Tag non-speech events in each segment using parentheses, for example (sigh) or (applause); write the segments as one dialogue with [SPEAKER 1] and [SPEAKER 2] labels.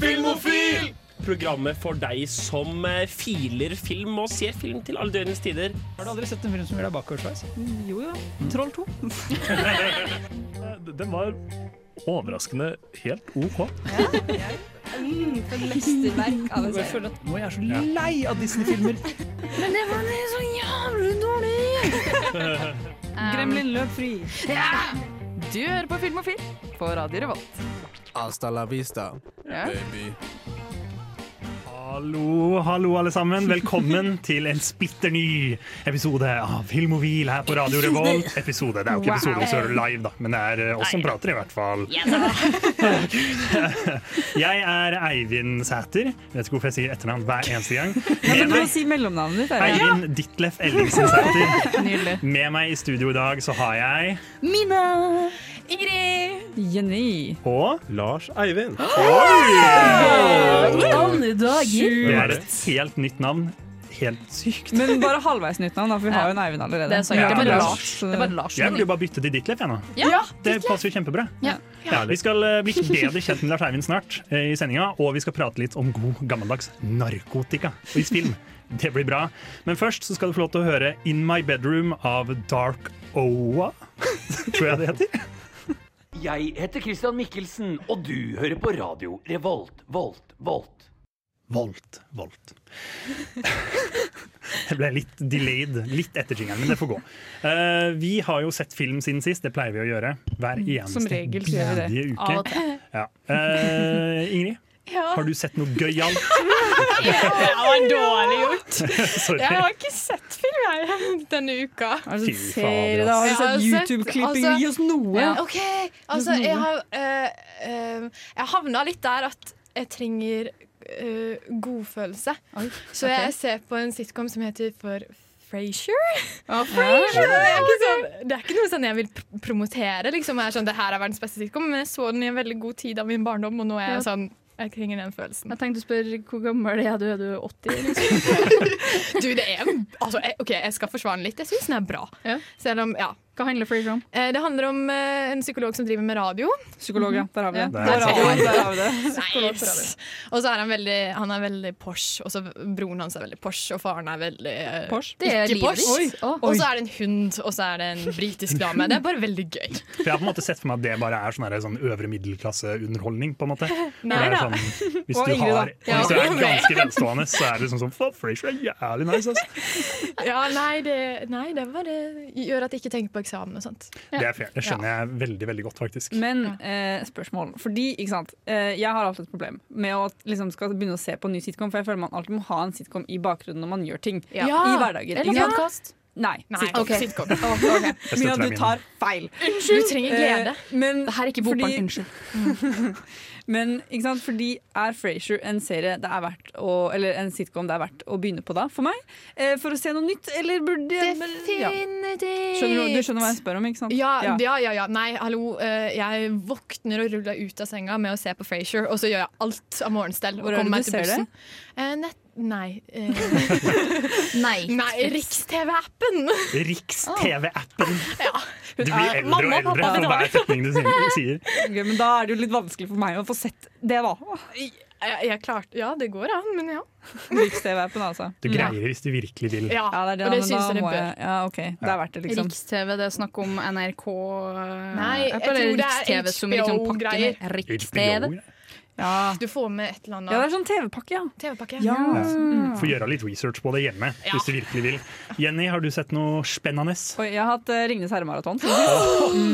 [SPEAKER 1] Filmofil! Programmet for deg som eh, filer film og ser film til alle døgnets tider.
[SPEAKER 2] Har du aldri sett en film som gjør deg Mm. bakoversveis?
[SPEAKER 3] Mm, Jo jo. Troll
[SPEAKER 2] (laughs)
[SPEAKER 3] 2.
[SPEAKER 4] Eh, Den var overraskende helt OK.
[SPEAKER 3] Mm, for et mesterverk av en
[SPEAKER 2] Jeg
[SPEAKER 3] serie.
[SPEAKER 2] føler at nå er jeg så lei av Disney-filmer.
[SPEAKER 5] Men det var så jævlig dårlig!
[SPEAKER 3] Gremlin løp fri.
[SPEAKER 5] Du hører på Filmofil på Radio Revolt.
[SPEAKER 6] Hasta la vista,
[SPEAKER 5] Ja.
[SPEAKER 6] baby.
[SPEAKER 4] Hallo, hallo alle sammen.
[SPEAKER 3] (laughs)
[SPEAKER 4] Velkommen til en splitter ny episode av Filmovil her på Radio Revolt. Episode, Det er jo ikke episode hvis du hører det live, da, men det er eh, oss som prater, i hvert fall. (laughs) Jeg er Eivind Sæter. Vet ikke hvorfor jeg sier etternavn hver
[SPEAKER 3] (laughs)
[SPEAKER 4] eneste gang. Med
[SPEAKER 3] Du må
[SPEAKER 4] meg
[SPEAKER 3] si mellomnavnet ditt. Eirik.
[SPEAKER 4] Eivind Ditlef Ellingsen
[SPEAKER 3] (laughs)
[SPEAKER 4] Sæter.
[SPEAKER 5] Nydelig.
[SPEAKER 4] Med meg i studio i dag så har jeg
[SPEAKER 5] Mina! Ingrid!
[SPEAKER 3] Jenny.
[SPEAKER 4] Og
[SPEAKER 1] Lars Eivind.
[SPEAKER 3] Alle dager.
[SPEAKER 4] det er et helt nytt navn. Helt sykt.
[SPEAKER 3] Men bare halvveis nytt navn, da, for vi har jo en Eivind allerede.
[SPEAKER 5] Det er sant.
[SPEAKER 4] Ja,
[SPEAKER 5] Det er bare
[SPEAKER 4] det er
[SPEAKER 5] Lars.
[SPEAKER 3] sant.
[SPEAKER 5] Det er bare Lars.
[SPEAKER 4] Jeg vil jo bare bytte til Ditlef, jeg nå.
[SPEAKER 5] Ja,
[SPEAKER 4] Det passer jo kjempebra.
[SPEAKER 5] Ja.
[SPEAKER 4] Ja, vi skal eh, bli bedre kjent med Lars Eivind snart, eh, i sendinga, og vi skal prate litt om god gammeldags narkotika i film. Det blir bra. Men først så skal du få lov til å høre In My Bedroom av Dark Oa, (laughs) tror jeg det heter.
[SPEAKER 7] Jeg heter Christian Mikkelsen, og du hører på radio Revolt, Volt, Volt.
[SPEAKER 4] Volt, volt. Det ble litt delayed, litt etter jingeren, men det får gå. Eh, vi har jo sett film siden sist, det pleier vi å gjøre hver eneste
[SPEAKER 3] Mm, Som regel så gjør vi det.
[SPEAKER 4] bidige uke.
[SPEAKER 5] Av og til.
[SPEAKER 4] Ja. Eh, Ingrid, har du sett noe gøyalt?
[SPEAKER 8] Det var dårlig gjort.
[SPEAKER 4] Sorry.
[SPEAKER 8] Jeg har ikke sett film jeg, (laughs) denne uka.
[SPEAKER 3] Har du
[SPEAKER 4] Fy
[SPEAKER 3] sett
[SPEAKER 4] fader,
[SPEAKER 3] serier,
[SPEAKER 4] altså.
[SPEAKER 3] da? Har du
[SPEAKER 8] Jeg har
[SPEAKER 3] sett
[SPEAKER 8] sett-
[SPEAKER 3] YouTube-klipping?
[SPEAKER 8] altså-
[SPEAKER 3] Gi oss noe!
[SPEAKER 8] OK, altså jeg har eh, eh, Jeg havna litt der at jeg trenger eh, godfølelse.
[SPEAKER 3] Oi,
[SPEAKER 8] Så
[SPEAKER 3] ok.
[SPEAKER 8] jeg ser på en sitcom som heter For Frasier.
[SPEAKER 3] Ja.
[SPEAKER 8] Det er ikke sånn, det er ikke noe sånn jeg vil pr- promotere. Liksom. Jeg er sånn, det her er verdens beste sitcom, men jeg så den i en veldig god tid av min barndom, og nå er
[SPEAKER 5] Ja.
[SPEAKER 8] jeg sånn jeg trenger den følelsen.
[SPEAKER 5] Jeg tenkte å spørre hvor gammel er du? Er du 80? Liksom?
[SPEAKER 8] Du, det er altså, jeg, OK, jeg skal forsvare den litt. Jeg syns den er bra.
[SPEAKER 5] Ja.
[SPEAKER 8] Selv om, ja.
[SPEAKER 5] Hva handler Frasier om?
[SPEAKER 8] Eh, Det handler om eh, en psykolog som driver med radio.
[SPEAKER 3] Psykolog, ja. Der har vi det.
[SPEAKER 4] Der
[SPEAKER 3] Der har vi det. Der har vi det.
[SPEAKER 8] Nice. Og så er han veldig, han er veldig Porsche, og så broren hans er veldig Porsche, og faren er veldig eh,
[SPEAKER 3] Porsche?
[SPEAKER 5] Det er
[SPEAKER 8] ikke
[SPEAKER 5] livet
[SPEAKER 8] Porsche.
[SPEAKER 5] ditt. Å.
[SPEAKER 8] Og så er det en hund, og så er det en britisk dame. Det er bare veldig gøy.
[SPEAKER 4] For jeg har på en måte sett for meg at det bare er sånn, her, sånn øvre middelklasse-underholdning. på en måte. For
[SPEAKER 8] Nei
[SPEAKER 4] det er
[SPEAKER 8] da.
[SPEAKER 4] Sånn, hvis,
[SPEAKER 3] Og
[SPEAKER 4] du
[SPEAKER 3] Ingrid,
[SPEAKER 4] har,
[SPEAKER 3] da.
[SPEAKER 4] hvis du
[SPEAKER 8] Ja.
[SPEAKER 4] er ganske velstående, så er det sånn sånn Fuck, Frasier er jævlig nice, ass.
[SPEAKER 8] (laughs) Ja, nei, det, nei, det bare gjør at jeg ikke tenker på eksamen og sånt.
[SPEAKER 4] Det er fair. Det skjønner jeg veldig veldig godt, faktisk.
[SPEAKER 3] Men eh, spørsmål. Fordi, ikke sant. Eh, jeg har alltid et problem med å liksom, skal begynne å se på en ny sitcom, for jeg føler man alltid må ha en sitcom i bakgrunnen når man gjør ting. I hverdagen.
[SPEAKER 5] Eller
[SPEAKER 3] Ikke sant?
[SPEAKER 5] podkast?
[SPEAKER 3] Nei.
[SPEAKER 8] Nei,
[SPEAKER 3] sitcom.
[SPEAKER 8] sitcom.
[SPEAKER 4] Jeg
[SPEAKER 3] Mina,
[SPEAKER 4] støtter
[SPEAKER 3] du
[SPEAKER 4] deg, Mina.
[SPEAKER 3] tar feil.
[SPEAKER 8] Du trenger glede.
[SPEAKER 3] Eh, men,
[SPEAKER 5] Det her er ikke
[SPEAKER 3] Fordi-
[SPEAKER 5] bokbarn, unnskyld.
[SPEAKER 3] (laughs) men ikke sant? fordi er Frasier en serie det er verdt å, eller en sitcom det er verdt å begynne på da, for meg? Eh, for å se noe nytt, eller burde jeg ja.
[SPEAKER 8] Definitivt.
[SPEAKER 3] skjønner du, du skjønner hva jeg spør om, ikke sant?
[SPEAKER 8] Ja, ja, ja, ja. Nei, hallo. eh, Jeg våkner og ruller ut av senga med å se på Frasier, og så gjør jeg alt av morgenstell.
[SPEAKER 3] Hvor
[SPEAKER 8] og
[SPEAKER 3] er det
[SPEAKER 8] kommer meg
[SPEAKER 3] du
[SPEAKER 8] til
[SPEAKER 3] ser det?
[SPEAKER 8] bussen. Eh, Nett, nei.
[SPEAKER 3] (laughs)
[SPEAKER 8] eh,
[SPEAKER 5] Nei.
[SPEAKER 8] Nei, Riks-TV-appen!
[SPEAKER 3] Ah.
[SPEAKER 4] Riks-TV-appen.
[SPEAKER 8] (laughs) Ja.
[SPEAKER 4] Du blir eldre og
[SPEAKER 8] Mamma og pappa
[SPEAKER 4] eldre for hver setning du sier- sier.
[SPEAKER 3] Ok, men da er det jo litt vanskelig for meg å få sett det, da.
[SPEAKER 8] Jeg, jeg klarte Ja, det går an, men ja.
[SPEAKER 3] Riks-TV-appen, altså.
[SPEAKER 4] Du greier det hvis du virkelig vil.
[SPEAKER 8] ja.
[SPEAKER 3] Ja, det er det,
[SPEAKER 8] og det
[SPEAKER 3] men
[SPEAKER 8] syns
[SPEAKER 3] da
[SPEAKER 8] jeg det
[SPEAKER 3] må
[SPEAKER 8] bør.
[SPEAKER 3] jeg Ja, OK. Det er verdt det, liksom.
[SPEAKER 5] Riks-TV, det er snakk om NRK eh,
[SPEAKER 8] Nei, jeg
[SPEAKER 5] føler
[SPEAKER 8] tror det er
[SPEAKER 5] Riks-TV som liksom pakken
[SPEAKER 8] HBO-greier.
[SPEAKER 5] er Riks-TV.
[SPEAKER 3] Ja.
[SPEAKER 8] Du får med et eller annet Mm.
[SPEAKER 3] ja, det er sånn TV-pakke, ja.
[SPEAKER 8] TV-pakke.
[SPEAKER 3] ja.
[SPEAKER 4] Få gjøre litt research på det hjemme hvis du virkelig vil. Jenny, har du sett noe spennende?
[SPEAKER 3] Oi, jeg har hatt uh, Ringenes herre-maraton.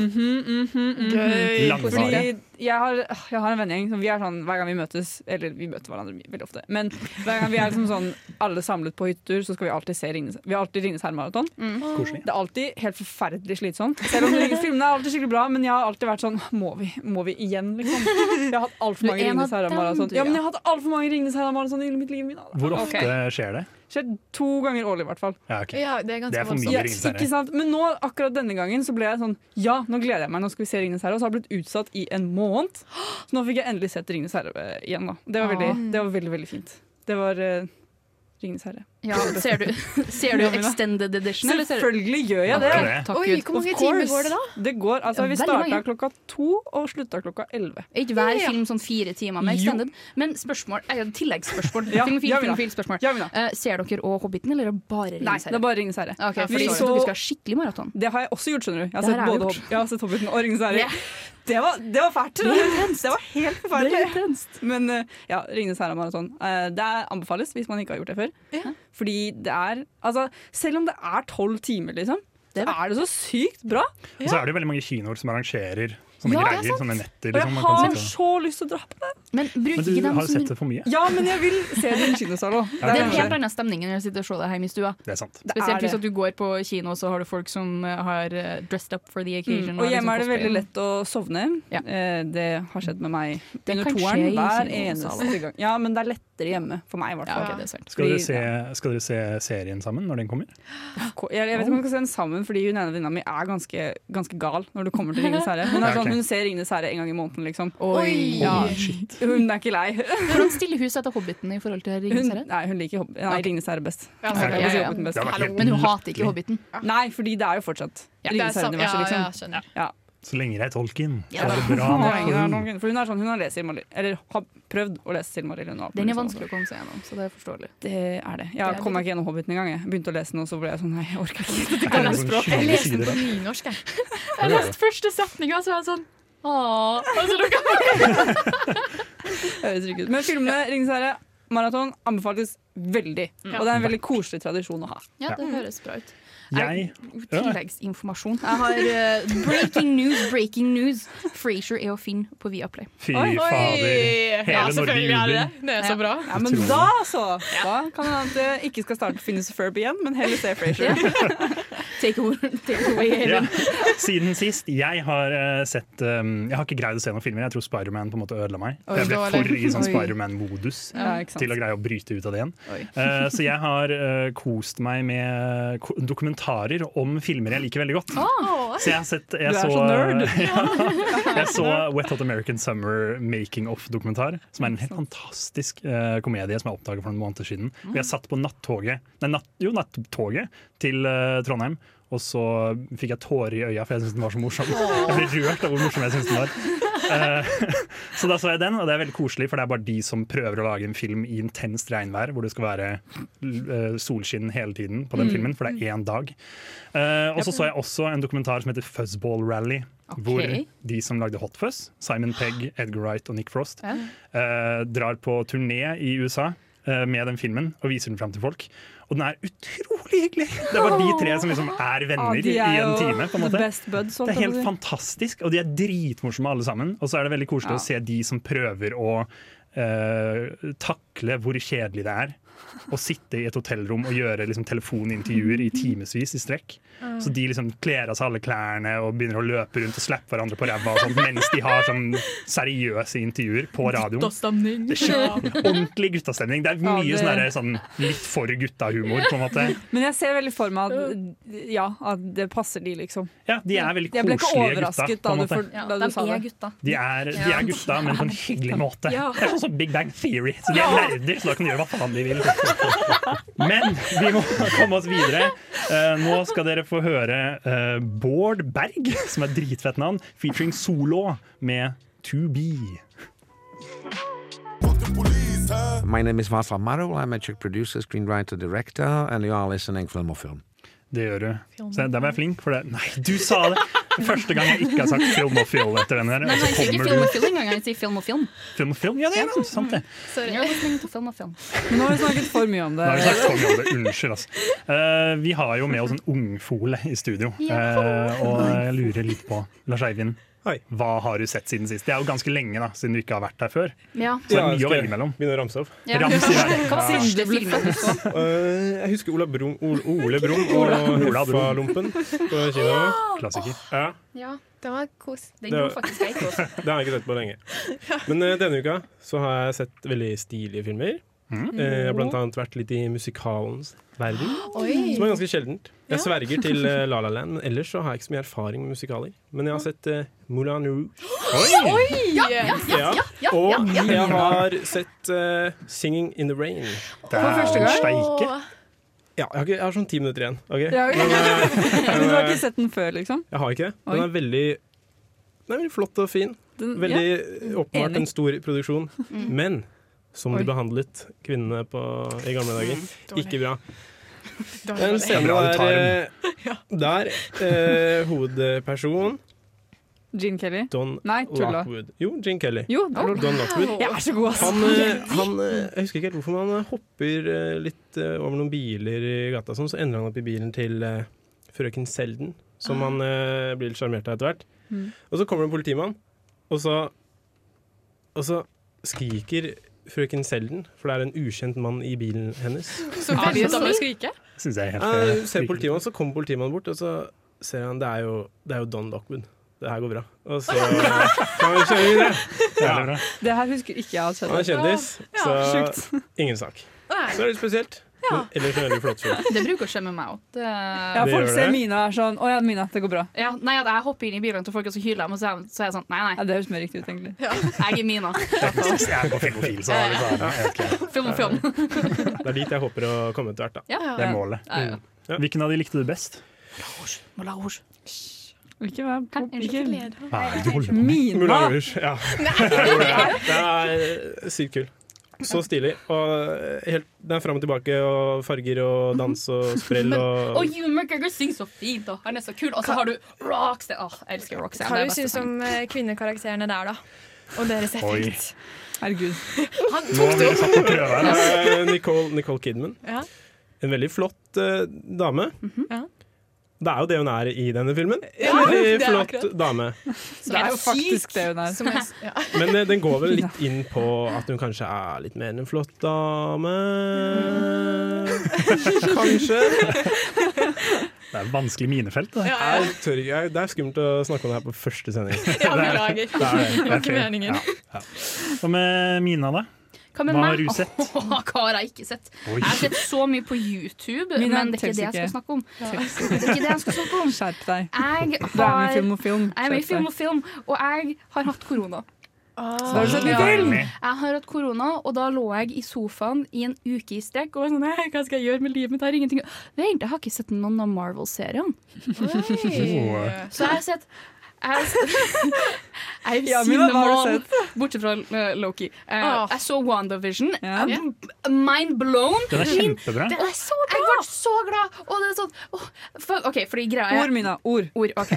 [SPEAKER 3] Mm.
[SPEAKER 8] Gøy.
[SPEAKER 4] Langvarig.
[SPEAKER 3] Fordi jeg har, øh, jeg har en vennegjeng som vi er sånn hver gang vi møtes Eller vi møter hverandre my- veldig ofte, men hver gang vi er liksom sånn alle samlet på hyttetur, så skal vi alltid se Ringenes Vi har alltid Ringenes herre-maraton.
[SPEAKER 5] Mm.
[SPEAKER 4] Koselig.
[SPEAKER 3] Det er alltid helt forferdelig slitsomt. Selv om filmene er alltid skikkelig bra, men jeg har alltid vært sånn Må vi, må vi igjen, liksom? Jeg har hatt altfor
[SPEAKER 5] Du er
[SPEAKER 3] mange
[SPEAKER 5] en av
[SPEAKER 3] Ringenes
[SPEAKER 5] dem,
[SPEAKER 3] herre-maraton.
[SPEAKER 5] du,
[SPEAKER 3] Ja, men
[SPEAKER 5] ja.
[SPEAKER 3] jeg har hatt alt for mange Ringenes herre-maraton i mitt liv. Min.
[SPEAKER 4] Hvor ofte skjer det?
[SPEAKER 3] Skjer to ganger årlig, i hvert fall.
[SPEAKER 4] Ja, ok.
[SPEAKER 8] Ja, det er
[SPEAKER 4] Det
[SPEAKER 8] ganske
[SPEAKER 4] er for mye.
[SPEAKER 8] voldsomt.
[SPEAKER 3] Ja,
[SPEAKER 4] Ringenes Herre.
[SPEAKER 3] ikke sant? Men nå, akkurat denne gangen så ble jeg sånn Ja, nå gleder jeg meg, nå skal vi se Ringenes herre. Og så har det blitt utsatt i en måned. Så nå fikk jeg endelig sett Ringenes herre eh, igjen. da Det var veldig, det var veldig, veldig fint. Det var eh, Ringenes herre.
[SPEAKER 5] (laughs) Ja, ser du, ser du Extended Edition? eller ser du-
[SPEAKER 3] Selvfølgelig gjør jeg det!
[SPEAKER 4] Ja,
[SPEAKER 5] Ok, Takk
[SPEAKER 8] Oi,
[SPEAKER 5] Gud.
[SPEAKER 8] hvor mange
[SPEAKER 3] Of
[SPEAKER 8] timer
[SPEAKER 3] course.
[SPEAKER 8] går det da?
[SPEAKER 3] Det går, altså
[SPEAKER 5] Ja,
[SPEAKER 3] Vi
[SPEAKER 5] veldig
[SPEAKER 3] starta
[SPEAKER 5] mange.
[SPEAKER 3] klokka to og slutta klokka elleve.
[SPEAKER 5] Er ikke hver
[SPEAKER 8] Ja.
[SPEAKER 5] film sånn fire timer med
[SPEAKER 3] Jo.
[SPEAKER 5] Extended? Men spørsmål, jeg har et tilleggsspørsmål.
[SPEAKER 3] (laughs) Ja,
[SPEAKER 5] Filmofil,
[SPEAKER 3] ja, Mina.
[SPEAKER 5] filmofil, spørsmål.
[SPEAKER 3] Ja, Mina.
[SPEAKER 5] Eh, ser dere òg Hobbiten, eller er det bare
[SPEAKER 3] Nei,
[SPEAKER 5] Ringenes
[SPEAKER 3] det er
[SPEAKER 5] herre?
[SPEAKER 3] bare Ringenes herre.
[SPEAKER 5] Ok,
[SPEAKER 3] Ja,
[SPEAKER 5] for
[SPEAKER 3] vi
[SPEAKER 5] jeg
[SPEAKER 3] så-
[SPEAKER 5] så... dere skal ha skikkelig maraton.
[SPEAKER 3] Det har jeg også gjort, skjønner du. Jeg har
[SPEAKER 5] Det her
[SPEAKER 3] sett,
[SPEAKER 5] har jeg
[SPEAKER 3] både
[SPEAKER 5] gjort.
[SPEAKER 3] Hob jeg har sett Hobbiten og Ringenes herre.
[SPEAKER 5] Ja.
[SPEAKER 3] Det, var- det var fælt! Det var helt forferdelig.
[SPEAKER 5] intenst.
[SPEAKER 3] Men eh, ja, Ringenes herre-maraton. Eh, Det er- anbefales hvis man ikke har gjort det før. Fordi det er Altså, selv om det er tolv timer, liksom, så
[SPEAKER 5] Det er det.
[SPEAKER 3] er det så sykt bra.
[SPEAKER 4] Og så er det jo veldig mange kinoer som arrangerer sånne
[SPEAKER 5] Ja, det er
[SPEAKER 4] greier. Sånne netter.
[SPEAKER 3] Og jeg
[SPEAKER 4] Liksom, man
[SPEAKER 3] har
[SPEAKER 4] kan sitte og...
[SPEAKER 3] så lyst til å dra på det.
[SPEAKER 5] Men bruk
[SPEAKER 4] Men du
[SPEAKER 5] ikke dem
[SPEAKER 4] har jo
[SPEAKER 5] som
[SPEAKER 4] sett det for mye.
[SPEAKER 3] Ja, men jeg vil se det i kinosal òg.
[SPEAKER 5] Det er en helt annen stemning enn å sitte og se deg hjemme i stua.
[SPEAKER 4] Det er sant.
[SPEAKER 3] er
[SPEAKER 5] Spesielt hvis
[SPEAKER 3] det.
[SPEAKER 5] at du går på kino, så har du folk som eh, har eh, dressed up for the occasion.
[SPEAKER 3] Mm. Og
[SPEAKER 5] har liksom
[SPEAKER 3] hjemme er det
[SPEAKER 5] cosplay.
[SPEAKER 3] veldig lett å sovne.
[SPEAKER 5] Ja.
[SPEAKER 3] Eh, Det har skjedd med meg
[SPEAKER 5] Det
[SPEAKER 3] under
[SPEAKER 5] kan
[SPEAKER 3] toeren
[SPEAKER 5] skje i
[SPEAKER 3] hver
[SPEAKER 5] kinosalen.
[SPEAKER 3] eneste gang. Ja, men det er lettere hjemme, for meg i hvert
[SPEAKER 5] Ja,
[SPEAKER 3] fall.
[SPEAKER 5] ok, det er sant.
[SPEAKER 4] Skal dere,
[SPEAKER 3] Fordi-
[SPEAKER 4] se, skal dere se serien sammen når den kommer?
[SPEAKER 3] Ko- Jeg, jeg vet ikke om jeg skal se den sammen, fordi hun ene venninna mi er ganske, ganske gal når det kommer til Ringenes herre. Hun, er
[SPEAKER 4] Ja, ok.
[SPEAKER 3] sånn, hun ser Ringenes herre en gang i måneden, liksom.
[SPEAKER 5] Oi.
[SPEAKER 3] Ja,
[SPEAKER 4] Holy shit.
[SPEAKER 3] hun er ikke lei.
[SPEAKER 5] Hvordan stiller hun seg til Hobbiten i forhold til
[SPEAKER 3] Hun,
[SPEAKER 5] Ringenes herre?
[SPEAKER 3] nei, hun liker Hob- nei,
[SPEAKER 5] Ok.
[SPEAKER 3] Ringenes herre best.
[SPEAKER 8] Ja,
[SPEAKER 4] Ja,
[SPEAKER 5] ja, ja.
[SPEAKER 3] Hobbiten best.
[SPEAKER 4] Det har vært helt
[SPEAKER 5] Men hun hater
[SPEAKER 4] latterlig.
[SPEAKER 5] ikke Hobbiten.
[SPEAKER 3] Nei, fordi det er jo fortsatt
[SPEAKER 8] Det er
[SPEAKER 3] Ringenes
[SPEAKER 8] sam- ja,
[SPEAKER 3] herre-universet,
[SPEAKER 8] ja,
[SPEAKER 3] liksom.
[SPEAKER 8] skjønner.
[SPEAKER 4] Så lenge det er Tolkien,
[SPEAKER 5] Ja,
[SPEAKER 4] så er det
[SPEAKER 3] Hun
[SPEAKER 4] bra. nok
[SPEAKER 3] er
[SPEAKER 4] for
[SPEAKER 3] ingen
[SPEAKER 4] hun.
[SPEAKER 3] av noen- For hun er sånn, hun har lest Silmarillion, eller har prøvd å lese Silmarillion. og alt
[SPEAKER 5] Den
[SPEAKER 3] mulig
[SPEAKER 5] er
[SPEAKER 3] sånn.
[SPEAKER 5] vanskelig å komme seg gjennom, så det er forståelig.
[SPEAKER 3] Det er det. Jeg
[SPEAKER 5] Det er
[SPEAKER 3] kom meg
[SPEAKER 5] det.
[SPEAKER 3] ikke gjennom Hobbiten engang. Jeg begynte å lese den, og så ble jeg sånn Nei, jeg orker
[SPEAKER 4] (laughs)
[SPEAKER 3] ikke.
[SPEAKER 4] Det er sånn 20
[SPEAKER 8] Jeg leser den
[SPEAKER 4] sider
[SPEAKER 8] på
[SPEAKER 4] av-
[SPEAKER 8] nynorsk, jeg.
[SPEAKER 5] Jeg leste første setninga, så var jeg sånn Åh. Altså, dere
[SPEAKER 3] Det høres ikke ut. Men filmene Ringenes herre, maraton, anbefales veldig. Og det er en veldig koselig tradisjon å ha.
[SPEAKER 5] Ja, det høres bra ut.
[SPEAKER 4] Jeg
[SPEAKER 5] Tilleggsinformasjon. Jeg har eh, breaking news, breaking news. Frasier er å finne på Viaplay.
[SPEAKER 4] Fy
[SPEAKER 8] Oi.
[SPEAKER 4] fader.
[SPEAKER 8] Ja,
[SPEAKER 4] Hele Norge
[SPEAKER 8] selvfølgelig er det
[SPEAKER 4] jubler.
[SPEAKER 8] det. Det er så bra.
[SPEAKER 3] Ja, men
[SPEAKER 4] Utrolig.
[SPEAKER 3] da så! Da kan det hende at det ikke skal starte Finnes Ferb igjen, men heller se Frasier.
[SPEAKER 5] Take over- take away hele
[SPEAKER 4] Ja. Siden sist. Jeg har eh, sett um, Jeg har ikke greid å se noen filmer. Jeg tror Spiderman på en måte ødela meg.
[SPEAKER 8] Oi,
[SPEAKER 4] Jeg ble
[SPEAKER 8] dårlig.
[SPEAKER 4] for i sånn
[SPEAKER 5] Oi.
[SPEAKER 4] Spiderman-modus
[SPEAKER 3] Ja, ikke
[SPEAKER 4] til
[SPEAKER 3] sant.
[SPEAKER 4] å greie å bryte ut av det igjen.
[SPEAKER 3] Oi.
[SPEAKER 4] Eh, så jeg har eh, kost meg med eh, ko- dokumentarer om filmer jeg liker veldig godt. Så jeg har sett jeg
[SPEAKER 3] Du er
[SPEAKER 4] så,
[SPEAKER 3] så nerd.
[SPEAKER 4] Ja. (laughs) jeg så Wet Hot American Summer Making Off-dokumentar, som er en helt fantastisk eh, komedie som jeg oppdaget for noen måneder siden. Og Jeg satt på nattoget, nei, natt, jo, nattoget til eh, Trondheim, og så fikk jeg tårer i øya, for jeg syntes den var så morsom. Jeg ble rørt av hvor morsom jeg syntes den var. Eh, så da så jeg den, og det er veldig koselig, for det er bare de som prøver å lage en film i intenst regnvær, hvor det skal være eh, solskinn hele tiden på den
[SPEAKER 3] Mm.
[SPEAKER 4] filmen, for det er én dag. Eh, og så så jeg også en dokumentar som heter Fuzzball Rally. Hvor de som lagde Hot Fuzz, Simon Pegg, Edgar Wright og Nick Frost, eh, drar på turné i USA eh, med den filmen og viser den fram til folk. Og den er utrolig hyggelig! Det er bare de tre som liksom er venner
[SPEAKER 3] de er
[SPEAKER 4] i en
[SPEAKER 3] jo
[SPEAKER 4] time. på en måte.
[SPEAKER 3] the best buds, holdt jeg
[SPEAKER 4] Det er
[SPEAKER 3] på å
[SPEAKER 4] helt
[SPEAKER 3] si.
[SPEAKER 4] fantastisk, og de er dritmorsomme alle sammen. Og så er det veldig koselig
[SPEAKER 3] Ja.
[SPEAKER 4] å se de som prøver å eh, takle hvor kjedelig det er. Å sitte i et hotellrom og gjøre liksom, telefonintervjuer i timevis i strekk.
[SPEAKER 3] Mm.
[SPEAKER 4] Så de liksom kler av seg alle klærne og begynner å løpe rundt og slappe hverandre på ræva og sånt, mens de har sånn seriøse intervjuer på radioen. Mm.
[SPEAKER 5] stemning.
[SPEAKER 4] Det er skikkelig Ordentlig guttastemning. Det er
[SPEAKER 3] Ja,
[SPEAKER 4] mye
[SPEAKER 3] det-
[SPEAKER 4] sånn der, sånn litt for gutta-humor, på en måte.
[SPEAKER 3] Men jeg ser veldig for meg at, ja, at det passer de, liksom.
[SPEAKER 4] Ja, de er veldig
[SPEAKER 3] Jeg ble ikke
[SPEAKER 4] koselige gutta.
[SPEAKER 3] overrasket
[SPEAKER 4] på
[SPEAKER 3] da
[SPEAKER 4] en
[SPEAKER 3] du,
[SPEAKER 4] måte.
[SPEAKER 3] for,
[SPEAKER 5] Ja,
[SPEAKER 3] da
[SPEAKER 5] de
[SPEAKER 3] du sa
[SPEAKER 5] er
[SPEAKER 3] det.
[SPEAKER 5] gutta.
[SPEAKER 4] De er, de er gutta, men på en hyggelig måte.
[SPEAKER 5] Ja.
[SPEAKER 4] Det er sånn som Big Bang Theory. Så de er nerder, så da kan de gjøre hva faen de vil. Men vi må komme oss videre. Eh, nå skal dere få høre eh, Bård Berg, som er dritfett navn, featuring Solo med To Be.
[SPEAKER 9] My name is Václav Marul. I'm a Czech producer, screenwriter, director, and you are listening Film or Film.
[SPEAKER 4] Det gjør du. Så der var jeg flink for det. Nei, du sa det! Første gang jeg ikke har sagt film og fill etter den her.
[SPEAKER 5] Men
[SPEAKER 4] Og
[SPEAKER 5] han
[SPEAKER 4] så
[SPEAKER 5] sier ikke
[SPEAKER 4] kommer
[SPEAKER 5] film
[SPEAKER 4] du
[SPEAKER 5] og film engang, han sier film og film.
[SPEAKER 4] film og film. Ja, det er sant, sant det.
[SPEAKER 5] You're listening to film og film.
[SPEAKER 3] Men nå har vi snakket for mye om det.
[SPEAKER 4] Nå har vi snakket så mye om det. Unnskyld, altså. Eh, vi har jo med oss en ungfole i studio, Eh, og jeg lurer litt på Lars Eivind.
[SPEAKER 10] Hei.
[SPEAKER 4] Hva har du sett siden sist? Det er jo ganske lenge da, siden du ikke har vært her før.
[SPEAKER 5] Ja.
[SPEAKER 4] Så det er
[SPEAKER 10] Ja,
[SPEAKER 4] mye å
[SPEAKER 10] skal
[SPEAKER 4] velge mellom.
[SPEAKER 10] Begynne å ramse opp.
[SPEAKER 5] Ja.
[SPEAKER 4] Rams i verden.
[SPEAKER 5] Hva var første filmen du så?
[SPEAKER 10] Eh, jeg husker Ola Brum, Ole, Ole
[SPEAKER 4] (laughs)
[SPEAKER 10] Brumm og
[SPEAKER 4] Ola Brum.
[SPEAKER 10] Huffa-lompen på kino.
[SPEAKER 4] Klassiker.
[SPEAKER 10] Ja,
[SPEAKER 5] Ja,
[SPEAKER 8] Det var kos.
[SPEAKER 5] den dro faktisk jeg ikke også.
[SPEAKER 10] det har jeg ikke sett på lenge. Men eh, denne uka så har jeg sett veldig stilige filmer. Eh, Jeg har blant annet vært litt i musikalens verden,
[SPEAKER 8] Oi.
[SPEAKER 10] som er ganske sjeldent.
[SPEAKER 3] Ja.
[SPEAKER 10] Jeg sverger til eh, La La Land, men ellers så har jeg ikke så mye erfaring med musikaler. Men jeg har sett eh, Moulin Rouge.
[SPEAKER 8] Ja, ja,
[SPEAKER 10] Ja, Og jeg har sett eh, Singing in the Rain.
[SPEAKER 4] For
[SPEAKER 8] første gang.
[SPEAKER 4] Steike.
[SPEAKER 10] Ja, jeg har, ikke, jeg har sånn ti minutter igjen. ok?
[SPEAKER 3] Ja, ok. (laughs) Men du har ikke sett den før, liksom?
[SPEAKER 10] Jeg har ikke det.
[SPEAKER 3] Oi.
[SPEAKER 10] Den er veldig den er veldig flott og fin.
[SPEAKER 3] Den,
[SPEAKER 10] Veldig åpenbart
[SPEAKER 3] Enig.
[SPEAKER 10] en stor produksjon.
[SPEAKER 8] Mm.
[SPEAKER 10] Men som
[SPEAKER 3] Oi.
[SPEAKER 10] de behandlet kvinnene på, i gamle dager. Ikke bra.
[SPEAKER 8] Mm. Dårlig.
[SPEAKER 10] Det er en scene
[SPEAKER 4] Bra, du tar
[SPEAKER 10] der, eh, der eh, hovedperson
[SPEAKER 3] ja. Gene Kelly?
[SPEAKER 10] Don
[SPEAKER 3] Nei, tulla.
[SPEAKER 10] Lockwood Jo, Gene Kelly.
[SPEAKER 3] Jo, det er lol.
[SPEAKER 10] Don Lockwood.
[SPEAKER 3] Jeg er så god, ass.
[SPEAKER 10] Han, eh, han, eh, jeg husker ikke helt hvorfor, men han eh, hopper eh, litt eh, over noen biler i gata, og sånn, så ender han opp i bilen til eh, frøken Selden, som han eh, blir litt sjarmert av etter hvert.
[SPEAKER 3] Mm.
[SPEAKER 10] Og så kommer det en politimann, og så, og så skriker frøken Selden, for det er en ukjent mann i bilen hennes.
[SPEAKER 8] Så veldig dårlig å skrike.
[SPEAKER 4] Syns jeg er helt eh,
[SPEAKER 10] Han Ah, ser politimannen, så kommer politimannen bort, og så ser han det er jo, det er jo Don Lockwood. Det her går bra. Og (laughs) så kan vi kjøre videre.
[SPEAKER 4] Veldig bra.
[SPEAKER 3] Det her husker ikke jeg har sett.
[SPEAKER 10] Han er kjendis, så
[SPEAKER 3] Sjukt.
[SPEAKER 10] ingen sak.
[SPEAKER 8] Nei.
[SPEAKER 10] Så er det litt spesielt. Men ellers er det veldig flott film.
[SPEAKER 5] Det bruker å skjemme meg òg.
[SPEAKER 3] Ja,
[SPEAKER 5] Ja.
[SPEAKER 10] Det
[SPEAKER 3] folk
[SPEAKER 10] gjør
[SPEAKER 3] ser
[SPEAKER 10] det.
[SPEAKER 3] Mina og er sånn Å ja, Mina, det går bra.
[SPEAKER 5] Nei, at jeg hopper inn i bilene til folk, og så hyler de, og så er jeg- så er jeg sånn Nei,
[SPEAKER 3] Ja,
[SPEAKER 5] nei,
[SPEAKER 3] det høres mer riktig ut, egentlig.
[SPEAKER 5] jeg er Mina.
[SPEAKER 4] Jeg er på filmofil, så det er litt sånn, ok.
[SPEAKER 5] Film og film.
[SPEAKER 10] Det er dit jeg håper å komme etter hvert. da.
[SPEAKER 4] det er målet. Mm.
[SPEAKER 5] Ja, ja.
[SPEAKER 4] Hvilken av de likte du best?
[SPEAKER 3] Ikke vær
[SPEAKER 5] Hæ? Unnskyld.
[SPEAKER 3] ikke-
[SPEAKER 4] Hva er det du holder på med?
[SPEAKER 3] Mina!
[SPEAKER 10] Moulin Rouge. Ja. (laughs) Det er sykt kul. Så stilig. Og helt, det er fram og tilbake og farger og dans og sprell og
[SPEAKER 5] Og Hugh McGregor synger så fint, og han er så kul. Og så har du Roxanne. Åh, jeg elsker Roxanne.
[SPEAKER 8] Hva
[SPEAKER 5] det
[SPEAKER 8] du
[SPEAKER 5] er beste
[SPEAKER 8] syns du
[SPEAKER 5] sangen.
[SPEAKER 8] om eh, kvinnekarakterene der, da? Og deres effekt.
[SPEAKER 3] Herregud.
[SPEAKER 8] Han
[SPEAKER 4] Nå
[SPEAKER 8] tok
[SPEAKER 4] har
[SPEAKER 8] det
[SPEAKER 4] dere satt på prøve her.
[SPEAKER 10] Eh, Nicole, Nicole Kidman.
[SPEAKER 8] Ja.
[SPEAKER 10] En veldig flott eh, dame.
[SPEAKER 8] Ja.
[SPEAKER 10] Det er jo det hun er i denne filmen.
[SPEAKER 8] Ja,
[SPEAKER 10] en
[SPEAKER 8] det
[SPEAKER 10] veldig
[SPEAKER 8] er
[SPEAKER 10] flott
[SPEAKER 8] akkurat.
[SPEAKER 10] dame.
[SPEAKER 3] Det er jo faktisk det hun er.
[SPEAKER 8] som jeg, ja.
[SPEAKER 10] Men eh, den går vel litt inn på at hun kanskje er litt mer enn en flott dame. Kanskje.
[SPEAKER 4] Det er et vanskelig minefelt. Det.
[SPEAKER 8] Ja, ja.
[SPEAKER 10] Jeg tør ikke, jeg, det er skummelt å snakke om det her på første sending.
[SPEAKER 8] ja, beklager.
[SPEAKER 4] Det er, det
[SPEAKER 8] var ikke meningen.
[SPEAKER 4] Hva med Mina, da?
[SPEAKER 5] Hva med
[SPEAKER 4] Hva
[SPEAKER 5] meg?
[SPEAKER 4] har du sett?
[SPEAKER 5] (laughs) Åh, hva har jeg ikke sett?
[SPEAKER 4] Oi.
[SPEAKER 5] Jeg har sett så mye på YouTube,
[SPEAKER 3] Mina,
[SPEAKER 5] men det er ikke det jeg
[SPEAKER 3] tøys ikke.
[SPEAKER 5] skal snakke om. Det er ikke det jeg skal (laughs) snakke om.
[SPEAKER 3] Skjerp deg.
[SPEAKER 5] Jeg
[SPEAKER 3] Det er mye
[SPEAKER 5] har
[SPEAKER 3] film og film.
[SPEAKER 5] jeg er med i
[SPEAKER 3] Skjerp
[SPEAKER 5] film
[SPEAKER 3] deg.
[SPEAKER 5] og film, og jeg har hatt korona.
[SPEAKER 8] Ah.
[SPEAKER 3] Da har du sett mye film!
[SPEAKER 4] Deilig.
[SPEAKER 5] Jeg har hatt korona, og da lå jeg i sofaen i en uke i strekk og var sånn «Nei, Hva skal jeg gjøre med livet mitt? Jeg har ingenting å-» Vent, jeg har ikke sett noen av Marvel-seriene.
[SPEAKER 8] Oi.
[SPEAKER 5] Så jeg har sett Jeg (laughs) har, jeg
[SPEAKER 3] Ja,
[SPEAKER 5] har
[SPEAKER 3] Mina, hva
[SPEAKER 5] sett dem
[SPEAKER 3] har du
[SPEAKER 5] all, bortsett fra eh, Loki. Eh,
[SPEAKER 8] Ah.
[SPEAKER 5] Jeg så WandaVision.
[SPEAKER 3] Ja.
[SPEAKER 5] Eh, Mind blown.
[SPEAKER 4] Den er kjempebra.
[SPEAKER 5] Det er så bra! Jeg ble så glad! Og det er sånn åh, for, OK, fordi greia er
[SPEAKER 3] Ord, Mina. Ord.
[SPEAKER 5] Ord, ok.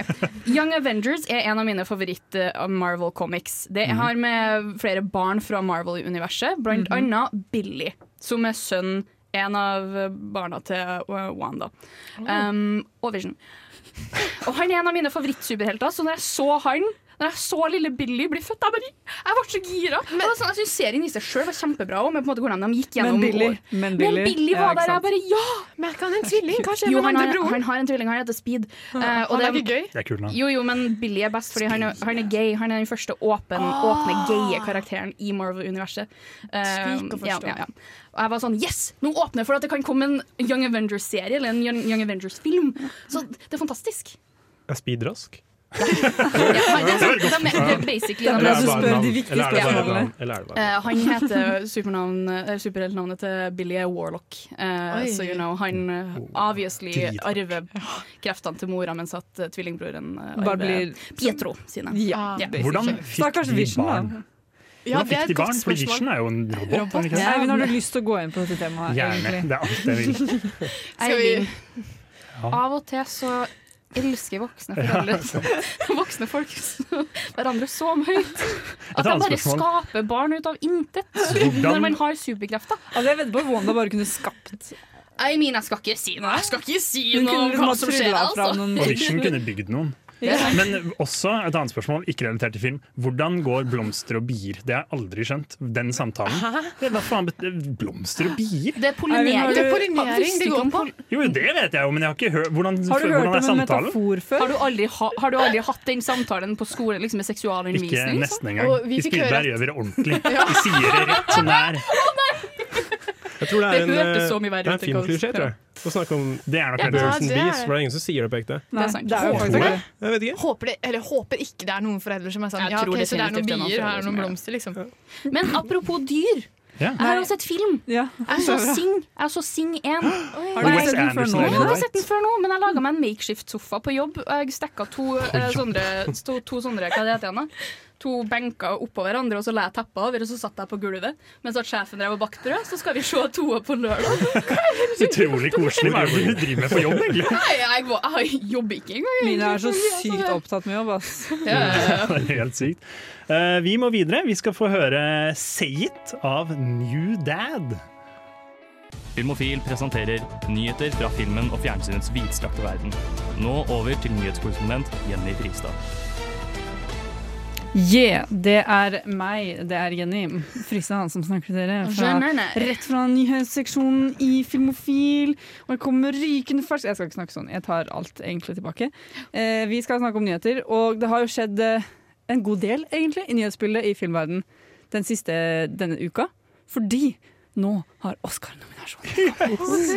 [SPEAKER 5] Young Avengers er en av mine favoritt-Marvel-comics. Det jeg har med flere barn fra Marvel-universet, blant annet Billy, som er sønn en av eh, barna til uh, Wanda. Um, og Vision. Og han er en av mine favorittsuperhelter, så når jeg så han når jeg så lille Billy bli født, jeg, bare, jeg ble så gira. Men, sånn, jeg synes Serien i seg sjøl var kjempebra, også, men på en måte hvordan de gikk gjennom
[SPEAKER 3] Men Billy.
[SPEAKER 5] år.
[SPEAKER 3] Men
[SPEAKER 5] Men
[SPEAKER 3] Billy,
[SPEAKER 5] Billy
[SPEAKER 3] Ja,
[SPEAKER 5] var
[SPEAKER 3] ikke
[SPEAKER 5] der. Jeg
[SPEAKER 3] sant?
[SPEAKER 5] bare ja!
[SPEAKER 8] Men er ikke han en tvilling? Hva skjer
[SPEAKER 5] Jo,
[SPEAKER 8] med
[SPEAKER 5] han
[SPEAKER 8] han
[SPEAKER 5] har,
[SPEAKER 8] andre broren?
[SPEAKER 5] han har en tvilling, han heter Speed. Eh, og
[SPEAKER 8] Han
[SPEAKER 5] det-
[SPEAKER 8] er ikke gøy?
[SPEAKER 4] Det er kult navn.
[SPEAKER 5] jo, jo, men Billy er best fordi han er, han er gay. Han er den første åpen, åpne gaye karakteren i Marvel-universet. Eh,
[SPEAKER 8] Slik Ah. å forstå.
[SPEAKER 5] ja, ja, ja. Og jeg var sånn Yes! Nå åpner jeg for at det kan komme en Young Avengers-serie eller en Young, Young Avengers-film. Så det er fantastisk.
[SPEAKER 10] Er Speed rask?
[SPEAKER 5] Ja, det er sånn, de er, det er basically
[SPEAKER 3] er bra
[SPEAKER 5] altså, de er
[SPEAKER 3] du
[SPEAKER 10] bare
[SPEAKER 3] spør
[SPEAKER 10] navn?
[SPEAKER 3] de viktige
[SPEAKER 10] Eller er det bare
[SPEAKER 5] spørsmålene.
[SPEAKER 10] navn? Eller er det bare navn?
[SPEAKER 5] Eh, han heter supernavn- eh, superheltnavnet til Billy er Warlock. Eh,
[SPEAKER 8] Oi.
[SPEAKER 5] så you know, han eh, obviously
[SPEAKER 4] Drithardt.
[SPEAKER 5] arver kreftene til mora, mens at eh, tvillingbroren eh,
[SPEAKER 3] Bare
[SPEAKER 5] arver
[SPEAKER 3] blir
[SPEAKER 5] Pietro sine.
[SPEAKER 3] Ja,
[SPEAKER 5] Ja.
[SPEAKER 4] Hvordan fikk
[SPEAKER 3] Stakkars
[SPEAKER 4] de
[SPEAKER 3] Vision, da.
[SPEAKER 4] barn? Hvordan fikk de barn? Fordi Vision er jo en robot. er han ikke det?
[SPEAKER 3] Ja, men har du lyst til å gå inn på dette temaet?
[SPEAKER 4] Gjerne.
[SPEAKER 3] egentlig?
[SPEAKER 4] Det er alt jeg vil.
[SPEAKER 8] Skal vi-
[SPEAKER 5] Eivind. Av og til så elsker voksne foreldre (laughs) Voksne folk så- hverandre så høyt at de
[SPEAKER 4] annet
[SPEAKER 5] bare
[SPEAKER 4] spørsmål.
[SPEAKER 5] skaper barn ut av intet når man har superkrefter.
[SPEAKER 3] Altså, jeg vedder på at Wanda bare kunne skapt
[SPEAKER 5] Jeg mener, jeg skal ikke si noe. Jeg skal ikke si
[SPEAKER 3] Hun kunne
[SPEAKER 5] noe om
[SPEAKER 3] liksom
[SPEAKER 5] hva
[SPEAKER 3] ha
[SPEAKER 5] som skjer,
[SPEAKER 3] trylla fram
[SPEAKER 5] altså.
[SPEAKER 3] noen
[SPEAKER 4] Og Vision kunne bygd noen. Men også et annet spørsmål, ikke relatert til film. Hvordan går blomster og bier? Det har jeg aldri skjønt, den samtalen. Det er Hva faen bet- Blomster og bier?
[SPEAKER 5] Det
[SPEAKER 3] Eivind, har
[SPEAKER 5] er pollinering.
[SPEAKER 3] du-
[SPEAKER 8] Det er pollinering det går på.
[SPEAKER 4] Jo, jo, det vet jeg jo, men jeg har ikke hørt Hvordan,
[SPEAKER 3] Har du hørt
[SPEAKER 4] hvordan er
[SPEAKER 3] om en
[SPEAKER 4] samtalen?
[SPEAKER 3] metafor
[SPEAKER 5] Har
[SPEAKER 3] før?
[SPEAKER 5] du aldri, ha, har du aldri hatt den samtalen på skole liksom med
[SPEAKER 4] Ikke
[SPEAKER 5] seksualundervisning? liksom?
[SPEAKER 4] nesten engang.
[SPEAKER 8] Og vi
[SPEAKER 4] I
[SPEAKER 8] fikk høre
[SPEAKER 4] Spydberg
[SPEAKER 8] at-
[SPEAKER 4] gjør vi det ordentlig. Vi sier det rett som det er.
[SPEAKER 10] Jeg tror det er
[SPEAKER 5] Det
[SPEAKER 10] en,
[SPEAKER 5] hørtes så mye
[SPEAKER 10] eh,
[SPEAKER 5] verre
[SPEAKER 10] det er en
[SPEAKER 5] ut enn
[SPEAKER 10] filmklisjé, tror jeg. Å snakke om
[SPEAKER 4] Det er nok
[SPEAKER 8] Ja,
[SPEAKER 4] en
[SPEAKER 8] det er-
[SPEAKER 10] Birds and Bees, for det er ingen som sier det på ekte.
[SPEAKER 5] Det er sant.
[SPEAKER 3] Det er jo faktisk det.
[SPEAKER 10] Jeg vet ikke.
[SPEAKER 8] Håper, det, eller håper ikke det er noen foreldre som er sånn
[SPEAKER 5] Jeg
[SPEAKER 8] Ja,
[SPEAKER 5] tror
[SPEAKER 8] ok, så det er noen
[SPEAKER 5] definitivt det er noen
[SPEAKER 8] bier, her
[SPEAKER 5] foreldre
[SPEAKER 8] er noen
[SPEAKER 5] som gjør det.
[SPEAKER 8] blomster, liksom.
[SPEAKER 5] Men apropos dyr.
[SPEAKER 4] Ja.
[SPEAKER 5] Jeg har jo sett film.
[SPEAKER 3] Ja.
[SPEAKER 5] Jeg så Sing. Jeg så Sing 1.
[SPEAKER 3] Har du
[SPEAKER 4] Wes
[SPEAKER 3] sett den før
[SPEAKER 4] Anderson,
[SPEAKER 3] nå?
[SPEAKER 5] Nei, jeg har ikke
[SPEAKER 4] Right.
[SPEAKER 5] sett den før nå, men jeg laga meg en makeshift-sofa på jobb. og Jeg stekka to, eh, sånne, to, to sånne, hva det heter igjen da? To benker oppå hverandre, og så la jeg teppet over, og så satt jeg på gulvet. Mens at sjefen drev og bakte brød, så skal vi se toa på lørdag.
[SPEAKER 4] Utrolig
[SPEAKER 10] (laughs)
[SPEAKER 4] koselig. Hva er det du driver med på jobb, egentlig?
[SPEAKER 5] (laughs) Nei, jeg, må, jeg jobber ikke engang.
[SPEAKER 3] Mina er så sykt opptatt med jobb, ass.
[SPEAKER 4] (laughs) Det er helt sykt. Eh, vi må videre. Vi skal få høre Say It av New Dad.
[SPEAKER 11] Filmofil presenterer nyheter fra filmen og fjernsynets vidstrakte verden. Nå over til nyhetskorrespondent Jenny Fristad.
[SPEAKER 3] Yeah, det er meg, det er Jenny Frisa han som snakker til dere. Fra, rett fra nyhetsseksjonen i Filmofil. Og jeg kommer rykende fersk Jeg skal ikke snakke sånn, jeg tar alt egentlig tilbake. Eh, vi skal snakke om nyheter, og det har jo skjedd eh, en god del, egentlig, i nyhetsbildet i filmverden den siste denne uka. Fordi nå har Oscar-nominasjonen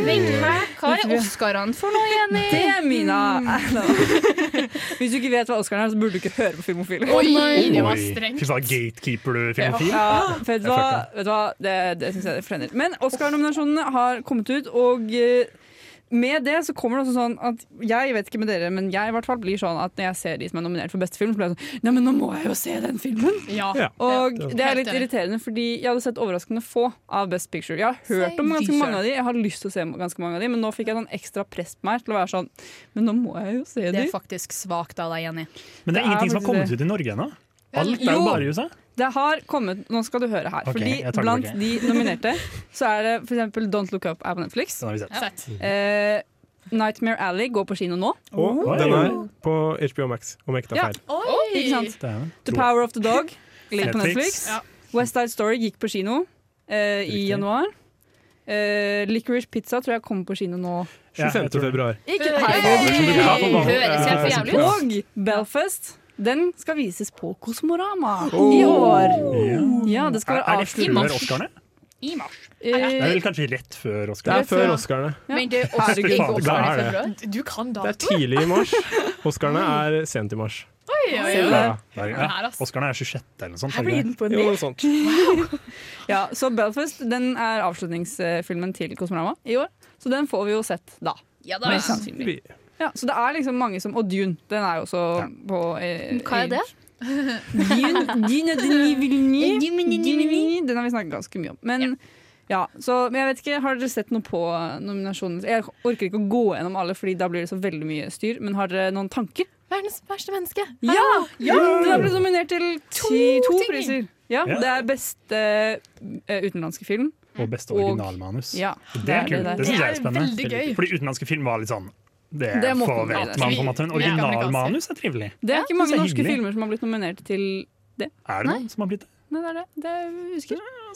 [SPEAKER 5] Vent, hæ? Hva er Oscarene for noe, Jenny?
[SPEAKER 3] Det er Mina! (laughs) Hvis du ikke vet hva Oscaren er, så burde du ikke høre på Filmofil.
[SPEAKER 5] Oi, det var
[SPEAKER 4] Oi,
[SPEAKER 5] strengt.
[SPEAKER 4] Fy faen, gatekeeper du, filmofil?
[SPEAKER 3] Ja, for vet du hva? Vet du hva? Det, det syns jeg det flenner. Men Oscar-nominasjonene har kommet ut, og eh, med det så kommer det også sånn at jeg vet ikke med dere, men jeg i hvert fall blir sånn at når jeg ser de som er nominert for beste film, så blir jeg sånn Nei, men nå må jeg jo se den filmen!
[SPEAKER 5] Ja.
[SPEAKER 10] Ja.
[SPEAKER 3] Og
[SPEAKER 10] Ja.
[SPEAKER 3] det er litt
[SPEAKER 8] Helt enig.
[SPEAKER 3] irriterende, fordi jeg hadde sett overraskende få av Best Picture. Jeg har hørt om ganske mange av de, jeg har lyst til å se ganske mange av de, men nå fikk jeg sånn ekstra press på meg til å være sånn Men nå må jeg jo se
[SPEAKER 5] Det
[SPEAKER 3] de.
[SPEAKER 5] er faktisk svakt av deg, Jenny.
[SPEAKER 4] Men det
[SPEAKER 3] Det
[SPEAKER 4] er
[SPEAKER 3] er
[SPEAKER 4] ingenting som har
[SPEAKER 3] faktisk
[SPEAKER 4] kommet
[SPEAKER 3] det.
[SPEAKER 4] ut i Norge ennå? Alt er jo
[SPEAKER 3] Jo.
[SPEAKER 4] bare i USA.
[SPEAKER 3] Det har kommet, nå skal du høre her.
[SPEAKER 4] Ok, jeg
[SPEAKER 3] fordi
[SPEAKER 4] tar
[SPEAKER 3] blant
[SPEAKER 4] tilbake.
[SPEAKER 3] de nominerte så er det f.eks. Don't Look Up er på Netflix.
[SPEAKER 4] Den har vi sett.
[SPEAKER 3] Eh, Nightmare Alley går på kino nå.
[SPEAKER 10] Og
[SPEAKER 4] Oi.
[SPEAKER 10] den er på HBO Max, om jeg ikke
[SPEAKER 3] Ja.
[SPEAKER 10] tar feil.
[SPEAKER 3] Ikke sant?
[SPEAKER 4] Det er den.
[SPEAKER 3] The Power of the Dog ligger på
[SPEAKER 4] Netflix.
[SPEAKER 3] Netflix. West Side Story gikk på kino eh, i
[SPEAKER 4] Riktig.
[SPEAKER 3] januar. Eh, Licorice Pizza tror jeg kommer på kino nå.
[SPEAKER 4] Ja, jeg
[SPEAKER 10] 25.
[SPEAKER 4] tror det.
[SPEAKER 10] februar.
[SPEAKER 3] Ikke
[SPEAKER 5] Høres helt for jævlig ut.
[SPEAKER 3] Og Belfast den skal vises på Kosmorama i år. Ja, det skal
[SPEAKER 4] Oh. Er,
[SPEAKER 3] være
[SPEAKER 4] er det før
[SPEAKER 3] avslutning.
[SPEAKER 4] Oscarene?
[SPEAKER 5] I mars.
[SPEAKER 4] Det
[SPEAKER 3] Eh,
[SPEAKER 4] er vel kanskje rett før
[SPEAKER 10] Det
[SPEAKER 4] Oscarene?
[SPEAKER 10] er før Oscarene.
[SPEAKER 5] Men det er også
[SPEAKER 4] Herregud.
[SPEAKER 5] ikke Oscar i
[SPEAKER 10] Da er det.
[SPEAKER 5] februar.
[SPEAKER 8] Du kan
[SPEAKER 10] Det er
[SPEAKER 8] dato.
[SPEAKER 10] tidlig i mars. Oscarene er sent i mars.
[SPEAKER 3] ser du det?
[SPEAKER 4] Der,
[SPEAKER 5] Det
[SPEAKER 4] ja.
[SPEAKER 5] her, ass.
[SPEAKER 4] Oscarene er 26. eller noe sånt.
[SPEAKER 3] Her blir den på en
[SPEAKER 10] Jo, noe sånt.
[SPEAKER 3] Ja, så Belfast den er avslutningsfilmen til Kosmorama i år. Så den får vi jo sett da.
[SPEAKER 5] Ja da.
[SPEAKER 3] Mest sannsynlig.
[SPEAKER 10] Vi-
[SPEAKER 3] Ja, så det er liksom mange som Og Dune, den er jo også på eh,
[SPEAKER 5] Hva er det?
[SPEAKER 3] Dune, Dune de
[SPEAKER 5] (laughs)
[SPEAKER 3] Nivilny. Den har vi snakket ganske mye om. Men ja. så, men jeg vet ikke, Har dere sett noe på nominasjonen? Jeg orker ikke å gå gjennom alle, Fordi da blir det så veldig mye styr. Men har dere noen tanker?
[SPEAKER 8] Verdens verste menneske.
[SPEAKER 3] Ja! Den har blitt nominert til to, to
[SPEAKER 8] ting.
[SPEAKER 3] priser. Ja,
[SPEAKER 4] Ja.
[SPEAKER 3] Det er beste eh, utenlandske film.
[SPEAKER 4] Og beste
[SPEAKER 3] Og-
[SPEAKER 4] originalmanus.
[SPEAKER 3] Ja,
[SPEAKER 4] Det er kult. Det syns jeg er spennende.
[SPEAKER 8] veldig gøy.
[SPEAKER 4] Fordi utenlandske film var litt sånn Det,
[SPEAKER 3] Det måtte man
[SPEAKER 4] forventer
[SPEAKER 3] være.
[SPEAKER 4] man på en måte. Men
[SPEAKER 8] Vi- vi er
[SPEAKER 4] originalmanus er trivelig.
[SPEAKER 3] Det er ikke mange
[SPEAKER 4] det er
[SPEAKER 3] norske
[SPEAKER 4] hyggelig.
[SPEAKER 3] filmer som har blitt nominert til
[SPEAKER 4] Er det noen som har blitt det?
[SPEAKER 3] Nei, det er det. Det er, husker.
[SPEAKER 5] Nå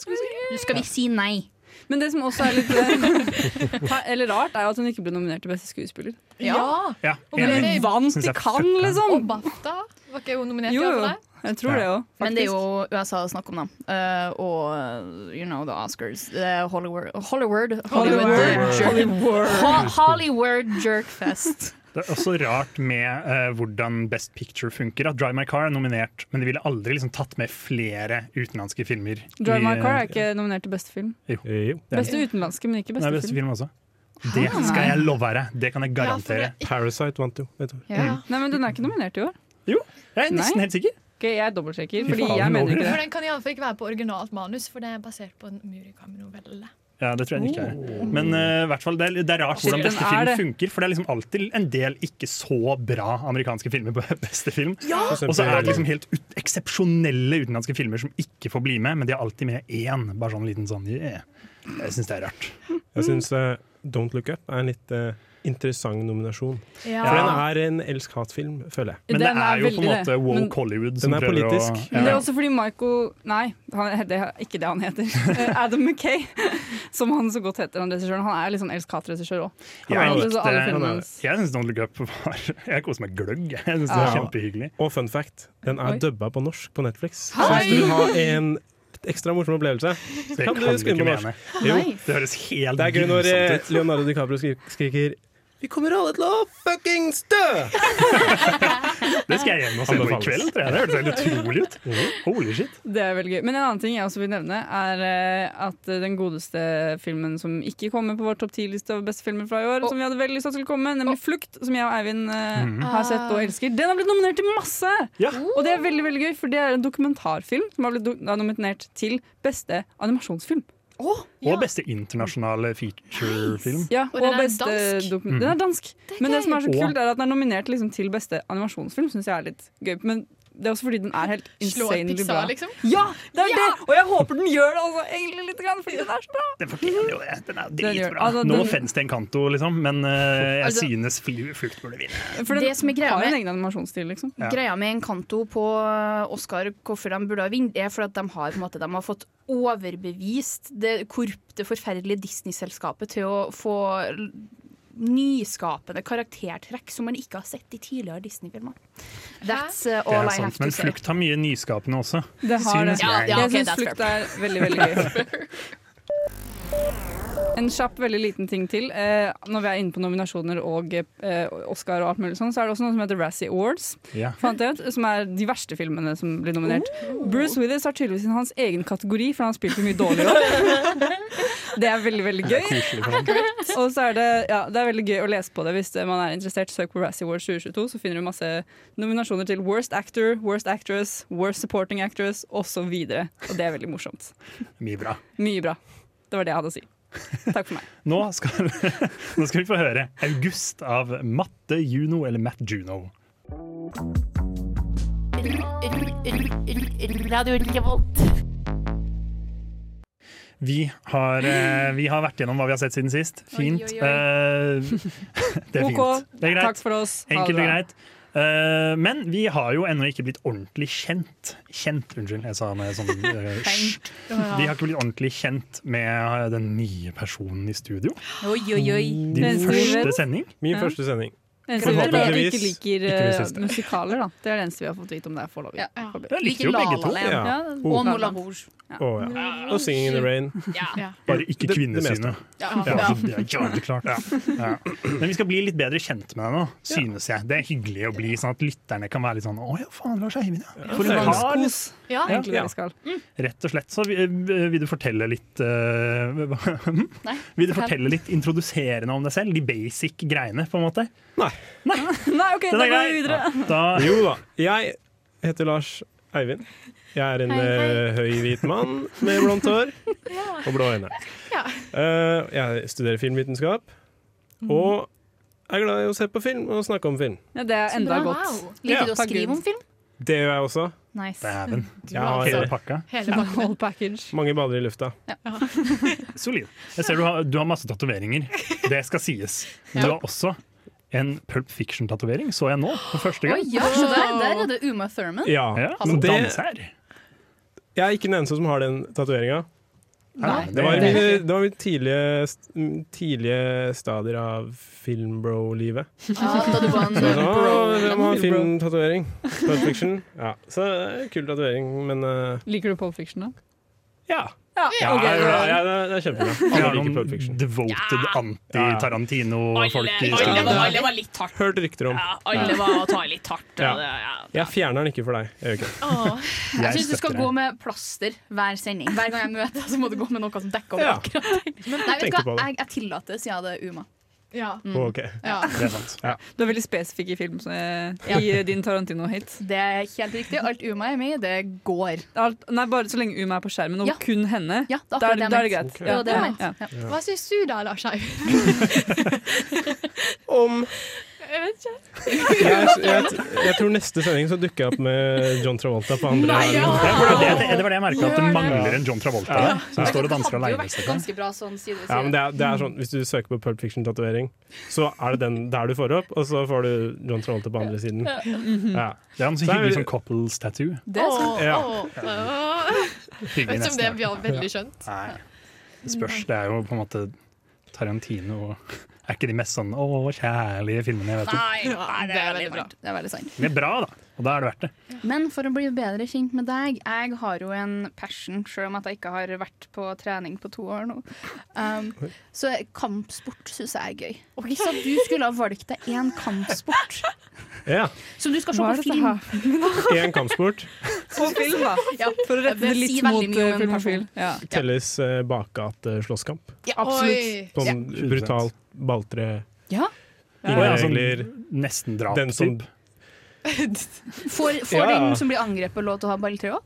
[SPEAKER 5] skal vi si nei.
[SPEAKER 3] Men det som også er litt eh, (laughs) ta- Eller rart, er jo at hun ikke ble nominert til beste skuespiller.
[SPEAKER 8] Ja.
[SPEAKER 4] Ja,
[SPEAKER 8] Og ble
[SPEAKER 4] enig.
[SPEAKER 8] det-
[SPEAKER 3] Vant
[SPEAKER 4] Synes
[SPEAKER 3] i
[SPEAKER 4] jeg
[SPEAKER 3] Cannes,
[SPEAKER 4] fucka.
[SPEAKER 8] Og
[SPEAKER 3] liksom!
[SPEAKER 8] BAFTA var ikke hun nominert
[SPEAKER 3] Jo,
[SPEAKER 8] til
[SPEAKER 3] jo.
[SPEAKER 8] det?
[SPEAKER 3] Jeg tror det òg,
[SPEAKER 5] Men det er
[SPEAKER 3] faktisk.
[SPEAKER 5] jo USA å snakke om, da. Eh, og you know the Oscars. Eh, Hollywood Hollywood Hollywood,
[SPEAKER 3] Hollywood.
[SPEAKER 5] Ho- Hollywood
[SPEAKER 3] (laughs)
[SPEAKER 5] Jerkfest.
[SPEAKER 4] Det er også rart med eh, hvordan Best Picture funker. At Drive My Car er nominert, men de ville aldri liksom tatt med flere utenlandske filmer.
[SPEAKER 3] Drive My
[SPEAKER 4] i- eh,
[SPEAKER 3] Car er ikke nominert til beste film.
[SPEAKER 10] Jo, det er
[SPEAKER 3] Beste utenlandske, men ikke
[SPEAKER 4] Nei,
[SPEAKER 3] beste,
[SPEAKER 4] beste
[SPEAKER 3] film.
[SPEAKER 4] film også. Det skal jeg love dere. Det kan jeg garantere.
[SPEAKER 10] Parasite vant jo. Vet du.
[SPEAKER 5] Ja.
[SPEAKER 3] Nei, men den er ikke nominert i år.
[SPEAKER 4] Jeg er nesten
[SPEAKER 3] Nei.
[SPEAKER 4] helt sikker.
[SPEAKER 3] Ok, jeg dobbeltsjekker,
[SPEAKER 4] Fy
[SPEAKER 3] fordi
[SPEAKER 4] faen,
[SPEAKER 3] jeg mener
[SPEAKER 4] Norge.
[SPEAKER 3] ikke
[SPEAKER 8] For
[SPEAKER 3] det.
[SPEAKER 8] den kan iallfall ikke være på originalt manus, for det er basert på en Murakami-novelle.
[SPEAKER 4] Ja, det tror jeg den ikke er. Men eh, i hvert fall, det, er, det er rart
[SPEAKER 3] Shit,
[SPEAKER 4] hvordan
[SPEAKER 3] den
[SPEAKER 4] beste
[SPEAKER 3] er
[SPEAKER 4] film
[SPEAKER 3] det.
[SPEAKER 4] funker, for det er liksom alltid en del ikke så bra amerikanske filmer på (laughs) beste film.
[SPEAKER 10] For eksempel-
[SPEAKER 4] Og så er det liksom helt ut eksepsjonelle utenlandske filmer som ikke får bli med, men de har alltid med én. Bare sånn liten sånn yeah. Jeg syns det er rart.
[SPEAKER 10] Jeg syns Don't Look Up er en litt eh, interessant nominasjon.
[SPEAKER 8] Ja.
[SPEAKER 10] For den er en elsk-hat-film, føler jeg.
[SPEAKER 4] Men det
[SPEAKER 3] Den
[SPEAKER 4] er jo på en
[SPEAKER 3] veldig det.
[SPEAKER 4] måte
[SPEAKER 3] Men-
[SPEAKER 4] woke Hollywood som
[SPEAKER 10] Den er
[SPEAKER 4] prøver å
[SPEAKER 10] politisk.
[SPEAKER 3] Men det er også fordi Michael Nei, han, det er ikke det han heter. Eh, Adam McKay, som han så godt heter, han regissøren. Han er litt sånn elsk-hat-regissør òg.
[SPEAKER 4] Jeg
[SPEAKER 3] Så alle
[SPEAKER 4] likte
[SPEAKER 3] filmene
[SPEAKER 10] er-
[SPEAKER 3] hans
[SPEAKER 4] Jeg syns Don't Look Up var Jeg koser meg gløgg. Jeg synes det var
[SPEAKER 3] Ja.
[SPEAKER 4] Kjempehyggelig.
[SPEAKER 10] Og fun fact, den er
[SPEAKER 3] Oi.
[SPEAKER 10] dubba på norsk på Netflix. Så
[SPEAKER 3] Hei!
[SPEAKER 10] hvis du vil ha en litt ekstra morsom opplevelse, så
[SPEAKER 4] Det
[SPEAKER 10] kan du
[SPEAKER 4] kan du
[SPEAKER 10] skru
[SPEAKER 4] ikke
[SPEAKER 10] på norsk.
[SPEAKER 4] mene.
[SPEAKER 10] Jo.
[SPEAKER 4] Nei. Det høres helt
[SPEAKER 10] Det er gøy når
[SPEAKER 4] grusomt
[SPEAKER 10] eh,
[SPEAKER 4] ut.
[SPEAKER 10] Leonardo DiCaprio skri- skriker Vi kommer alle til å fuckings dø!
[SPEAKER 4] Det skal jeg hjem og se på i
[SPEAKER 10] Anbefales. Mhm.
[SPEAKER 4] kveld, tror jeg. Det hørtes helt utrolig ut. Holy shit.
[SPEAKER 3] Det er veldig gøy. Men en annen ting jeg også vil nevne, er eh, at eh, den godeste filmen som ikke kommer på vår topp 10-liste over beste filmer fra i år, som vi hadde veldig lyst til at skulle komme, nemlig 'Flukt', som jeg og Eivind eh,
[SPEAKER 12] Mhm.
[SPEAKER 3] har sett og elsker, den har blitt nominert til masse! Og det er veldig veldig gøy, for det er en dokumentarfilm som har blitt do da nominert til beste animasjonsfilm.
[SPEAKER 4] Og beste internasjonale featurefilm.
[SPEAKER 3] Ja, og
[SPEAKER 12] Og den er
[SPEAKER 3] beste
[SPEAKER 12] dansk.
[SPEAKER 3] dokum-
[SPEAKER 4] Mhm.
[SPEAKER 3] Den er dansk. Men det som er så
[SPEAKER 4] Og-
[SPEAKER 3] kult, er at den er nominert liksom, til beste animasjonsfilm, syns jeg er litt gøy. Men det er også fordi den er helt
[SPEAKER 12] Slår
[SPEAKER 3] insanely
[SPEAKER 12] Pixar,
[SPEAKER 3] bra.
[SPEAKER 12] liksom?
[SPEAKER 3] Ja, det er det! Og jeg håper den gjør det, altså, egentlig litt, grann, fordi den er så bra.
[SPEAKER 4] Den fortjener jo det. Den er jo
[SPEAKER 3] Den gjør-
[SPEAKER 4] dritbra.
[SPEAKER 3] altså,
[SPEAKER 4] No
[SPEAKER 3] den-
[SPEAKER 4] offense til Encanto, liksom, men eh, jeg
[SPEAKER 5] Altså-
[SPEAKER 4] synes Flu- Flukt burde vinne.
[SPEAKER 3] For den
[SPEAKER 5] Det som er greia
[SPEAKER 3] har en
[SPEAKER 5] med-
[SPEAKER 3] egen animasjonsstil, liksom.
[SPEAKER 4] Ja.
[SPEAKER 5] Greia med Encanto på eh, Oscar, hvorfor de burde ha vunnet, er fordi at de har, på en måte, de har fått overbevist det korrupte, forferdelige Disney-selskapet til å få l- nyskapende karaktertrekk som man ikke har sett i tidligere Disney-filmer. That's uh,
[SPEAKER 4] Det
[SPEAKER 5] all
[SPEAKER 4] er
[SPEAKER 5] I have
[SPEAKER 4] sant,
[SPEAKER 5] to
[SPEAKER 4] men
[SPEAKER 5] say.
[SPEAKER 4] Flukt har mye nyskapende også.
[SPEAKER 3] Det har det.
[SPEAKER 4] Synes
[SPEAKER 3] Ja,
[SPEAKER 4] jeg.
[SPEAKER 3] jeg syns flukt er veldig, veldig gøy. En kjapp, veldig liten ting til. Eh, når vi er inne på nominasjoner og eh, Oscar og alt mulig sånn, så er det også noe som heter Razzie Awards.
[SPEAKER 4] Ja.
[SPEAKER 3] Fant jeg ut, som er de verste filmene som blir nominert. Bruce Willis har tydeligvis en hans egen kategori, for han har spilt så mye dårligere. det er veldig, veldig
[SPEAKER 4] Det er
[SPEAKER 3] gøy.
[SPEAKER 4] koselig for ham.
[SPEAKER 3] Og så er det, ja, det er veldig gøy å lese på det hvis man er interessert. Søk på Razzie Awards 2022, så finner du masse nominasjoner til Worst Actor, Worst Actress, Worst Supporting Actress osv. Og det er veldig morsomt.
[SPEAKER 4] Mye bra.
[SPEAKER 3] Mye bra. Det var det jeg hadde å si. Takk for meg.
[SPEAKER 4] Nå skal, (laughs) nå skal vi få høre August av Matte Juno, eller Matt Juno.
[SPEAKER 12] Radio Revolt.
[SPEAKER 4] Vi har, eh, vi har vært gjennom hva vi har sett siden sist. Fint.
[SPEAKER 12] Oi, oi, oi.
[SPEAKER 4] Eh, (laughs) det er
[SPEAKER 3] OK.
[SPEAKER 4] fint. Det er greit.
[SPEAKER 3] Takk for oss. Ha det
[SPEAKER 4] Enkelt og
[SPEAKER 3] bra.
[SPEAKER 4] greit. Eh, men vi har jo ennå ikke blitt ordentlig kjent. Kjent, unnskyld. Jeg sa med sånn eh,
[SPEAKER 3] (laughs)
[SPEAKER 4] sj.
[SPEAKER 3] Ja.
[SPEAKER 4] Vi har ikke blitt ordentlig kjent med eh, den nye personen i studio.
[SPEAKER 3] Oi, oi, oi.
[SPEAKER 5] Mm.
[SPEAKER 4] Din første
[SPEAKER 3] sending.
[SPEAKER 4] sending.
[SPEAKER 10] Min
[SPEAKER 3] Ja.
[SPEAKER 10] første sending.
[SPEAKER 3] Eneste vi vet, er at vi ikke
[SPEAKER 10] Forhåpentligvis
[SPEAKER 3] liker
[SPEAKER 10] ikke min
[SPEAKER 3] eh,
[SPEAKER 10] siste.
[SPEAKER 3] musikaler, da. Det er det eneste vi har fått vite om det er foreløpig. Foreløpig.
[SPEAKER 4] Jeg likte jo
[SPEAKER 3] Liker
[SPEAKER 4] begge
[SPEAKER 3] La
[SPEAKER 4] to.
[SPEAKER 3] La Land.
[SPEAKER 10] Ja.
[SPEAKER 3] Ja.
[SPEAKER 10] Oh.
[SPEAKER 3] og Moulin
[SPEAKER 5] Rouge.
[SPEAKER 10] Å, ja. Og 'Singing in the Rain'.
[SPEAKER 4] Bare
[SPEAKER 10] Det-
[SPEAKER 4] ikke
[SPEAKER 10] det
[SPEAKER 4] kvinnesynet.
[SPEAKER 10] meste. Ja.
[SPEAKER 4] Ja, det er klart, det er klart. Ja. Men vi skal bli litt bedre kjent med deg nå, synes jeg. Det er hyggelig å bli sånn at lytterne kan være litt sånn Å ja, faen, Lars Eivind, ja. For en kar.
[SPEAKER 3] Tvangskos.
[SPEAKER 8] Ja.
[SPEAKER 3] Egentlig det
[SPEAKER 4] Ja.
[SPEAKER 3] vi skal.
[SPEAKER 4] Rett og slett. Så vi- eh, vil du fortelle litt eh, hva- (laughs)
[SPEAKER 5] Nei,
[SPEAKER 4] Vil du
[SPEAKER 5] fortell.
[SPEAKER 4] fortelle litt introduserende om deg selv? De basic greiene, på en måte?
[SPEAKER 3] (laughs) Nei, OK,
[SPEAKER 4] Den
[SPEAKER 3] da går vi
[SPEAKER 4] er grei.
[SPEAKER 3] videre.
[SPEAKER 4] Da,
[SPEAKER 10] Jo da. Jeg heter Lars Eivind. Jeg er en eh, høy, hvit mann med blondt hår og blå øyne.
[SPEAKER 8] Ja.
[SPEAKER 10] Eh, jeg studerer filmvitenskap og er glad i å se på film og snakke om film.
[SPEAKER 3] Ja, det er enda (laughs) godt.
[SPEAKER 5] Liker du
[SPEAKER 3] Ja.
[SPEAKER 5] å skrive om film?
[SPEAKER 10] Det gjør jeg også.
[SPEAKER 5] Nice.
[SPEAKER 4] Dæven.
[SPEAKER 10] Jeg har
[SPEAKER 4] altså Hele pakka.
[SPEAKER 8] Hele
[SPEAKER 3] Ja,
[SPEAKER 8] (laughs)
[SPEAKER 3] Whole package.
[SPEAKER 10] mange baller i lufta.
[SPEAKER 4] Solid. Jeg ser du har, du har masse tatoveringer. Det skal sies. Men du har også en Pulp Fiction-tatovering, så jeg nå, for første
[SPEAKER 5] Oi,
[SPEAKER 4] gang.
[SPEAKER 5] ja, så der, der er det Uma Thurman.
[SPEAKER 10] Ja.
[SPEAKER 4] Ja,
[SPEAKER 5] Altså,
[SPEAKER 4] men
[SPEAKER 10] det-
[SPEAKER 4] danser.
[SPEAKER 10] Jeg er ikke den eneste som har den tatoveringa.
[SPEAKER 4] Nei,
[SPEAKER 10] Det var mine, det var mine tidlige, st- tidlige stadier av filmbro-livet.
[SPEAKER 5] Ja, da du var en
[SPEAKER 10] Så jeg sa, «Å, Jeg må ha en
[SPEAKER 3] Filmbro.
[SPEAKER 10] filmtatovering. Pulp Fiction. Ja. Så eh, kul tatovering, men eh,
[SPEAKER 3] Liker du Pulp Fiction, da?
[SPEAKER 10] ja.
[SPEAKER 3] Ja,
[SPEAKER 10] Ja,
[SPEAKER 3] ok,
[SPEAKER 10] ja,
[SPEAKER 3] bra.
[SPEAKER 10] ja, det er- det er kjempebra.
[SPEAKER 4] Vi
[SPEAKER 10] Alle
[SPEAKER 4] har
[SPEAKER 10] liker Pulp
[SPEAKER 4] noen
[SPEAKER 10] Fiction.
[SPEAKER 4] devoted anti-Tarantino-folk i
[SPEAKER 10] alle
[SPEAKER 4] studio.
[SPEAKER 10] var-
[SPEAKER 13] var litt hardt.
[SPEAKER 10] Hørt rykter om.
[SPEAKER 13] Alle var å ta i litt hardt.
[SPEAKER 10] Ja.
[SPEAKER 13] og det- ja.
[SPEAKER 10] Jeg fjerner den ikke for deg. Jeg gjør ikke det.
[SPEAKER 5] Jeg
[SPEAKER 4] Jeg
[SPEAKER 5] syns du skal
[SPEAKER 4] støtter
[SPEAKER 5] gå
[SPEAKER 4] deg.
[SPEAKER 5] med plaster hver sending. Hver gang jeg møter deg, så må du gå med noe som dekker over
[SPEAKER 10] Ja.
[SPEAKER 5] akkurat det. Nei, vet du
[SPEAKER 10] Tenkte på
[SPEAKER 5] hva?
[SPEAKER 10] det.
[SPEAKER 5] Jeg, jeg tillater, sier jeg det er Uma.
[SPEAKER 8] Ja.
[SPEAKER 5] Mm.
[SPEAKER 10] Å, ok.
[SPEAKER 5] Ja.
[SPEAKER 4] Det er sant.
[SPEAKER 10] Ja.
[SPEAKER 3] Du er veldig spesifikk i film eh, i din Tarantino-hit.
[SPEAKER 5] Det er helt riktig. Alt Uma er med i, det går.
[SPEAKER 3] Alt, nei, bare så lenge Uma er på skjermen, og
[SPEAKER 5] Ja.
[SPEAKER 3] kun henne.
[SPEAKER 5] Ja, det
[SPEAKER 3] da,
[SPEAKER 5] er akkurat
[SPEAKER 3] er,
[SPEAKER 5] det jeg
[SPEAKER 3] da er det
[SPEAKER 5] mente.
[SPEAKER 3] greit.
[SPEAKER 5] Det var det jeg mente. Ja.
[SPEAKER 8] Hva syns du da, Lars Eivind?
[SPEAKER 10] Om
[SPEAKER 8] Jeg vet ikke.
[SPEAKER 10] jeg, jeg, jeg tror neste sending så dukker jeg opp med John Travolta på andre
[SPEAKER 8] Nei, ja.
[SPEAKER 4] Ja, for det, var det, jeg- det var det jeg merket, at det
[SPEAKER 8] Gjør det.
[SPEAKER 4] mangler en John Travolta
[SPEAKER 10] Ja.
[SPEAKER 4] der, som står og danser
[SPEAKER 5] Det hadde jo
[SPEAKER 4] alene. et
[SPEAKER 5] vært
[SPEAKER 4] sted.
[SPEAKER 5] ganske bra sånn side ved
[SPEAKER 10] Ja, men
[SPEAKER 5] side.
[SPEAKER 10] det er, det er sånn, Hvis du søker på Pulp Fiction-tatovering, så er det den der du får opp, og så får du John Travolta på andre siden. Ja.
[SPEAKER 4] Det er en så
[SPEAKER 10] Så er
[SPEAKER 4] hyggelig
[SPEAKER 10] vi-
[SPEAKER 4] sånn couples tattoo.
[SPEAKER 5] Det er sant.
[SPEAKER 10] Ja.
[SPEAKER 8] Åh, åh. Jeg
[SPEAKER 4] Hyggelig
[SPEAKER 8] vet ikke om det
[SPEAKER 4] nesten.
[SPEAKER 8] blir veldig skjønt.
[SPEAKER 4] Nei, det spørs. Det er jo på en måte Tarantino og er ikke de mest sånn å, kjærlige filmene jeg vet om.
[SPEAKER 5] Nei, nei, det er veldig bra. Det er veldig sant.
[SPEAKER 4] Men det er bra, da. Og da er det verdt det.
[SPEAKER 5] Men for å bli bedre kjent med deg, jeg har jo en passion, selv om at jeg ikke har vært på trening på to år nå. Um, så kampsport syns jeg er gøy. Og hvis at du skulle ha valgt deg én kampsport
[SPEAKER 10] Ja.
[SPEAKER 5] (laughs) som du skal se
[SPEAKER 3] Hva er
[SPEAKER 5] på
[SPEAKER 3] dette
[SPEAKER 5] film
[SPEAKER 10] Én kampsport.
[SPEAKER 3] På film, da.
[SPEAKER 5] Ja,
[SPEAKER 3] For å rette det litt
[SPEAKER 5] sier
[SPEAKER 3] mot
[SPEAKER 5] veldig mye om
[SPEAKER 3] eh,
[SPEAKER 5] en
[SPEAKER 3] filmofil. Ja.
[SPEAKER 10] Telles uh, bakgate-slåsskamp.
[SPEAKER 5] Ja,
[SPEAKER 3] Absolutt.
[SPEAKER 10] Sånn
[SPEAKER 4] Ja.
[SPEAKER 10] brutalt balltre.
[SPEAKER 5] Ja.
[SPEAKER 10] Ingen
[SPEAKER 4] Å, ja, sånn
[SPEAKER 10] regler.
[SPEAKER 4] Nesten drap.
[SPEAKER 10] Den som-
[SPEAKER 4] typ.
[SPEAKER 5] Får, får
[SPEAKER 10] Ja, ja.
[SPEAKER 5] den som blir angrepet, lov til å ha balltre òg?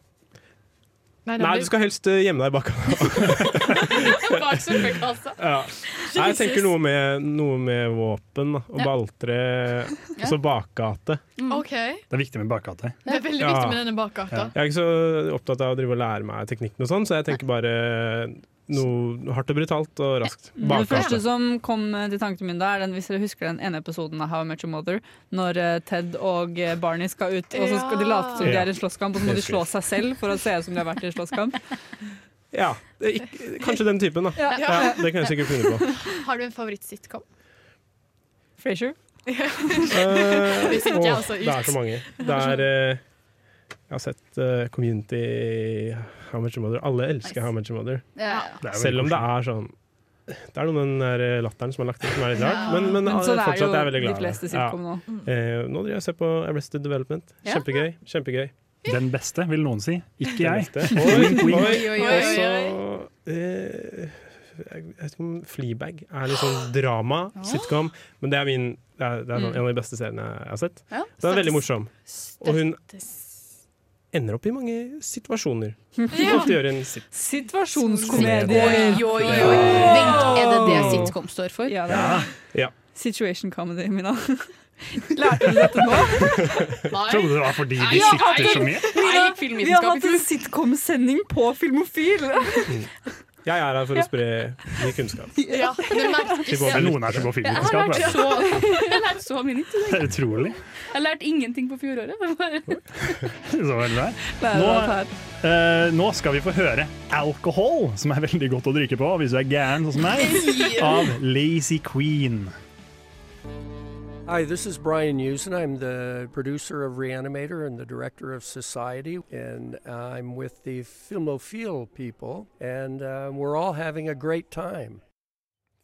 [SPEAKER 10] Nei, du skal helst eh, gjemme deg bak
[SPEAKER 5] bak suppekassa.
[SPEAKER 10] Ja. Nei, Jeg tenker noe med, noe med våpen da, og
[SPEAKER 8] Ja.
[SPEAKER 10] balltre, og så bakgate.
[SPEAKER 8] (laughs) OK. Det
[SPEAKER 4] Det er viktig med bakgate.
[SPEAKER 8] er veldig
[SPEAKER 10] Ja.
[SPEAKER 8] viktig med denne bakgata.
[SPEAKER 10] Jeg er ikke så opptatt av å drive og lære meg teknikken, og sånn, så jeg tenker bare noe hardt og brutalt og raskt.
[SPEAKER 3] Mm. Det første
[SPEAKER 10] Bakgate.
[SPEAKER 3] som kom eh, til tankene mine, da, er den, hvis dere husker den ene episoden av How I Met Your Mother, når eh, Ted og eh, Barney skal ut, og så skal de late som de
[SPEAKER 10] Ja.
[SPEAKER 3] er i en slåsskamp, og så må de slå seg selv for å se ut som de har vært i en slåsskamp.
[SPEAKER 10] Ja, det er ikke, kanskje den
[SPEAKER 3] (laughs)
[SPEAKER 10] typen, da. Ja,
[SPEAKER 8] Ja.
[SPEAKER 10] det kan jeg sikkert finne på.
[SPEAKER 8] Har du en favorittsitcom?
[SPEAKER 3] Frasier.
[SPEAKER 10] Eh,
[SPEAKER 8] Hvis ikke,
[SPEAKER 10] åh,
[SPEAKER 8] altså, ut.
[SPEAKER 10] Det er så mange. Det er eh, Jeg har sett eh, Community, How Much Your Mother. Alle elsker How Much Your Mother.
[SPEAKER 5] Ja.
[SPEAKER 4] Det er veldig
[SPEAKER 10] Selv om det er sånn Det er noe med den der eh, latteren som er lagt inn, som er litt rart.
[SPEAKER 3] Ja.
[SPEAKER 10] Men, men,
[SPEAKER 3] Men så det er
[SPEAKER 10] fortsatt
[SPEAKER 3] jo
[SPEAKER 10] er jeg veldig
[SPEAKER 3] de
[SPEAKER 10] glad i det.
[SPEAKER 3] fleste sitcom nå.
[SPEAKER 10] Eh, nå driver jeg og ser på Arrested Development.
[SPEAKER 3] Ja.
[SPEAKER 10] Kjempegøy. kjempegøy
[SPEAKER 4] Den beste, vil noen si. Ikke jeg.
[SPEAKER 10] Den neste.
[SPEAKER 4] Wink,
[SPEAKER 10] Oi,
[SPEAKER 4] wink.
[SPEAKER 10] oi, oi,
[SPEAKER 5] oi,
[SPEAKER 10] Og så, eh, Jeg jeg vet ikke om Fleabag er litt sånn drama,
[SPEAKER 5] (gasps)
[SPEAKER 10] sitcom, men det er, min, det er, det er sånn, en av de beste seriene jeg har sett.
[SPEAKER 5] Mm. Ja.
[SPEAKER 10] Den er veldig morsom.
[SPEAKER 5] Støttes.
[SPEAKER 10] Og hun ender opp i mange situasjoner. Som ofte gjør en sit.
[SPEAKER 3] Situasjonskomedier!
[SPEAKER 5] Oi, oi, oi. Vent, er det det sitcom står for?
[SPEAKER 3] Ja, det er.
[SPEAKER 10] Ja.
[SPEAKER 3] Situation comedy, Mina. Lærte du dette nå?
[SPEAKER 4] Trodde det var fordi
[SPEAKER 3] Nei,
[SPEAKER 4] de
[SPEAKER 3] jeg har
[SPEAKER 4] sitter
[SPEAKER 3] ikke-
[SPEAKER 4] så mye.
[SPEAKER 3] Mina, vi har
[SPEAKER 5] filmvitenskap i
[SPEAKER 3] hatt en sitcom-sending på Filmofil!
[SPEAKER 10] Jeg er her for å spre ny
[SPEAKER 5] (laughs)
[SPEAKER 10] kunnskap.
[SPEAKER 8] Ja, men merk-
[SPEAKER 10] Til både
[SPEAKER 4] Noen er så på
[SPEAKER 5] Jeg har
[SPEAKER 4] filmvitenskap.
[SPEAKER 5] lært
[SPEAKER 4] vet du.
[SPEAKER 5] så, (laughs) jeg har lært så mye nytt. i dag.
[SPEAKER 4] Det er utrolig.
[SPEAKER 5] Jeg har lært ingenting på fjoråret.
[SPEAKER 4] Så var det der.
[SPEAKER 3] Lærer
[SPEAKER 4] Nå,
[SPEAKER 3] alt her.
[SPEAKER 4] eh, nå skal vi få høre alkohol, som er veldig godt å drikke på hvis du er gæren sånn som meg, av Lazy Queen.
[SPEAKER 12] Hi, this is Brian Usen. I'm the producer of Reanimator and the director of Society, and I'm with the Filmophile people, and uh, we're all having a great time.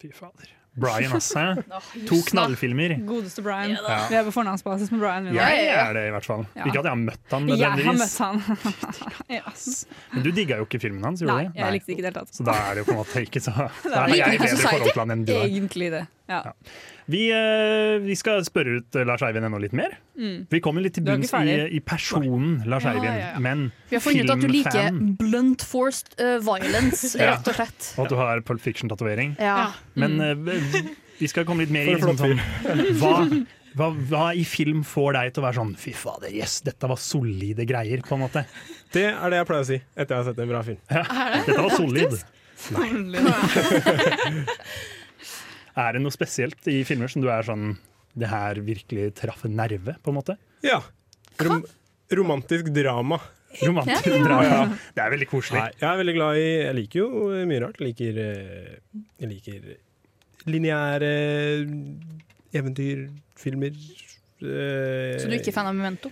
[SPEAKER 4] Fy fader. Brian, altså. To knallfilmer.
[SPEAKER 3] Godeste Brian.
[SPEAKER 4] Ja.
[SPEAKER 3] Vi er på fornavnsbasis med Brian. vi nå.
[SPEAKER 4] Jeg er det, i hvert fall.
[SPEAKER 3] Ja.
[SPEAKER 4] Ikke at jeg har møtt han
[SPEAKER 3] Jeg har
[SPEAKER 4] nødvendigvis.
[SPEAKER 3] møtt han. (laughs) ja.
[SPEAKER 4] Men du digga jo ikke filmen hans, gjorde
[SPEAKER 3] Nei,
[SPEAKER 4] du det?
[SPEAKER 3] jeg likte det ikke i det hele tatt.
[SPEAKER 4] Så da er det jo på en måte ikke så Da er
[SPEAKER 3] Nei,
[SPEAKER 4] jeg i
[SPEAKER 3] ikke
[SPEAKER 4] bedre forhold til han enn du er.
[SPEAKER 3] Egentlig det. Ja.
[SPEAKER 4] Vi, eh, vi skal spørre ut eh, Lars Eivind ennå litt mer.
[SPEAKER 3] Mm.
[SPEAKER 4] Vi kommer litt til
[SPEAKER 3] Du er ikke
[SPEAKER 4] bunns i,
[SPEAKER 3] ferdig.
[SPEAKER 4] i personen Lars
[SPEAKER 5] Ja,
[SPEAKER 4] Eivind,
[SPEAKER 5] ja, ja.
[SPEAKER 4] men
[SPEAKER 5] Vi har funnet ut at du liker
[SPEAKER 4] filmfan.
[SPEAKER 5] blunt forced eh, violence,
[SPEAKER 4] Ja.
[SPEAKER 5] rett og slett.
[SPEAKER 4] Og at du har Pulp Fiction-tatovering.
[SPEAKER 5] Ja.
[SPEAKER 4] Men
[SPEAKER 5] Mm.
[SPEAKER 4] eh, vi skal komme litt
[SPEAKER 10] For
[SPEAKER 4] mer inn sånn,
[SPEAKER 10] flopper.
[SPEAKER 4] sånn hva, hva, hva i film får deg til å være sånn Fy fader, yes, dette var solide greier, på en måte.
[SPEAKER 10] Det er det jeg pleier å si etter jeg har sett en bra film.
[SPEAKER 4] Dette var solid. (laughs) Er det noe spesielt i filmer som du er sånn Det her virkelig traff en nerve, på en måte?
[SPEAKER 10] Ja. Rom romantisk drama.
[SPEAKER 4] Romantisk
[SPEAKER 10] Ja, ja.
[SPEAKER 4] drama. (laughs) Det er veldig koselig.
[SPEAKER 10] Nei,
[SPEAKER 4] (laughs)
[SPEAKER 10] jeg er veldig glad i Jeg liker jo mye rart. Jeg liker, eh, jeg liker lineære eventyrfilmer. eh,
[SPEAKER 5] Så du er ikke fan av Memento?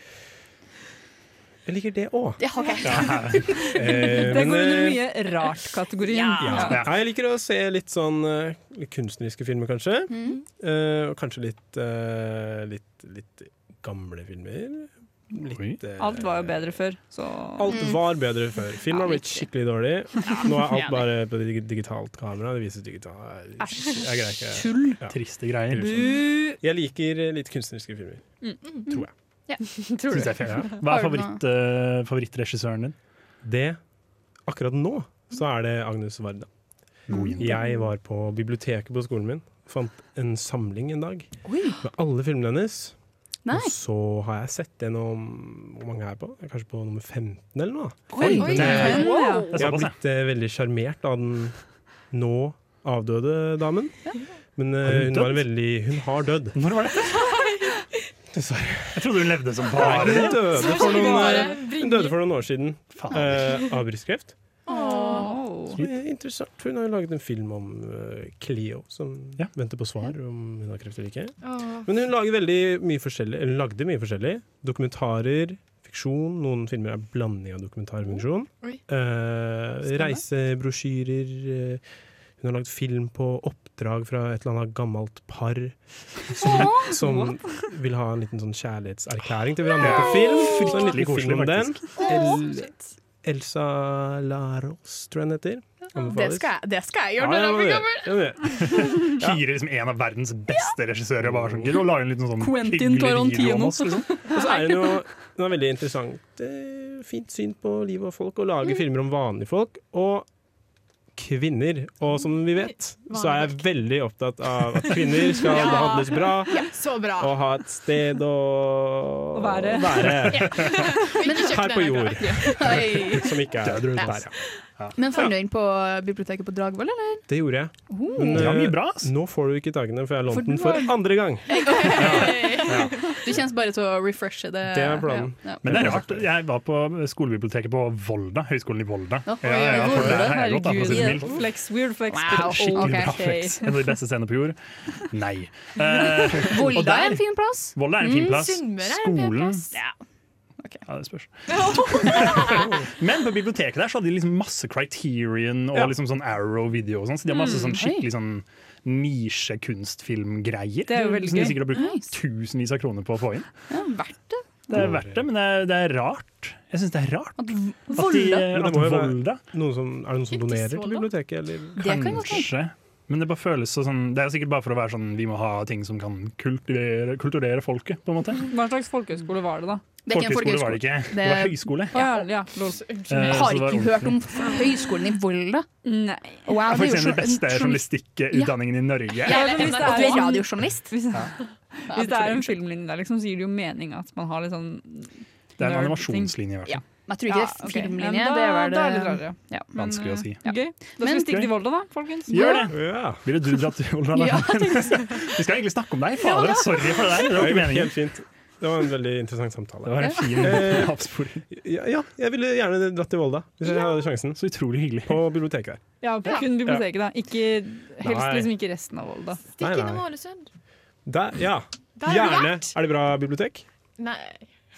[SPEAKER 10] Jeg liker det
[SPEAKER 3] (laughs)
[SPEAKER 10] Eh, òg.
[SPEAKER 5] Ja, ok.
[SPEAKER 4] Eh,
[SPEAKER 3] Det går under mye rart-kategorien.
[SPEAKER 10] Ja. Nei, jeg liker å se litt sånn eh, litt kunstneriske filmer, kanskje.
[SPEAKER 5] Mm.
[SPEAKER 4] Mm.
[SPEAKER 10] Eh, og kanskje litt, eh, litt, litt gamle filmer. Litt, eh,
[SPEAKER 3] Alt var jo bedre Mm. før, så
[SPEAKER 10] Alt var bedre før. Film har blitt skikkelig dårlig.
[SPEAKER 3] (laughs)
[SPEAKER 10] Nå er alt
[SPEAKER 3] enig.
[SPEAKER 10] bare på dig- digitalt kamera. Det vises digitalt. Jeg greier ikke.
[SPEAKER 4] Sånn.
[SPEAKER 3] Tull.
[SPEAKER 10] Ja.
[SPEAKER 4] Triste greier.
[SPEAKER 3] (laughs)
[SPEAKER 10] Grusomt. Jeg liker eh, litt kunstneriske filmer. Tror jeg.
[SPEAKER 5] Ja.
[SPEAKER 4] Synes jeg er fair. Hva er favoritt, eh, favorittregissøren din?
[SPEAKER 10] Det, akkurat nå, så er det Agnes Varda.
[SPEAKER 4] God jente.
[SPEAKER 10] Jeg var på biblioteket på skolen min, fant en samling en dag med alle filmene hennes.
[SPEAKER 5] Nei.
[SPEAKER 10] Og så har jeg sett gjennom Hvor mange er jeg på? Jeg er kanskje på nummer 15 eller noe.
[SPEAKER 5] Oi, Oi,
[SPEAKER 10] Den
[SPEAKER 4] eh,
[SPEAKER 10] er-
[SPEAKER 5] oi, wow.
[SPEAKER 10] Jeg har blitt eh, veldig sjarmert av den nå avdøde damen. Men eh,
[SPEAKER 4] Har hun
[SPEAKER 10] hun, var
[SPEAKER 4] dødd?
[SPEAKER 10] veldig Hun har dødd.
[SPEAKER 4] Når (laughs) var det?
[SPEAKER 10] Dessverre.
[SPEAKER 4] Jeg trodde hun levde som
[SPEAKER 10] Nei,
[SPEAKER 4] bare det.
[SPEAKER 10] Hun døde for noen,
[SPEAKER 4] Bare
[SPEAKER 10] eh, hun døde for noen år siden eh, av brystkreft.
[SPEAKER 5] Åh.
[SPEAKER 10] Som er interessant. Hun har jo laget en film om eh, Cleo, som venter på svar om hun har kreft eller ikke.
[SPEAKER 14] Åh.
[SPEAKER 10] Men hun lager veldig mye forskjellig, eller lagde mye forskjellig. Dokumentarer, fiksjon. Noen filmer er blanding av dokumentar og funksjon.
[SPEAKER 14] Oi.
[SPEAKER 10] reisebrosjyrer. eh, hun har lagd film på oppdrag fra et eller annet gammelt par som,
[SPEAKER 14] Åh,
[SPEAKER 10] som vil ha en liten sånn kjærlighetserklæring til hverandre på film. Så en
[SPEAKER 4] Fryktelig
[SPEAKER 10] liten film om
[SPEAKER 4] koselig,
[SPEAKER 10] den.
[SPEAKER 5] Åh.
[SPEAKER 10] El Elsa Laros, tror jeg den heter.
[SPEAKER 5] Det skal, jeg, det skal jeg gjøre når jeg blir
[SPEAKER 8] (laughs)
[SPEAKER 5] gammel.
[SPEAKER 4] Hyrer liksom en av verdens beste regissører og bare sånn, og lager en liten sånn
[SPEAKER 5] Quentin
[SPEAKER 4] hyggelig video
[SPEAKER 5] Tarantino.
[SPEAKER 4] om oss,
[SPEAKER 3] (laughs)
[SPEAKER 4] liksom.
[SPEAKER 10] Og så er hun jo hun har veldig interessant eh, fint syn på livet og folk, og
[SPEAKER 5] Mm.
[SPEAKER 10] lager filmer om vanlige folk og kvinner. Og som vi vet,
[SPEAKER 5] Mm.
[SPEAKER 10] så er jeg veldig opptatt av at kvinner
[SPEAKER 5] (laughs)
[SPEAKER 10] skal
[SPEAKER 14] Ja.
[SPEAKER 10] behandles bra.
[SPEAKER 14] Ja, så bra.
[SPEAKER 10] Og ha et sted å,
[SPEAKER 14] Å være.
[SPEAKER 5] (laughs)
[SPEAKER 14] Ja.
[SPEAKER 5] kjøpte
[SPEAKER 10] Her på
[SPEAKER 5] den,
[SPEAKER 10] jord.
[SPEAKER 5] Oi.
[SPEAKER 10] Som ikke er
[SPEAKER 5] Ja.
[SPEAKER 10] der, ja.
[SPEAKER 5] Men fant du inn på biblioteket på Dragvoll, eller?
[SPEAKER 10] Det gjorde jeg.
[SPEAKER 5] Oh.
[SPEAKER 10] Men
[SPEAKER 5] Det var mye
[SPEAKER 10] eh, nå får du ikke dagene, for jeg har
[SPEAKER 5] For
[SPEAKER 10] lånt den
[SPEAKER 5] du
[SPEAKER 10] for
[SPEAKER 5] har-
[SPEAKER 10] andre gang.
[SPEAKER 5] Du kjennes bare til å refreshe det. Ja, ja.
[SPEAKER 4] Men det er rart. Jeg var på skolebiblioteket på Volda, Høgskolen i Volda.
[SPEAKER 5] Ja,
[SPEAKER 4] for
[SPEAKER 3] Volda,
[SPEAKER 4] der har jeg gått, da, for å si det
[SPEAKER 3] Herregud.
[SPEAKER 4] mildt.
[SPEAKER 3] Flex, weird flex.
[SPEAKER 4] Wow, Skikkelig bra (laughs) flex. En av de beste scenene på jord. Nei. Eh, og
[SPEAKER 5] Volda
[SPEAKER 4] der-
[SPEAKER 5] er en fin plass.
[SPEAKER 4] Volda er en fin
[SPEAKER 5] Mm,
[SPEAKER 4] plass.
[SPEAKER 5] Sunnmøre er en fin
[SPEAKER 4] Skolen
[SPEAKER 5] plass. Ja.
[SPEAKER 4] Ja, det spørs.
[SPEAKER 5] (laughs)
[SPEAKER 4] Men på biblioteket der så hadde de liksom masse Criterion og
[SPEAKER 10] Ja.
[SPEAKER 4] liksom sånn Arrow-video og sånn, så de har
[SPEAKER 5] Mm.
[SPEAKER 4] masse sånn skikkelig sånn nisjekunstfilmgreier.
[SPEAKER 10] Det er jo veldig
[SPEAKER 4] Som de
[SPEAKER 10] gøy.
[SPEAKER 4] sikkert har brukt tusenvis av kroner på å få inn. Det er
[SPEAKER 10] Mm.
[SPEAKER 4] verdt det, men det er, det er rart. Jeg syns det er rart.
[SPEAKER 5] At
[SPEAKER 4] Volda?
[SPEAKER 10] Men det
[SPEAKER 4] At
[SPEAKER 10] må jo
[SPEAKER 4] Volda?
[SPEAKER 10] være noen som, er det noen som donerer til
[SPEAKER 4] Volda?
[SPEAKER 10] biblioteket, eller?
[SPEAKER 4] Kanskje. Men det bare føles så sånn Det er sikkert bare for å være sånn vi må ha ting som kan kulturere, kulturere folket, på en måte.
[SPEAKER 3] Hva slags folkehøyskole var det, da?
[SPEAKER 4] Det er ikke en Folkehøyskole var det ikke. Det var høyskole.
[SPEAKER 3] Å, Ja, ja, lol.
[SPEAKER 4] Eh,
[SPEAKER 5] Jeg
[SPEAKER 4] så
[SPEAKER 5] har
[SPEAKER 4] det var
[SPEAKER 5] ikke hørt om
[SPEAKER 4] ordentlig.
[SPEAKER 5] høyskolen i Volda.
[SPEAKER 3] Nei.
[SPEAKER 5] Wow,
[SPEAKER 4] Det er faktisk
[SPEAKER 5] det
[SPEAKER 4] en av de beste
[SPEAKER 5] er jo journal-
[SPEAKER 4] journalistikkutdanningene i Norge.
[SPEAKER 5] Ja, men hvis det er- Du er radiojournalist.
[SPEAKER 3] Hvis, hvis det er en filmlinje der, liksom, så gir det jo mening at man har litt sånn
[SPEAKER 4] Det er en
[SPEAKER 3] nerd-ting.
[SPEAKER 4] animasjonslinje, i hvert fall.
[SPEAKER 5] Jeg tror ikke det er
[SPEAKER 3] ok.
[SPEAKER 5] filmlinje,
[SPEAKER 3] Ja, men da,
[SPEAKER 5] det er
[SPEAKER 3] da er
[SPEAKER 5] vel det-
[SPEAKER 3] det litt rarere.
[SPEAKER 5] Ja.
[SPEAKER 4] Vanskelig å si.
[SPEAKER 3] Gøy. eh, Da skal
[SPEAKER 5] Men-
[SPEAKER 3] vi stikke til Volda, da, folkens.
[SPEAKER 4] Gjør det! Ville du dratt til Volda? da?
[SPEAKER 3] Ja,
[SPEAKER 4] (laughs) Vi skal egentlig snakke om deg, fader. Sorry for det der. Det var
[SPEAKER 10] Det
[SPEAKER 4] ikke
[SPEAKER 10] gikk (laughs)
[SPEAKER 4] meningen.
[SPEAKER 10] Helt fint. Det var en veldig interessant samtale.
[SPEAKER 4] Det var en fin
[SPEAKER 10] Eh,
[SPEAKER 4] avsporing.
[SPEAKER 10] ja, ja, jeg ville gjerne dratt til Volda hvis jeg hadde sjansen.
[SPEAKER 4] Så utrolig hyggelig.
[SPEAKER 10] På biblioteket der.
[SPEAKER 3] Ja, på kun biblioteket, da. Ikke, helst
[SPEAKER 10] Nei.
[SPEAKER 3] liksom ikke resten av Volda.
[SPEAKER 10] Nei,
[SPEAKER 8] Ikke
[SPEAKER 10] nei.
[SPEAKER 8] noe Ålesund.
[SPEAKER 10] Der, ja.
[SPEAKER 8] Der har vi
[SPEAKER 10] Gjerne. Er det bra bibliotek?
[SPEAKER 4] (laughs)
[SPEAKER 8] Nei.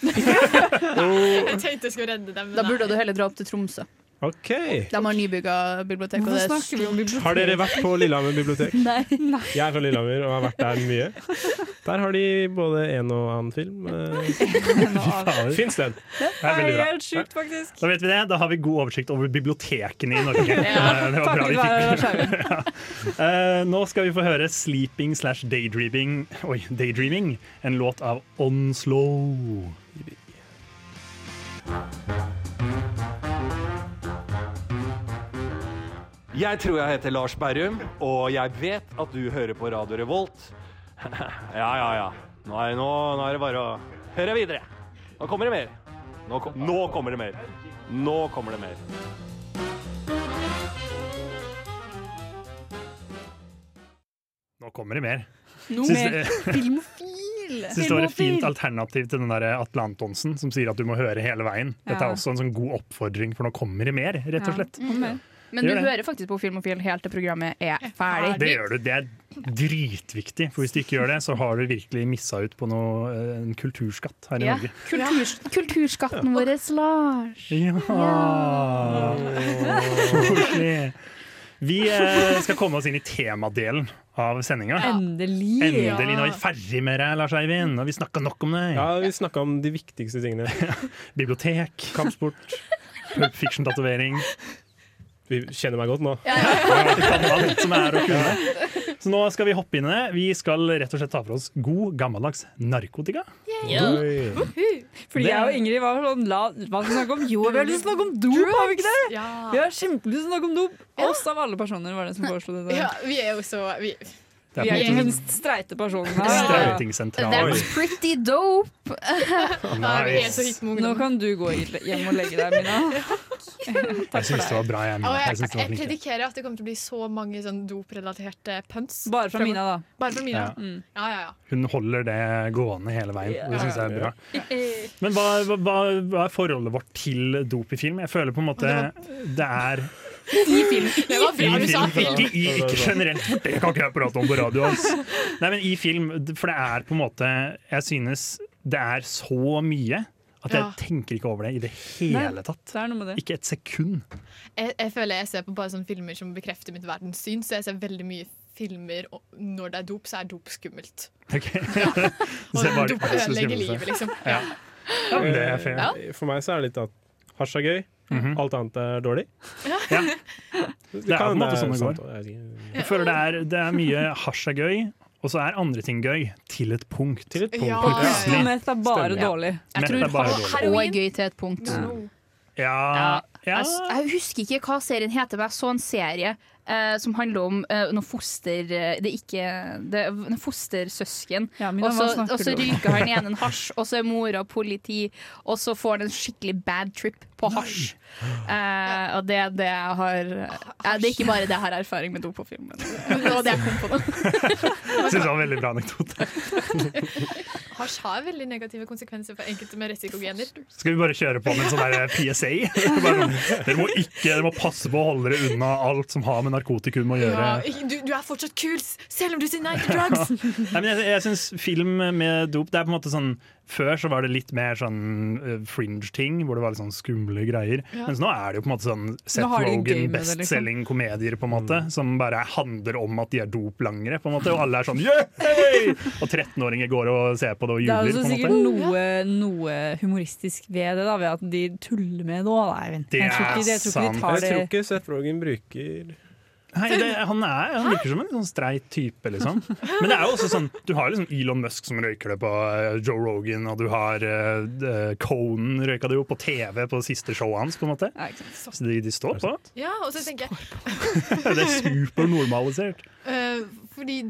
[SPEAKER 10] Jo.
[SPEAKER 8] Jeg tenkte jeg skulle redde dem. men
[SPEAKER 5] eh, Da burde du
[SPEAKER 8] nei.
[SPEAKER 5] heller dra opp til Tromsø.
[SPEAKER 10] OK.
[SPEAKER 5] De har nybygga bibliotek.
[SPEAKER 3] Hvorfor snakker vi om bibliotek?
[SPEAKER 10] Har dere vært på Lillehammer bibliotek?
[SPEAKER 5] Nei.
[SPEAKER 10] Jeg er fra Lillehammer og har vært der mye. Der har de både en og annen film. eh, Fint sted.
[SPEAKER 4] Det er veldig bra.
[SPEAKER 3] sjukt, faktisk.
[SPEAKER 4] Da vet vi det. Da har vi god oversikt over bibliotekene i Norge. Eh, (laughs) Det var bra vi fikk. Eh, nå skal vi få høre 'Sleeping slash daydreaming', oi, daydreaming en låt av Onslow.
[SPEAKER 7] Jeg tror jeg heter Lars Berrum, og jeg vet at du hører på Radio Revolt. (laughs) Ja, ja, ja. Nå er, nå, nå er det bare å høre videre. Nå kommer det mer. Nå, kom, nå kommer det mer. Nå kommer det mer.
[SPEAKER 4] Nå kommer det mer.
[SPEAKER 3] Noe
[SPEAKER 4] Syns-
[SPEAKER 3] mer filmofil!
[SPEAKER 4] Syns det var et fint alternativ til den der Atle Antonsen som sier at du må høre hele veien. Dette
[SPEAKER 5] Ja. Mm.
[SPEAKER 4] er også en sånn god oppfordring, for nå kommer det mer, rett og slett.
[SPEAKER 5] Men du
[SPEAKER 4] Gjør det.
[SPEAKER 5] hører faktisk på Filmofil helt til programmet er ferdig.
[SPEAKER 4] Det gjør du. Det er dritviktig, for hvis du ikke gjør det, så har du virkelig missa ut på noe, eh, en kulturskatt her i
[SPEAKER 5] Ja.
[SPEAKER 4] Norge.
[SPEAKER 5] Kulturs kulturskatten vår, Lars.
[SPEAKER 4] Ja! Koselig. Vi eh, skal komme oss inn i temadelen av sendinga.
[SPEAKER 3] Endelig!
[SPEAKER 4] Endelig, nå er vi ferdig med deg, Lars Eivind. Og vi snakka nok om deg.
[SPEAKER 10] Ja, vi snakka om de viktigste tingene.
[SPEAKER 4] Bibliotek.
[SPEAKER 10] Kampsport.
[SPEAKER 4] Pulp Fiction-tatovering.
[SPEAKER 10] Vi kjenner meg godt nå.
[SPEAKER 4] Du kan alt som er å kunne. Så nå skal vi hoppe inn i det. Vi skal rett og slett ta for oss god, gammeldags narkotika. Oi.
[SPEAKER 3] Fordi
[SPEAKER 4] Det-
[SPEAKER 3] jeg og Ingrid var sånn la, Hva skal vi snakke om? Jo, vi har lyst til å snakke om dop, har vi ikke det? Vi har kjempelyst til å snakke om dop. Oss av alle personer var det som foreslo dette.
[SPEAKER 8] Ja, vi er jo så vi,
[SPEAKER 3] Vi er den minst streite personen her.
[SPEAKER 4] Strøytingssentral.
[SPEAKER 5] That's pretty dope.
[SPEAKER 4] Nei, vi er så hit
[SPEAKER 3] Nå kan du gå hjem og legge deg, Mina.
[SPEAKER 4] Jeg syns det var bra, jeg. Mina.
[SPEAKER 8] Og
[SPEAKER 4] Jeg
[SPEAKER 8] jeg,
[SPEAKER 4] synes det var
[SPEAKER 8] jeg
[SPEAKER 4] flink, jeg.
[SPEAKER 8] predikerer at det kommer til å bli så mange sånn doprelaterte punts.
[SPEAKER 3] Bare fra Mina, da.
[SPEAKER 8] Bare fra Mina.
[SPEAKER 4] Ja.
[SPEAKER 8] Ja. Ja, ja,
[SPEAKER 4] Hun holder det gående hele veien. og Det syns jeg er bra.
[SPEAKER 3] Eh.
[SPEAKER 8] ja.
[SPEAKER 4] Men hva, hva, hva er forholdet vårt til dop i film? Jeg føler på en måte det er
[SPEAKER 15] I film.
[SPEAKER 8] Det var bra du sa film.
[SPEAKER 4] I, i, ikke generelt, for det kan ikke jeg prate om på radio. Altså. Nei, men i film, for det er på en måte Jeg synes det er så mye at jeg
[SPEAKER 8] Ja.
[SPEAKER 4] tenker ikke over det i det hele tatt. Ikke et sekund.
[SPEAKER 8] Jeg, jeg føler jeg ser på bare sånne filmer som bekrefter mitt verdenssyn, så jeg ser veldig mye filmer, og når det er dop, så er dop skummelt.
[SPEAKER 4] (laughs) Så jeg bare-
[SPEAKER 8] dop ødelegger livet, liksom.
[SPEAKER 4] Ja. Ja, men det er fair. Mhm.
[SPEAKER 10] Eh, For meg så er det litt at hasj er gøy,
[SPEAKER 4] Mm.
[SPEAKER 10] alt annet er dårlig. eh,
[SPEAKER 4] Det er på en måte sånn det går. Jeg føler det er, det er mye hasj er gøy, og så er andre ting gøy til et punkt. Til
[SPEAKER 3] punkt. Ja, ja, ja. Og meth er bare dårlig.
[SPEAKER 5] Jeg
[SPEAKER 4] Meth er
[SPEAKER 5] tror
[SPEAKER 4] bare
[SPEAKER 5] hasj
[SPEAKER 4] dårlig.
[SPEAKER 5] og er gøy til et punkt.
[SPEAKER 4] Ja, ja.
[SPEAKER 5] Jeg, s- jeg husker ikke hva serien heter, men jeg så en serie eh, som handler om eh, noen foster... eh, Det er ikke det, er noen fostersøsken.
[SPEAKER 3] Mina,
[SPEAKER 5] og så,
[SPEAKER 3] hva snakker
[SPEAKER 5] og så
[SPEAKER 3] du om?
[SPEAKER 5] ryker han ene en hasj, og så er mora politi, og så får han en skikkelig bad trip på hasj. Eh, og det er det jeg har eh, Det er ikke bare det jeg har erfaring med dop på (laughs) filmen. Det var det jeg kom på nå.
[SPEAKER 4] Jeg synes det var en veldig bra anekdote.
[SPEAKER 8] Hasj har veldig negative konsekvenser for enkelte med risikogener.
[SPEAKER 4] Skal vi bare kjøre på med en sånn der PSA? (laughs) Bare sånn, dere må ikke, dere må passe på å holde dere unna alt som har med narkotikum å gjøre.
[SPEAKER 8] Ja, du, du er fortsatt kul, selv om du sier nei til drugs!
[SPEAKER 4] Nei, men jeg, jeg syns film med dop Det er på en måte sånn Før så var det litt mer sånn eh, fringe-ting, hvor det var litt sånn skumle greier.
[SPEAKER 16] Ja.
[SPEAKER 4] Mens nå er det jo på en måte sånn Seth
[SPEAKER 16] har de gøy med det,
[SPEAKER 4] Rogan,
[SPEAKER 16] liksom.
[SPEAKER 4] bestselging-komedier, på en måte. Som bare handler om at de er doplangere, på en måte. Og alle er sånn (laughs) yeah! Og 13-åringer går og ser på det og
[SPEAKER 3] Det er
[SPEAKER 4] jubler,
[SPEAKER 3] altså
[SPEAKER 4] på en
[SPEAKER 3] sikkert
[SPEAKER 4] måte.
[SPEAKER 3] noe, noe humoristisk ved det, da, ved at de tuller med det òg, da, Eivind.
[SPEAKER 4] Det
[SPEAKER 3] Jeg tror
[SPEAKER 4] er
[SPEAKER 3] ikke, jeg tror ikke de tar
[SPEAKER 10] Jeg tror
[SPEAKER 3] det
[SPEAKER 10] ikke Seth Rogen bruker
[SPEAKER 4] Nei, det, han, er, han virker som en sånn streit type, liksom. Men det er jo også sånn, du har liksom Elon Musk som røyker det på eh, Joe Rogan, og du har eh, eh, Conan røyka det jo på TV på det siste showet hans, på en måte. Så de, de står på.
[SPEAKER 8] Ja, og så tenker jeg
[SPEAKER 4] Det er supernormalisert.
[SPEAKER 8] Eh, fordi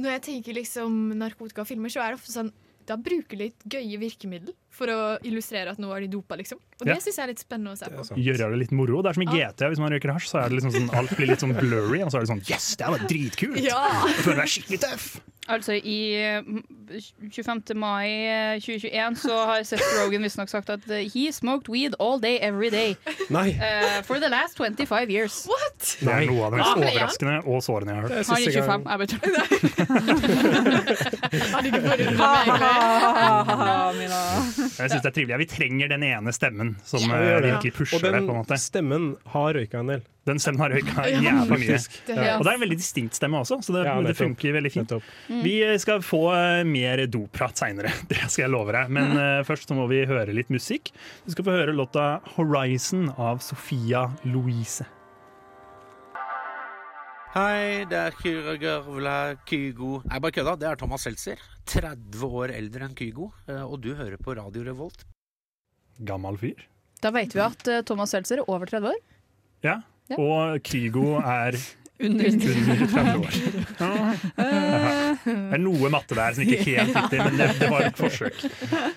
[SPEAKER 8] når jeg tenker liksom narkotika og filmer, så er det ofte sånn da bruker de litt gøye virkemiddel for å illustrere at nå er de dopa, liksom. Og det
[SPEAKER 4] Ja.
[SPEAKER 8] synes jeg er litt spennende å se på.
[SPEAKER 4] Gjøre det litt moro. Det er som i
[SPEAKER 8] Ja.
[SPEAKER 4] GT, hvis man røyker hasj, så er det liksom sånn, alt blir litt sånn blurry, og så er det sånn yes, det her var dritkult!
[SPEAKER 5] Ja.
[SPEAKER 4] Jeg føler meg skikkelig tøff!
[SPEAKER 5] Altså, i eh, 25. mai eh, 2021 så har Seth Rogan visstnok sagt at eh, he smoked weed all day every day
[SPEAKER 10] Nei.
[SPEAKER 5] eh, for the last 25 years.
[SPEAKER 8] What?
[SPEAKER 4] Det er noe av det
[SPEAKER 5] Ah,
[SPEAKER 4] mest
[SPEAKER 5] ja.
[SPEAKER 4] overraskende og sårende jeg har hørt.
[SPEAKER 5] Han er 25, jeg bare
[SPEAKER 3] (laughs)
[SPEAKER 5] tuller.
[SPEAKER 4] Jeg syns det er trivelig. Ja, Vi trenger den ene stemmen som
[SPEAKER 10] Ja, vi
[SPEAKER 4] eh,
[SPEAKER 10] gjør det.
[SPEAKER 4] virkelig pusher
[SPEAKER 10] Og den
[SPEAKER 4] det. på en måte.
[SPEAKER 10] stemmen har røyka en del.
[SPEAKER 4] Den stemmen har røyka
[SPEAKER 10] Ja,
[SPEAKER 4] jævla mye.
[SPEAKER 10] faktisk. Det er helt-
[SPEAKER 4] Og det er en veldig distinkt stemme også, så det,
[SPEAKER 10] Ja,
[SPEAKER 4] det
[SPEAKER 10] nettopp.
[SPEAKER 4] funker veldig fint.
[SPEAKER 10] Mm.
[SPEAKER 4] Vi skal få eh, mer doprat seinere, (laughs) det skal jeg love deg. Men eh, først så må vi høre litt musikk. Du skal få høre låta 'Horizon' av Sofia Louise.
[SPEAKER 17] Hei, det er Kyra Garvla Kygo. Nei, bare kødda. Det er Thomas Seltzer. 30 år eldre enn Kygo. eh, Og du hører på Radio Revolt.
[SPEAKER 4] Gammal fyr.
[SPEAKER 5] Da vet vi at eh, Thomas Seltzer er over 30 år.
[SPEAKER 4] Ja.
[SPEAKER 5] Ja.
[SPEAKER 4] Og Kygo er
[SPEAKER 3] Under.
[SPEAKER 4] 30 år. Ja. Det (laughs) er noe matte der som ikke er helt riktig, men det, det var et forsøk.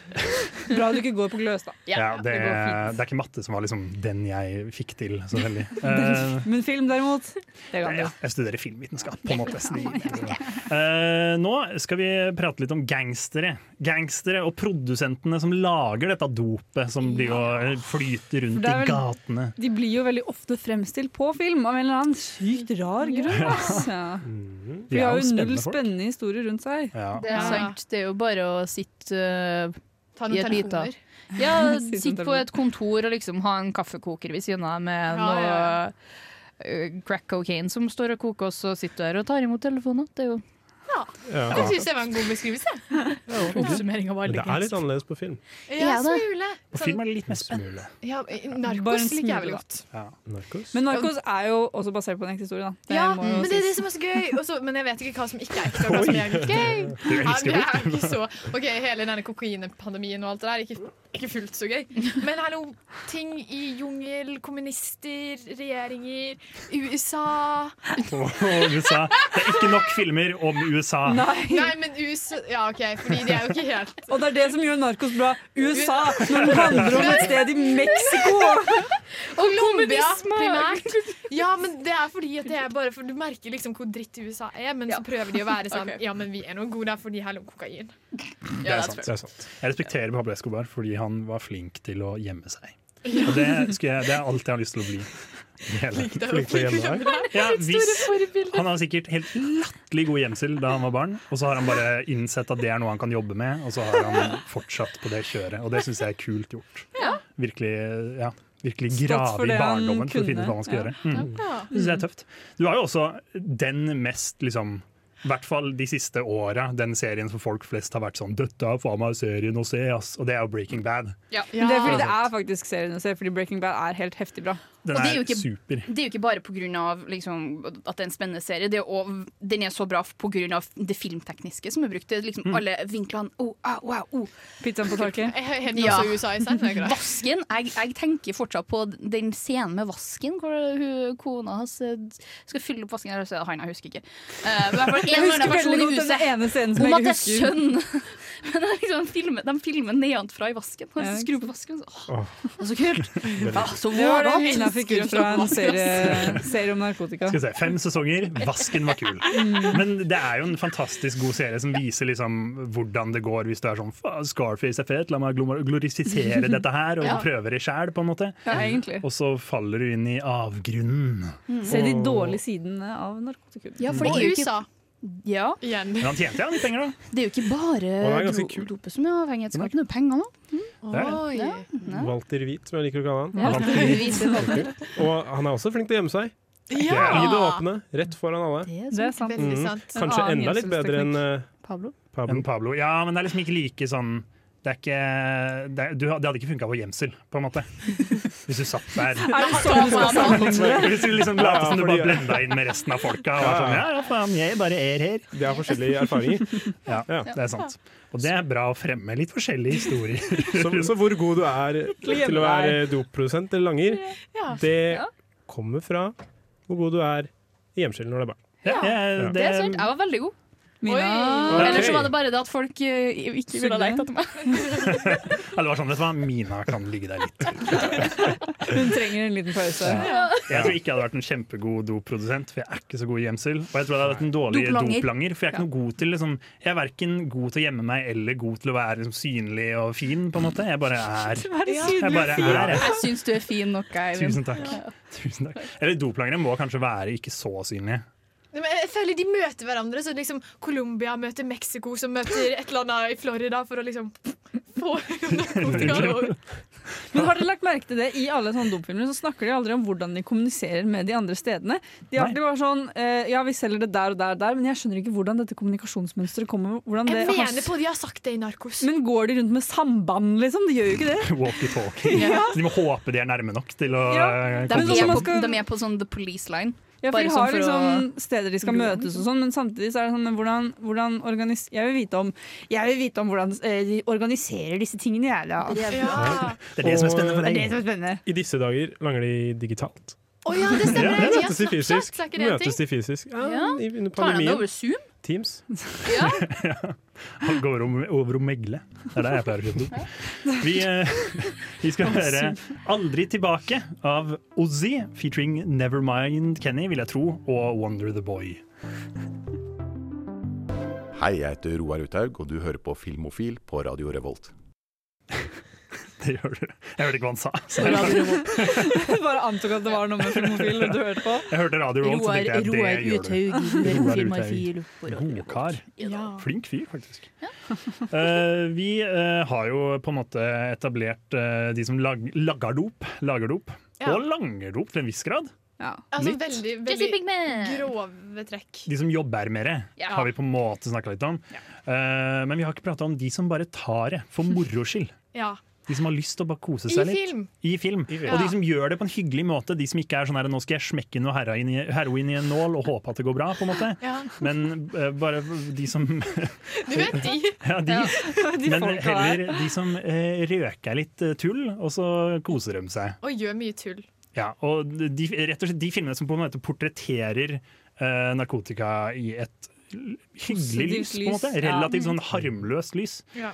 [SPEAKER 3] (laughs) Bra du ikke går på gløs, da.
[SPEAKER 4] Ja, det, det er ikke matte som var liksom den jeg fikk til så veldig. Eh,
[SPEAKER 3] Men film, derimot, det kan du.
[SPEAKER 4] Ja, jeg studerer filmvitenskap, på en måte. så det- Eh, nå skal vi prate litt om gangstere. Gangstere og produsentene som lager dette dopet som blir å flyte
[SPEAKER 3] For
[SPEAKER 4] rundt
[SPEAKER 3] det er
[SPEAKER 4] i
[SPEAKER 3] vel-
[SPEAKER 4] gatene.
[SPEAKER 3] De blir jo veldig ofte fremstilt på film av en eller annen sykt rar grunn.
[SPEAKER 10] (laughs)
[SPEAKER 3] ass. Ja. For
[SPEAKER 4] De
[SPEAKER 3] de
[SPEAKER 4] er
[SPEAKER 3] har jo null
[SPEAKER 4] jo spennende folk.
[SPEAKER 3] spennende historier rundt seg.
[SPEAKER 4] Ja.
[SPEAKER 5] Det er sant. Det er jo bare å sitte eh,
[SPEAKER 3] Ta noen
[SPEAKER 5] i et lite-
[SPEAKER 3] telefoner.
[SPEAKER 5] Ja, (laughs)
[SPEAKER 3] Sitte
[SPEAKER 5] sitte
[SPEAKER 3] med
[SPEAKER 5] på
[SPEAKER 3] telefon.
[SPEAKER 5] et kontor og liksom ha en kaffekoker ved siden av med
[SPEAKER 3] Ja,
[SPEAKER 5] noe
[SPEAKER 3] ja,
[SPEAKER 5] eh, crack cocaine som står og koker, og så sitter du her og tar imot telefoner. Det er jo
[SPEAKER 10] Ja.
[SPEAKER 8] Jeg synes det var en god beskrivelse.
[SPEAKER 5] Oppsummering av
[SPEAKER 10] Men det er litt sånn- annerledes på film.
[SPEAKER 8] Ja, smule.
[SPEAKER 4] Og
[SPEAKER 3] sånn
[SPEAKER 4] film er litt mer spennende.
[SPEAKER 8] Ja, i-
[SPEAKER 3] Bare en
[SPEAKER 8] narkos liker
[SPEAKER 3] smule,
[SPEAKER 8] jeg veldig
[SPEAKER 3] da.
[SPEAKER 8] godt.
[SPEAKER 4] Ja.
[SPEAKER 3] Men Narkos er jo også basert på en ekte historie, da.
[SPEAKER 8] Ja,
[SPEAKER 3] må jo
[SPEAKER 8] men det er
[SPEAKER 3] (laughs)
[SPEAKER 8] det
[SPEAKER 3] sies.
[SPEAKER 8] som er så gøy. Og så- men jeg vet ikke hva som ikke er ekte, og hva som er gøy.
[SPEAKER 3] Du
[SPEAKER 8] Ja,
[SPEAKER 3] elsker
[SPEAKER 8] det er
[SPEAKER 3] det.
[SPEAKER 8] ikke så Ok, Hele denne kokainepandemien og alt det der, ikke, ikke fullt så gøy. Men hallo, ting i jungel, kommunister, regjeringer, USA
[SPEAKER 4] Og USA. Det er ikke nok filmer om USA.
[SPEAKER 8] Nei, men USA Ja, OK, fordi de er jo ikke helt
[SPEAKER 3] Og det er det som gjør Narkos bra. USA, når den handler om et sted i (laughs) Mexico!
[SPEAKER 8] Og Colombia,
[SPEAKER 3] Kommunisme.
[SPEAKER 8] primært. Ja, men det er fordi at det er bare for Du merker liksom hvor dritt USA er, men så prøver de å (laughs) være sånn Ja, men vi er nå gode der fordi her lå kokain.
[SPEAKER 4] Det
[SPEAKER 8] Ja,
[SPEAKER 4] er
[SPEAKER 8] det
[SPEAKER 4] sant.
[SPEAKER 8] tror jeg.
[SPEAKER 4] Det er sant. Jeg respekterer Pablo Escobar fordi han var flink til å gjemme seg. Og det, skulle jeg, det er alt jeg har lyst til å bli.
[SPEAKER 8] Lik deg opp
[SPEAKER 4] Flink
[SPEAKER 8] i
[SPEAKER 4] på hjemmelag.
[SPEAKER 8] hjemmelag.
[SPEAKER 4] Ja,
[SPEAKER 8] Ditt store
[SPEAKER 4] hvis-
[SPEAKER 8] forbilde.
[SPEAKER 4] Han har sikkert helt latterlig god gjemsel da han var barn, og så har han bare innsett at det er noe han kan jobbe med, og så har han fortsatt på det kjøret. Og det syns jeg er kult gjort.
[SPEAKER 8] Ja.
[SPEAKER 4] Virkelig, ja, virkelig
[SPEAKER 11] Stått for
[SPEAKER 4] grave i
[SPEAKER 11] det han
[SPEAKER 4] barndommen for å
[SPEAKER 11] kunne.
[SPEAKER 4] finne ut hva man skal
[SPEAKER 11] Ja.
[SPEAKER 4] gjøre. Mm.
[SPEAKER 8] Ja.
[SPEAKER 4] Det syns jeg er tøft. Du har jo også den mest liksom i hvert fall de siste åra, den serien som folk flest har vært sånn 'Dette er faen meg serien å se', ass. Og det er jo 'Breaking Bad'.
[SPEAKER 3] Men Det er fordi det er faktisk serien å se, fordi Breaking Bad er helt heftig bra.
[SPEAKER 4] Den
[SPEAKER 5] Og det er
[SPEAKER 4] er,
[SPEAKER 5] jo ikke-
[SPEAKER 4] super.
[SPEAKER 5] Det er jo ikke bare pga. Liksom, at det er en spennende serie. Det er jo, også- den er så bra pga. det filmtekniske som er brukt. Det er liksom
[SPEAKER 3] Mm.
[SPEAKER 5] Alle vinklene. Oh, ah, wow, oh.
[SPEAKER 3] Pizzaen på taket.
[SPEAKER 8] Helt også USA i seg, det er greit.
[SPEAKER 5] Vasken. Jeg, jeg tenker fortsatt på den scenen med vasken, hvor hun, kona hans eh, skal fylle opp vasken. Eller så er det han, jeg husker ikke. Eh, men i
[SPEAKER 3] (laughs)
[SPEAKER 5] hvert fall en
[SPEAKER 3] Jeg
[SPEAKER 5] eller annen
[SPEAKER 3] husker
[SPEAKER 8] sånn
[SPEAKER 5] person i
[SPEAKER 3] veldig godt
[SPEAKER 5] huset
[SPEAKER 3] den ene scenen som jeg
[SPEAKER 5] om at det
[SPEAKER 3] ikke
[SPEAKER 5] er sønn. (laughs) Men det er liksom, filmer, de filmer nedenfra i vasken. Og så skrur på vasken. og Så, åh, det er så kult! Ja, så
[SPEAKER 3] Det var det
[SPEAKER 5] vågalt.
[SPEAKER 3] Mina fikk ut fra (laughs) en serie, serie om narkotika.
[SPEAKER 4] Skal vi se, Fem sesonger, vasken var kul.
[SPEAKER 5] Mm.
[SPEAKER 4] Men det er jo en fantastisk god serie som viser liksom hvordan det går hvis du er sånn "Faen, Scarface er fet, la meg glom- glorifisere dette her,
[SPEAKER 5] (laughs)
[SPEAKER 4] og
[SPEAKER 3] Ja.
[SPEAKER 4] prøve det sjæl, på en måte.
[SPEAKER 3] Ja, egentlig.
[SPEAKER 4] Og så faller du inn i avgrunnen.
[SPEAKER 3] Se de
[SPEAKER 4] Og-
[SPEAKER 3] dårlige sidene av narkotikum.
[SPEAKER 5] Ja, for det er jo ikke Ja.
[SPEAKER 4] Men han tjente jo litt penger, da.
[SPEAKER 5] Det er jo ikke
[SPEAKER 10] Og det er
[SPEAKER 5] bare
[SPEAKER 10] ganske
[SPEAKER 5] do- dopet som er avhengighetsskapende, det er penger nå.
[SPEAKER 10] Det er det. Oi.
[SPEAKER 5] Ja.
[SPEAKER 10] Walter Hvit, som jeg liker å kalle han.
[SPEAKER 5] Ja. Walter Hvit.
[SPEAKER 10] Kjempekult. (laughs) Og han er også flink til å gjemme seg. I
[SPEAKER 8] Ja!
[SPEAKER 10] det åpne, rett foran alle.
[SPEAKER 3] Det er sant.
[SPEAKER 10] Mm. Kanskje enda litt bedre enn eh,
[SPEAKER 3] Pablo.
[SPEAKER 10] Pablo.
[SPEAKER 4] Enn Pablo. Ja, men det er liksom ikke like sånn det, er ikke, det, er- du, det hadde ikke funka på gjemsel, på en (laughs) måte. Hvis du satt der.
[SPEAKER 3] Er det sånn du skal
[SPEAKER 10] (laughs)
[SPEAKER 3] sammenligne det?
[SPEAKER 4] Hvis du liksom lot som
[SPEAKER 10] Ja,
[SPEAKER 4] du bare
[SPEAKER 10] fordi-
[SPEAKER 4] blenda inn med resten av folka. Og var sånn, ja, ja, faen, jeg bare er her.
[SPEAKER 10] Det er forskjellige erfaringer.
[SPEAKER 4] Ja, det er sant. Og det er bra å fremme litt forskjellige historier.
[SPEAKER 10] Så, så hvor god du er til å være dopprodusent eller langer,
[SPEAKER 8] Ja.
[SPEAKER 10] det kommer fra hvor god du er i hjemskjell når det er barn.
[SPEAKER 4] (laughs) Ja,
[SPEAKER 10] ja,
[SPEAKER 5] Det er sant. Jeg var veldig god.
[SPEAKER 3] Mina.
[SPEAKER 5] Oi. Eller så
[SPEAKER 10] Ok.
[SPEAKER 5] var det bare det at folk eh, ikke ville ha lekt etter meg.
[SPEAKER 4] Eller var sånn, vet du hva, Mina kan ligge der litt.
[SPEAKER 3] Hun trenger en liten pause.
[SPEAKER 4] Ja. Jeg tror ikke jeg hadde vært en kjempegod doprodusent, for jeg er ikke så god i gjemsel. Og jeg tror jeg hadde vært en dårlig
[SPEAKER 3] Doplanger.
[SPEAKER 4] doplanger, for jeg er ikke noe god til liksom, Jeg er verken god til å gjemme meg eller god til å være liksom, synlig og fin, på en måte. Jeg bare er. Jeg bare er. jeg.
[SPEAKER 5] Jeg syns du er fin nok, Eivind.
[SPEAKER 4] Tusen takk. Tusen takk. Eller doplangere må kanskje være ikke så synlige. (laughs)
[SPEAKER 8] Nei, men Jeg føler de møter hverandre. Så liksom Colombia møter Mexico, som møter et eller annet i Florida for å liksom få
[SPEAKER 3] Men har dere lagt merke til det? I alle sånne dopfilmer så snakker de aldri om hvordan de kommuniserer med de andre stedene. De er
[SPEAKER 4] Nei.
[SPEAKER 3] alltid bare sånn eh, Ja, vi selger det der og der og der, men jeg skjønner ikke hvordan dette kommunikasjonsmønsteret kommer. Hvordan det
[SPEAKER 8] Jeg
[SPEAKER 3] har-
[SPEAKER 8] mener på de har sagt det i Narkos.
[SPEAKER 3] Men går de rundt med samband, liksom? De gjør jo ikke det.
[SPEAKER 4] Walkie-talkie.
[SPEAKER 3] Ja.
[SPEAKER 4] De må håpe de er nærme nok til å eh,
[SPEAKER 5] De
[SPEAKER 4] komme
[SPEAKER 5] er,
[SPEAKER 4] sammen.
[SPEAKER 5] på, de er på sånn The Police Line.
[SPEAKER 3] Ja, for
[SPEAKER 5] Bare
[SPEAKER 3] de
[SPEAKER 5] sånn
[SPEAKER 3] har
[SPEAKER 5] for å-
[SPEAKER 3] liksom steder de skal møtes og sånn, men samtidig så er det sånn men hvordan, hvordan organis Jeg vil vite om Jeg vil vite om hvordan eh, de organiserer disse tingene, jeg. Da.
[SPEAKER 4] Det er det som er spennende for
[SPEAKER 3] Det er det
[SPEAKER 10] deg.
[SPEAKER 3] som er spennende.
[SPEAKER 10] I disse dager langer de digitalt.
[SPEAKER 8] Å ja, det stemmer!
[SPEAKER 10] Ja,
[SPEAKER 8] de har
[SPEAKER 10] møtes de
[SPEAKER 8] Snapchat,
[SPEAKER 10] fysisk.
[SPEAKER 8] så er ikke det en ting?
[SPEAKER 10] Møtes de fysisk. Ja,
[SPEAKER 8] Ja.
[SPEAKER 10] i- Under
[SPEAKER 8] Tar de det over
[SPEAKER 10] pandemien.
[SPEAKER 5] Zoom?
[SPEAKER 10] Teams.
[SPEAKER 4] Han går om- over om megle. Det er det jeg pleier å kjøpe
[SPEAKER 3] (laughs)
[SPEAKER 4] dop. Vi, eh, (laughs) vi skal høre 'Aldri tilbake' av Ozzy featuring Nevermind Kenny, vil jeg tro, og Wonder the Boy.
[SPEAKER 18] Hei, jeg heter Roar Uthaug, og du hører på Filmofil på Radio Revolt.
[SPEAKER 4] Det gjør du. Jeg hørte ikke hva han sa. så jeg-
[SPEAKER 3] (laughs) Bare antok at det var noe med filmofil du hørte på.
[SPEAKER 4] Jeg hørte Radio Revolt, så tenkte jeg det gjør du. Roar Uthaug. God kar.
[SPEAKER 3] Ja.
[SPEAKER 4] Flink fyr, faktisk. (laughs) Eh, vi eh, har jo på en måte etablert eh, de som lag lager dop, lager dop
[SPEAKER 8] Ja.
[SPEAKER 4] og langer dop til en viss grad.
[SPEAKER 3] (laughs)
[SPEAKER 8] Altså
[SPEAKER 4] Litt.
[SPEAKER 8] veldig,
[SPEAKER 5] Jesse
[SPEAKER 8] veldig grove trekk.
[SPEAKER 4] De som jobber med det,
[SPEAKER 8] Ja.
[SPEAKER 4] har vi på en måte snakka litt om. Eh, men vi har ikke prata om de som bare tar det for moro skyld.
[SPEAKER 8] Ja.
[SPEAKER 4] De som har lyst til å bare kose
[SPEAKER 8] I
[SPEAKER 4] seg litt.
[SPEAKER 8] film.
[SPEAKER 4] I film.
[SPEAKER 8] film.
[SPEAKER 4] Og de
[SPEAKER 8] Ja.
[SPEAKER 4] som gjør det på en hyggelig måte. De som ikke er sånn her, nå skal jeg smekke noe heroin i, heroin i en nål og håpe at det går bra, på en måte.
[SPEAKER 8] Ja.
[SPEAKER 4] Men eh, bare de som (laughs)
[SPEAKER 8] Du vet de.
[SPEAKER 4] Ja, de.
[SPEAKER 8] De
[SPEAKER 4] Men
[SPEAKER 8] folka
[SPEAKER 4] heller
[SPEAKER 8] der.
[SPEAKER 4] de som eh, røker litt eh, tull, og så koser de seg.
[SPEAKER 8] Og gjør mye tull.
[SPEAKER 4] Ja, og de, rett og slett, de filmene som på en måte portretterer eh, narkotika i et l- hyggelig
[SPEAKER 3] Positivt
[SPEAKER 4] lys, på en
[SPEAKER 3] lys,
[SPEAKER 4] måte.
[SPEAKER 3] ja.
[SPEAKER 4] Relativt sånn harmløst lys.
[SPEAKER 3] Ja.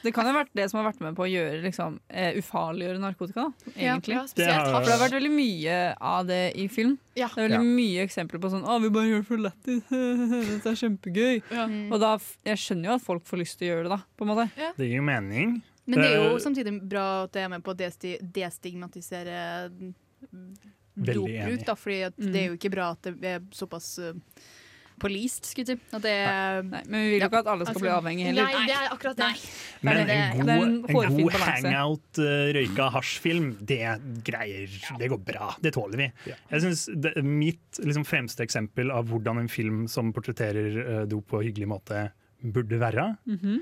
[SPEAKER 3] Det kan jo ha vært det som har vært med på å gjøre liksom, eh, ufarliggjøre narkotika, da,
[SPEAKER 8] Ja,
[SPEAKER 3] egentlig.
[SPEAKER 8] ja, spesielt Det har- hasj.
[SPEAKER 3] For det har vært veldig mye av det i film. Det er veldig mye eksempler på sånn 'Å, vi bare gjør det for lættis. (laughs) Dette er kjempegøy.' Mm. Og da, f- jeg skjønner jo at folk får lyst til å gjøre det, da, på en måte.
[SPEAKER 4] Det gir jo mening.
[SPEAKER 5] Men det er jo
[SPEAKER 4] Eh,
[SPEAKER 5] samtidig bra at det er med på å desti- destigmatisere
[SPEAKER 4] Veldig
[SPEAKER 14] dopbruk,
[SPEAKER 4] enig.
[SPEAKER 14] da, fordi at det er jo ikke bra at det er såpass uh, policed, skulle jeg si. At det er
[SPEAKER 3] Nei, men vi vil jo ikke at alle skal
[SPEAKER 5] Altså,
[SPEAKER 3] bli avhengig heller.
[SPEAKER 8] Nei, det er akkurat det.
[SPEAKER 4] Men
[SPEAKER 3] Det er- det er
[SPEAKER 4] en god,
[SPEAKER 3] en
[SPEAKER 4] en
[SPEAKER 3] hårfin
[SPEAKER 4] god
[SPEAKER 3] balanse.
[SPEAKER 4] hangout, eh, røyka hasjfilm, det greier Det går bra. Det tåler vi. Jeg synes det, Mitt liksom, fremste eksempel av hvordan en film som portretterer eh, dop på en hyggelig måte, burde være,
[SPEAKER 3] Mhm.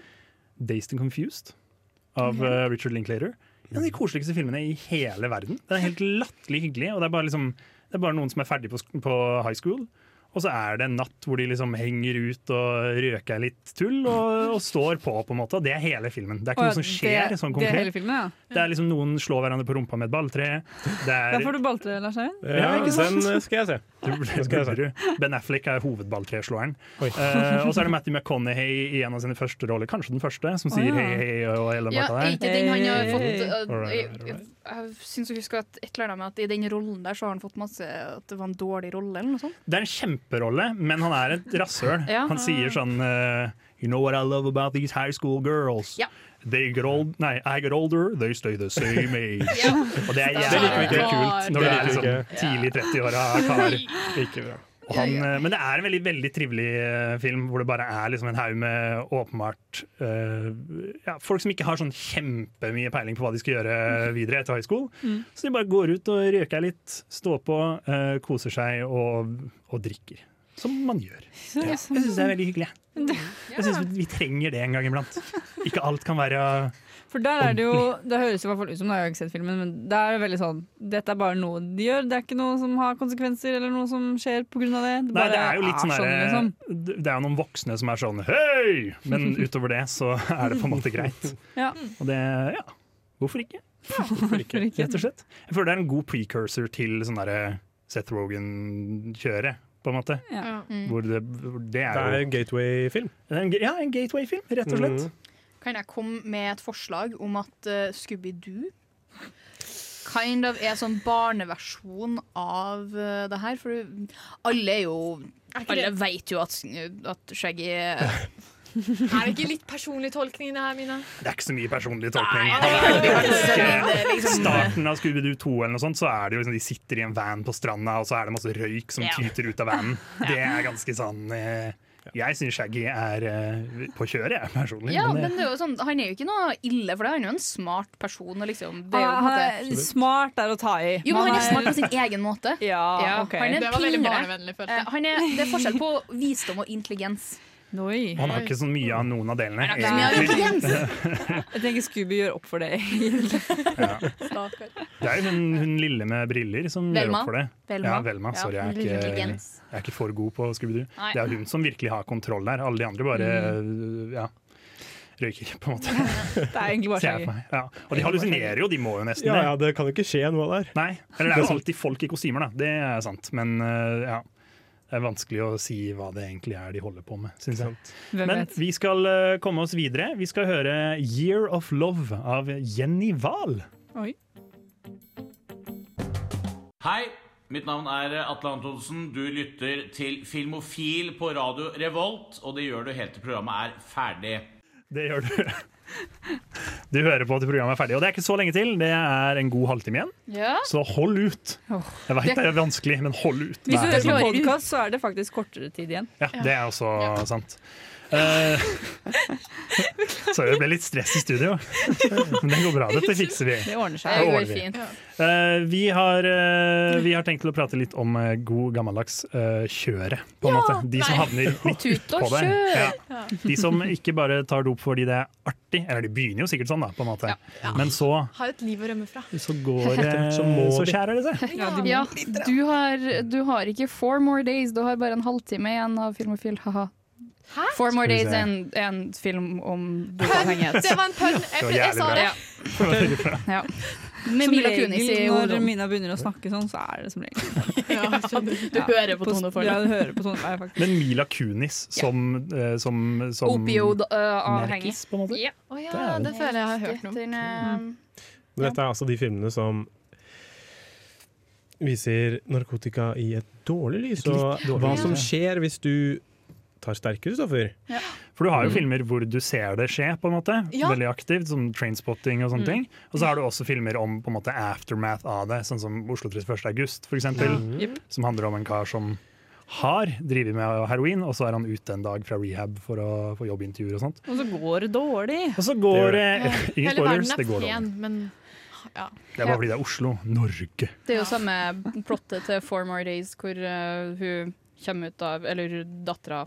[SPEAKER 4] Dazed and Confused av
[SPEAKER 2] Mhm.
[SPEAKER 4] eh, Richard Linklater. En av
[SPEAKER 3] Mm.
[SPEAKER 4] de koseligste filmene i hele verden. Den er helt latterlig hyggelig. Og det er, bare liksom, det er bare noen som er ferdig på, sk- på high school. Og så er det en natt hvor de liksom henger ut og røker litt tull og, og står på. på en måte, og Det er hele filmen. Det er ikke
[SPEAKER 3] Å,
[SPEAKER 4] noe som
[SPEAKER 3] ja,
[SPEAKER 4] skjer
[SPEAKER 3] det-
[SPEAKER 4] sånn
[SPEAKER 3] Det er hele
[SPEAKER 4] konkret.
[SPEAKER 3] filmen, ja.
[SPEAKER 4] Det er liksom Noen slår hverandre på rumpa med et balltre. Det
[SPEAKER 3] Der
[SPEAKER 4] er
[SPEAKER 3] får du balltre, Lars Eivind.
[SPEAKER 4] Ja, ikke sant?
[SPEAKER 10] den eh, skal jeg se.
[SPEAKER 4] Det
[SPEAKER 10] skal
[SPEAKER 4] burde du. Ben Affleck er hovedballtreslåeren.
[SPEAKER 10] Oi.
[SPEAKER 4] Eh, og så er det Matty McConaughey i en av sine første roller, kanskje den første, som
[SPEAKER 5] Å,
[SPEAKER 4] sier
[SPEAKER 5] ja.
[SPEAKER 4] hei, hei og hele
[SPEAKER 5] Ja,
[SPEAKER 4] pakka
[SPEAKER 5] er
[SPEAKER 4] der.
[SPEAKER 5] ikke den han har fått
[SPEAKER 4] Hey.
[SPEAKER 5] uh,
[SPEAKER 4] Alright,
[SPEAKER 5] Jeg,
[SPEAKER 4] alright.
[SPEAKER 5] jeg, jeg syns jeg husker at et eller annet med at i den rollen der så har han fått masse At det var en dårlig rolle, eller noe sånt.
[SPEAKER 4] Det er en kjemperolle, men han er et rasshøl.
[SPEAKER 5] Ja.
[SPEAKER 4] Han sier sånn eh, You know what I love about these high school girls?
[SPEAKER 5] Ja.
[SPEAKER 4] They get old, nei, I get older, they stay the same age.
[SPEAKER 5] Ja.
[SPEAKER 4] Og det er
[SPEAKER 10] Det
[SPEAKER 4] jævlig
[SPEAKER 10] liker vi ikke.
[SPEAKER 4] kult
[SPEAKER 10] Det
[SPEAKER 4] når det er
[SPEAKER 10] liker vi
[SPEAKER 4] liksom
[SPEAKER 10] ikke.
[SPEAKER 4] tidlig 30-åra kar. (laughs)
[SPEAKER 10] Ikke bra.
[SPEAKER 4] Og han, eh, Men det er en veldig veldig trivelig eh, film, hvor det bare er liksom en haug med åpenbart eh, ja, folk som ikke har sånn kjempemye peiling på hva de skal gjøre videre etter high school.
[SPEAKER 2] Mm.
[SPEAKER 4] Så de bare går ut og røker litt, står på, eh, koser seg og, og drikker. Som man gjør. (laughs) Ja. Jeg syns det er veldig (laughs) hyggelig. jeg. Jeg synes vi- Vi trenger det en gang iblant. Ikke alt kan være
[SPEAKER 3] For der er det jo, det høres i hvert fall ut som, nå har jeg jo ikke sett filmen, men det er jo veldig sånn Dette er bare noe de gjør, det er ikke noe som har konsekvenser eller noe som skjer pga. det. Det,
[SPEAKER 4] Nei,
[SPEAKER 3] bare
[SPEAKER 4] det er jo litt sånn derre-
[SPEAKER 3] liksom.
[SPEAKER 4] Det er jo noen voksne som er sånn Hei! Men utover det så er det på en måte greit.
[SPEAKER 3] Ja.
[SPEAKER 4] Og det, ja, hvorfor ikke? Rett og slett. Jeg føler det er en god precursor til sånn derre Seth Rogan-kjøret, på en måte.
[SPEAKER 3] Ja. Mm.
[SPEAKER 4] Hvor det, hvor det er
[SPEAKER 10] Det
[SPEAKER 4] jo
[SPEAKER 10] er Mm. en gateway-film.
[SPEAKER 4] Ja, en gateway-film, rett og slett.
[SPEAKER 14] Kan jeg komme med et forslag om at eh, Scooby-Doo kind of er sånn barneversjon av eh, det her? For alle er jo Alle veit jo at, at Shaggy
[SPEAKER 8] Er det ikke litt personlig tolkning i det her, Mina?
[SPEAKER 4] Det er ikke så mye personlig tolkning.
[SPEAKER 8] Nei, nei, nei, nei,
[SPEAKER 4] Det
[SPEAKER 8] nei,
[SPEAKER 4] er
[SPEAKER 8] nei, nei,
[SPEAKER 4] ikke
[SPEAKER 8] liksom-
[SPEAKER 4] starten av Scooby-Doo 2 eller noe sånt, så er det jo liksom, de sitter i en van på stranda, og så er det masse røyk som
[SPEAKER 2] Ja.
[SPEAKER 4] tyter ut av vanen. Det er ganske sånn eh, Jeg syns Shaggy er eh, på kjøret, jeg, personlig.
[SPEAKER 5] Ja,
[SPEAKER 4] men eh, det-
[SPEAKER 5] men det er jo sånn, han er jo ikke noe ille for det, han er jo en smart person. og Liksom. Det er jo, på en
[SPEAKER 3] Han er
[SPEAKER 5] måte-
[SPEAKER 3] smart er å ta i.
[SPEAKER 5] jo, men han er smart på sin egen måte.
[SPEAKER 3] (laughs) Ja, ok.
[SPEAKER 5] Han er
[SPEAKER 3] Det var veldig
[SPEAKER 5] pinere.
[SPEAKER 3] barnevennlig, følte jeg.
[SPEAKER 5] Eh, han er, det er forskjell på visdom og intelligens.
[SPEAKER 4] Og Han har ikke så mye av noen av delene.
[SPEAKER 5] Han har ikke så mye av
[SPEAKER 3] Jeg tenker Scooby gjør opp for det. (laughs)
[SPEAKER 5] Stakkar.
[SPEAKER 4] Det er jo hun, hun lille med briller som
[SPEAKER 3] Velma.
[SPEAKER 4] gjør opp for det.
[SPEAKER 3] Velma.
[SPEAKER 4] Ja, Velma.
[SPEAKER 3] Ja.
[SPEAKER 4] Sorry, jeg er, ikke,
[SPEAKER 3] Intelligens.
[SPEAKER 4] jeg er ikke for god på Scooby-Doo.
[SPEAKER 3] Nei.
[SPEAKER 4] Det er hun som virkelig har kontroll der. Alle de andre bare øh, ja, røyker, på en måte.
[SPEAKER 3] Det er egentlig
[SPEAKER 4] (laughs)
[SPEAKER 3] bare
[SPEAKER 4] Ser
[SPEAKER 3] Shaggy.
[SPEAKER 4] jeg for meg. Ja. Og de hallusinerer jo, de må jo nesten
[SPEAKER 10] Ja, ja, det kan jo ikke skje noe der.
[SPEAKER 4] Nei, Eller det er
[SPEAKER 10] Det er
[SPEAKER 4] jo
[SPEAKER 10] sant.
[SPEAKER 4] alltid folk i kostymer, da. Det er sant. Men øh, ja. Det er vanskelig å si hva det egentlig er de holder på med, syns jeg.
[SPEAKER 3] Hvem
[SPEAKER 4] Men
[SPEAKER 3] vet?
[SPEAKER 4] vi skal øh, komme oss videre. Vi skal høre 'Year of Love' av Jenny Wahl.
[SPEAKER 3] Oi.
[SPEAKER 19] Hei, mitt navn er Atle Antonsen. Du lytter til Filmofil på Radio Revolt, og det gjør du helt til programmet er ferdig.
[SPEAKER 4] Det gjør du. (laughs) Du hører på til programmet er ferdig, og det er ikke så lenge til. Det er en god halvtime igjen.
[SPEAKER 3] Ja.
[SPEAKER 4] Så hold ut. Jeg veit
[SPEAKER 3] Det-
[SPEAKER 4] det er vanskelig, men hold ut.
[SPEAKER 3] Hvis du
[SPEAKER 4] Vær
[SPEAKER 3] hører på
[SPEAKER 4] sånn.
[SPEAKER 3] podkast, så er det faktisk kortere tid igjen.
[SPEAKER 4] Ja, det er også sant. Eh, (laughs) så det ble litt stress i studio. (laughs) Men det går bra, dette fikser vi.
[SPEAKER 3] Det ordner seg.
[SPEAKER 4] Det ordner vi. Eh, vi, har, eh, vi har tenkt til å prate litt om eh, god gammeldags eh, kjøre, på en
[SPEAKER 2] Ja,
[SPEAKER 4] måte. De som
[SPEAKER 2] nei.
[SPEAKER 4] havner litt
[SPEAKER 2] Tut og
[SPEAKER 4] utpå der.
[SPEAKER 2] kjør.
[SPEAKER 4] Ja.
[SPEAKER 2] Ja.
[SPEAKER 4] De som ikke bare tar dop fordi det er artig, eller de begynner jo sikkert sånn, da, på en måte. Men så,
[SPEAKER 8] Har et liv å rømme fra.
[SPEAKER 4] så går det
[SPEAKER 10] Så må
[SPEAKER 4] Så
[SPEAKER 10] de.
[SPEAKER 4] skjærer det seg.
[SPEAKER 5] Ja, du, har, du har ikke four more days, du har bare en halvtime igjen av Filmofil. Haha. Four more
[SPEAKER 4] Skal vi
[SPEAKER 5] days
[SPEAKER 4] se.
[SPEAKER 5] er en, er en film om dopavhengighet.
[SPEAKER 8] Det var en pønn. Jeg-
[SPEAKER 4] Det var jeg sa jævlig bra. det. Det var veldig bra.
[SPEAKER 5] Ja.
[SPEAKER 3] Som
[SPEAKER 5] Med Mila Kunis i
[SPEAKER 3] regel når
[SPEAKER 5] hovedrollen.
[SPEAKER 3] Mina begynner å snakke sånn, så er det som
[SPEAKER 5] (laughs)
[SPEAKER 3] regel.
[SPEAKER 5] Du hører på tonefallet.
[SPEAKER 3] Ja, du hører på tonefallet, faktisk.
[SPEAKER 4] Men Mila Kunis som, eh, som, som
[SPEAKER 5] Opioid-avhengig.
[SPEAKER 4] Merkes, på en måte.
[SPEAKER 5] Ja.
[SPEAKER 4] Det er det.
[SPEAKER 8] det føler jeg har hørt noe om.
[SPEAKER 10] Men dette er altså de filmene som viser narkotika i et dårlig lys,
[SPEAKER 4] Et litt
[SPEAKER 10] og
[SPEAKER 4] dårlig
[SPEAKER 10] hva
[SPEAKER 4] lys,
[SPEAKER 10] som
[SPEAKER 4] ja.
[SPEAKER 10] skjer hvis du tar sterkere stoffer.
[SPEAKER 4] Ja. For du har jo
[SPEAKER 10] Mm.
[SPEAKER 4] filmer hvor du ser det skje, på en måte.
[SPEAKER 10] Ja.
[SPEAKER 4] Veldig aktivt, som Trainspotting og sånne
[SPEAKER 10] Mm.
[SPEAKER 4] ting. Og så har du også filmer om på en måte aftermath av det, sånn som Oslo 31. august, for eksempel.
[SPEAKER 10] Ja. Jepp.
[SPEAKER 4] Som handler om en kar som har drevet med heroin, og så er han ute en dag fra rehab for å få jobbintervjuer og sånt.
[SPEAKER 3] Og så går det dårlig.
[SPEAKER 4] Og så går
[SPEAKER 8] Ja.
[SPEAKER 4] det (laughs) Ingen
[SPEAKER 8] Hele verden
[SPEAKER 4] spoilers,
[SPEAKER 8] er
[SPEAKER 4] det går dårlig.
[SPEAKER 8] pen, men ja.
[SPEAKER 4] Det er bare fordi det er Oslo, Norge.
[SPEAKER 5] Det er jo samme plottet til Four More Days, hvor eh, hun kommer ut av Eller dattera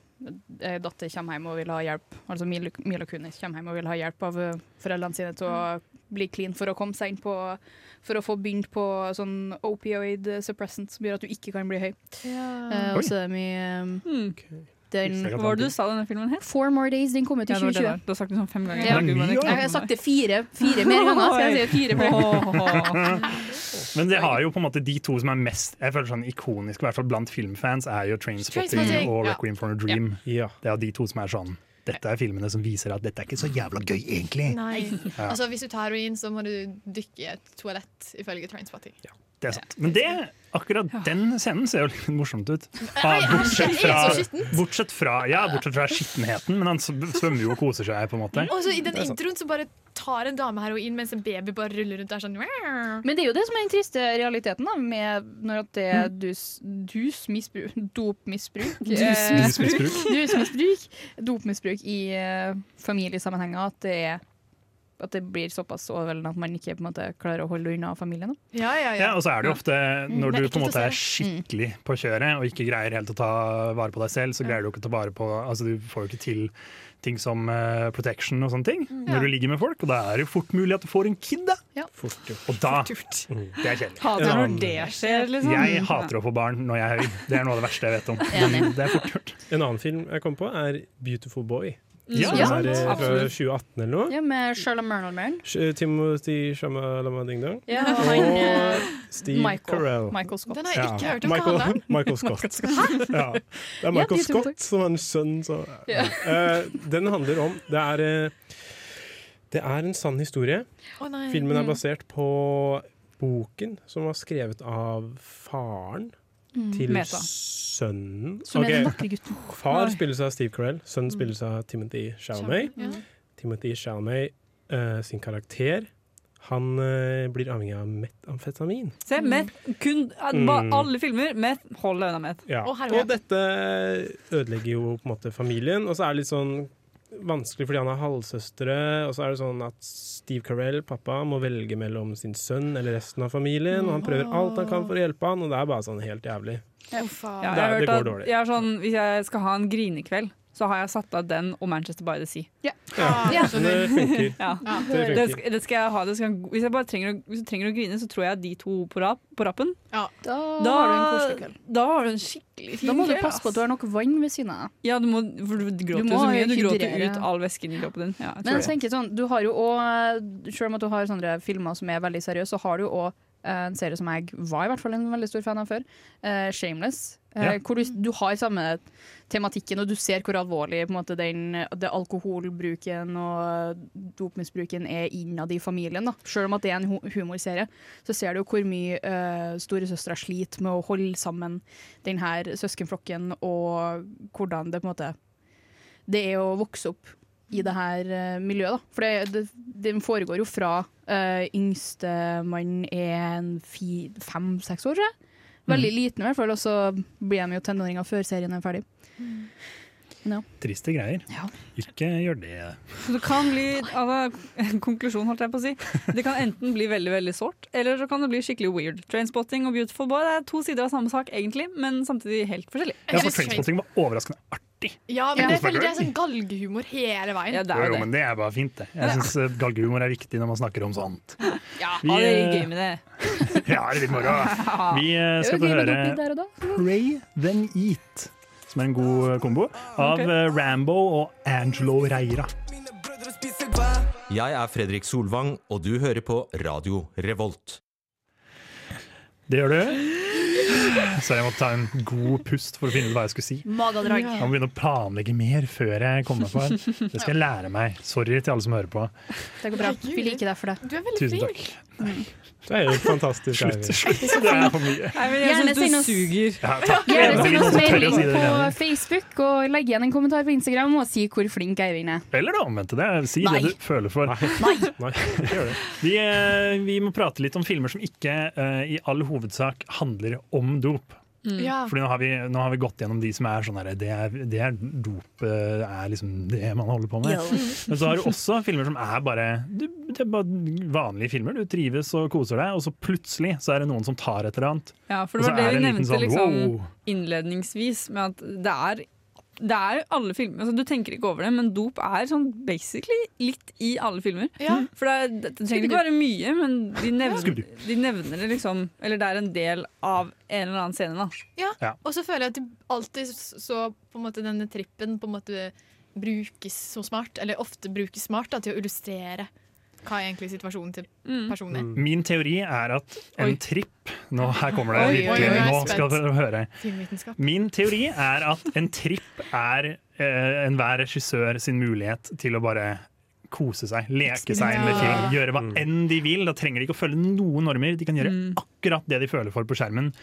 [SPEAKER 5] eh, Datter kommer hjem og vil ha hjelp. Altså Mila, Mila Kunis kommer hjem og vil ha hjelp av eh, foreldrene sine til å bli clean for å komme seg inn på For å få begynt på sånn opioid suppressant som gjør at du ikke kan bli høy. Eh, og så er det mye eh, den,
[SPEAKER 3] Hmm. Hva var det du sa denne filmen het?
[SPEAKER 5] Four More Days, den kom ut i
[SPEAKER 3] Ja, det var det
[SPEAKER 5] 2020.
[SPEAKER 3] der. Du har sagt det sånn fem ganger.
[SPEAKER 5] Ja.
[SPEAKER 3] Det er mye, ja.
[SPEAKER 5] Jeg har sagt det fire, fire mer ganger. Skal jeg si det fire flere?
[SPEAKER 4] Men det har jo på en måte de to som er mest Jeg føler sånn ikoniske, i hvert fall blant filmfans, er jo Trainspotting
[SPEAKER 10] Trainspotting,
[SPEAKER 4] og
[SPEAKER 10] ja.
[SPEAKER 4] Requiem for a Dream. Det er jo de to som er sånn Dette er filmene som viser at dette er ikke så jævla gøy, egentlig.
[SPEAKER 8] Nei.
[SPEAKER 4] Ja,
[SPEAKER 8] Altså, hvis du tar heroin, så må du dykke i et toalett, ifølge Trainspotting.
[SPEAKER 4] det er sant. Men det, akkurat den scenen ser jo litt morsomt ut.
[SPEAKER 8] Nei, jeg-
[SPEAKER 4] bortsett,
[SPEAKER 8] jeg er
[SPEAKER 4] fra,
[SPEAKER 8] så skittent.
[SPEAKER 4] bortsett fra Ja, bortsett fra skittenheten, men han sv- svømmer jo og koser seg, på en måte.
[SPEAKER 8] Og så I den
[SPEAKER 4] Det er sant.
[SPEAKER 8] introen så bare tar en dame heroin mens en baby bare ruller rundt der sånn
[SPEAKER 5] Men det er jo det som er den triste realiteten da, med når at det er
[SPEAKER 10] Mm.
[SPEAKER 5] dus, dusmisbruk,
[SPEAKER 10] (laughs)
[SPEAKER 5] dopmisbruk eh, (laughs)
[SPEAKER 3] Dusmisbruk.
[SPEAKER 5] Dusmisbruk. Dopmisbruk i eh, familiesammenhenger. At det, er, at det blir såpass overveldende at man ikke på en måte, klarer å holde unna familien. Da.
[SPEAKER 4] Ja, altså- og så er det jo ofte når du
[SPEAKER 5] Mm. Det er
[SPEAKER 4] på en
[SPEAKER 5] ekkelt å
[SPEAKER 4] måte er
[SPEAKER 5] se. Mm.
[SPEAKER 4] skikkelig på kjøret og ikke greier helt å ta vare på deg selv, så greier du ikke å ta vare på Altså Du får jo ikke til ting som eh, protection og sånne ting
[SPEAKER 5] Mm. Ja.
[SPEAKER 4] når du ligger med folk, og da er det jo fort mulig at du får en kid, da.
[SPEAKER 5] Ja.
[SPEAKER 4] Og da Det er kjedelig.
[SPEAKER 3] Hater
[SPEAKER 4] Ja.
[SPEAKER 3] når det skjer, liksom.
[SPEAKER 4] Jeg hater å få barn når jeg er høy. Det er noe av det verste jeg vet om. Men det er fort gjort.
[SPEAKER 10] En annen film jeg kom på, er 'Beautiful Boy'.
[SPEAKER 5] Ja,
[SPEAKER 10] som er eh, fra
[SPEAKER 5] absolutt.
[SPEAKER 10] 2018 eller noe.
[SPEAKER 5] Ja, med Sherlock Mernolman.
[SPEAKER 10] Sh- eh, Timothy Shamalama Ding Dong.
[SPEAKER 5] Ja,
[SPEAKER 10] og
[SPEAKER 5] han, eh,
[SPEAKER 10] Steve
[SPEAKER 5] Michael-
[SPEAKER 10] Carell.
[SPEAKER 5] Michael Scott. Den har
[SPEAKER 8] jeg ikke hørt om. Hva
[SPEAKER 10] Michael,
[SPEAKER 8] handler den?
[SPEAKER 10] (laughs) Michael Scott.
[SPEAKER 8] Michael Scott.
[SPEAKER 10] Ja. Det er
[SPEAKER 8] Ja,
[SPEAKER 10] Michael
[SPEAKER 8] de to.
[SPEAKER 10] Scott som er en sønn så,
[SPEAKER 8] Ja.
[SPEAKER 10] Eh, Den handler om Det er, eh, det er en sann historie.
[SPEAKER 8] Å, nei.
[SPEAKER 10] Filmen er
[SPEAKER 8] Mm.
[SPEAKER 10] basert på boken som var skrevet av faren
[SPEAKER 5] Mm.
[SPEAKER 10] til
[SPEAKER 5] Meta.
[SPEAKER 10] sønnen.
[SPEAKER 5] Som er den
[SPEAKER 10] Ok.
[SPEAKER 5] vakre gutten.
[SPEAKER 10] Far
[SPEAKER 5] Nei.
[SPEAKER 10] spilles av Steve Carell, sønnen spilles av Timothy Chalamet.
[SPEAKER 5] Chalamet, ja.
[SPEAKER 10] Timothy Chalamet eh, sin karakter Han eh, blir avhengig av metamfetamin.
[SPEAKER 3] Se, meth. Kun, eh,
[SPEAKER 10] Mm.
[SPEAKER 3] ba- alle filmer, meth. Hold deg unna meth.
[SPEAKER 10] Ja. Og, dette ødelegger jo på en måte familien. Og så er det litt sånn vanskelig fordi han har halvsøstre. Og så er det sånn at Steve Carell, pappa, må velge mellom sin sønn eller resten av familien. Og han prøver alt han kan for å hjelpe han, og det er bare sånn helt jævlig.
[SPEAKER 3] Ja, jeg
[SPEAKER 10] Det-
[SPEAKER 3] har
[SPEAKER 10] det går
[SPEAKER 3] hørt at
[SPEAKER 10] dårlig.
[SPEAKER 3] jeg er sånn, hvis jeg skal ha en grinekveld, så har jeg satt av den og Manchester by the Sea.
[SPEAKER 10] Ja. Ja. Men det funker.
[SPEAKER 3] Ja.
[SPEAKER 10] Ja. Det funker.
[SPEAKER 3] Det skal, det skal jeg ha. Det skal, hvis jeg bare trenger, å- hvis jeg trenger å grine, så tror jeg de to på, rap, på rappen.
[SPEAKER 5] Da,
[SPEAKER 3] Da-
[SPEAKER 5] har du en koselig kveld.
[SPEAKER 3] Da har du en skikkelig fin
[SPEAKER 5] Da må du
[SPEAKER 3] kveld,
[SPEAKER 5] passe
[SPEAKER 3] ass.
[SPEAKER 5] på at du har nok vann ved siden av. deg.
[SPEAKER 3] Ja, du må, for du gråter
[SPEAKER 5] Du
[SPEAKER 3] jo
[SPEAKER 5] må
[SPEAKER 3] så mye. Du gråter
[SPEAKER 5] hydrere.
[SPEAKER 3] ut all væsken i kroppen din. Ja, jeg tror
[SPEAKER 5] Men jeg
[SPEAKER 3] det.
[SPEAKER 5] tenker sånn, du har jo også, selv om at du har sånne filmer som er veldig seriøse, så har du jo også eh, en serie som jeg var i hvert fall en veldig stor fan av før, eh, Shameless, eh,
[SPEAKER 3] Ja.
[SPEAKER 5] hvor du, du har samme tematikken, og du ser hvor alvorlig på en måte, den, det alkoholbruken og dopmisbruken er innad i familien. Da. Selv om at det er en hu- humorserie, så ser du jo hvor mye uh, storesøstra sliter med å holde sammen denne søskenflokken, og hvordan det på en måte det er å vokse opp i det her eh, miljøet. Da. For det, det, den foregår jo fra uh, yngste mann er en fi- fem-seks år, tror jeg.
[SPEAKER 4] Mm.
[SPEAKER 5] Veldig liten i hvert fall, og så blir de jo tenåringer før serien er ferdig. Ja.
[SPEAKER 4] Triste greier. Ikke gjør det.
[SPEAKER 3] Så det kan bli altså, en Konklusjon, holdt jeg på å si. Det kan enten bli veldig veldig sårt, eller så kan det bli skikkelig weird. Trainspotting og Beautiful Boy det er to sider av samme sak, egentlig, men samtidig helt forskjellig.
[SPEAKER 4] Ja, for Trainspotting var overraskende artig.
[SPEAKER 8] Ja, men
[SPEAKER 4] Ja.
[SPEAKER 8] jeg føler det er sånn galgehumor hele veien.
[SPEAKER 4] Jo, jo, men det er bare fint, det. Jeg syns eh, galgehumor er viktig når man snakker om sånt.
[SPEAKER 3] Ja,
[SPEAKER 4] Vi,
[SPEAKER 3] det er
[SPEAKER 4] eh,
[SPEAKER 3] gøy med det.
[SPEAKER 4] (laughs) Ja, det er litt moro. Vi eh, skal få høre Pray Then Eat, som er en god eh, kombo, av
[SPEAKER 12] Ok.
[SPEAKER 4] eh, Rambo og Angelo Reira.
[SPEAKER 12] Jeg er Fredrik Solvang, og du hører på Radio Revolt.
[SPEAKER 4] Det gjør du. Så jeg måtte ta en god pust for å finne ut hva jeg skulle si.
[SPEAKER 5] Magadrag.
[SPEAKER 4] Jeg må begynne å planlegge mer før jeg kommer på det. Det skal jeg lære meg. Sorry til alle som hører på.
[SPEAKER 5] Det går bra. Vi liker deg for det.
[SPEAKER 8] Du er
[SPEAKER 4] Tusen takk.
[SPEAKER 10] Det er jo et fantastisk.
[SPEAKER 4] Slutt,
[SPEAKER 10] Eivind.
[SPEAKER 4] slutt. (laughs) Det er for mye.
[SPEAKER 3] Nei, men
[SPEAKER 5] Gjerne
[SPEAKER 3] jeg syns
[SPEAKER 5] send
[SPEAKER 3] du
[SPEAKER 5] oss-
[SPEAKER 3] suger.
[SPEAKER 4] Ja, takk.
[SPEAKER 5] Gjerne send
[SPEAKER 4] Tør å
[SPEAKER 5] oss
[SPEAKER 4] si
[SPEAKER 5] melding
[SPEAKER 4] det,
[SPEAKER 5] på
[SPEAKER 4] Eivind.
[SPEAKER 5] Facebook, og legg igjen en kommentar på Instagram og si hvor flink Eivind er.
[SPEAKER 4] Eller det omvendte. det. Si
[SPEAKER 5] Nei.
[SPEAKER 4] det du føler for. Nei. ikke gjør det. Vi, eh, vi må prate litt om filmer som ikke eh, i all hovedsak handler om dop.
[SPEAKER 8] Mm. Ja.
[SPEAKER 4] Fordi nå har, vi, nå har vi gått gjennom de som er sånn her, det, er, det er dop eh, er liksom det man holder på med.
[SPEAKER 8] Ja.
[SPEAKER 4] Men så har du også filmer som er bare, det, det er bare vanlige filmer. Du trives og koser deg, og så plutselig så er det noen som tar et eller annet.
[SPEAKER 3] Ja, for det
[SPEAKER 4] Og så
[SPEAKER 3] var det
[SPEAKER 4] er
[SPEAKER 3] vi
[SPEAKER 4] det en
[SPEAKER 3] nevnte
[SPEAKER 4] liten sånn,
[SPEAKER 3] liksom,
[SPEAKER 4] wow.
[SPEAKER 3] innledningsvis, med at det er, det er alle filmer altså, Du tenker ikke over det, men dop er sånn basically litt i alle filmer. Mm.
[SPEAKER 8] Ja.
[SPEAKER 3] For det, er- det, det trenger ikke være mye, men de nevner,
[SPEAKER 8] Skubbedupp.
[SPEAKER 3] de nevner det liksom Eller det er en del av en eller annen scene, da.
[SPEAKER 8] Ja.
[SPEAKER 3] Ja.
[SPEAKER 8] Og så føler jeg at de alltid så på en måte denne trippen på en måte brukes så smart, eller ofte brukes smart, da, til å illustrere hva er egentlig situasjonen til
[SPEAKER 3] Mm.
[SPEAKER 8] personen er.
[SPEAKER 4] Min teori er at en tripp Nå her kommer det
[SPEAKER 8] Oi, oi,
[SPEAKER 4] virkelig,
[SPEAKER 8] oi, jeg er
[SPEAKER 4] nå skal
[SPEAKER 8] spent.
[SPEAKER 4] dere høre.
[SPEAKER 8] Filmvitenskap.
[SPEAKER 4] Min teori er at en tripp er eh, enhver regissør sin mulighet til å bare kose seg, leke seg med film,
[SPEAKER 10] Eksperimentere.
[SPEAKER 4] gjøre hva enn de vil. Da trenger de ikke å følge noen normer. De kan gjøre
[SPEAKER 8] Mm.
[SPEAKER 4] akkurat det de føler for på skjermen.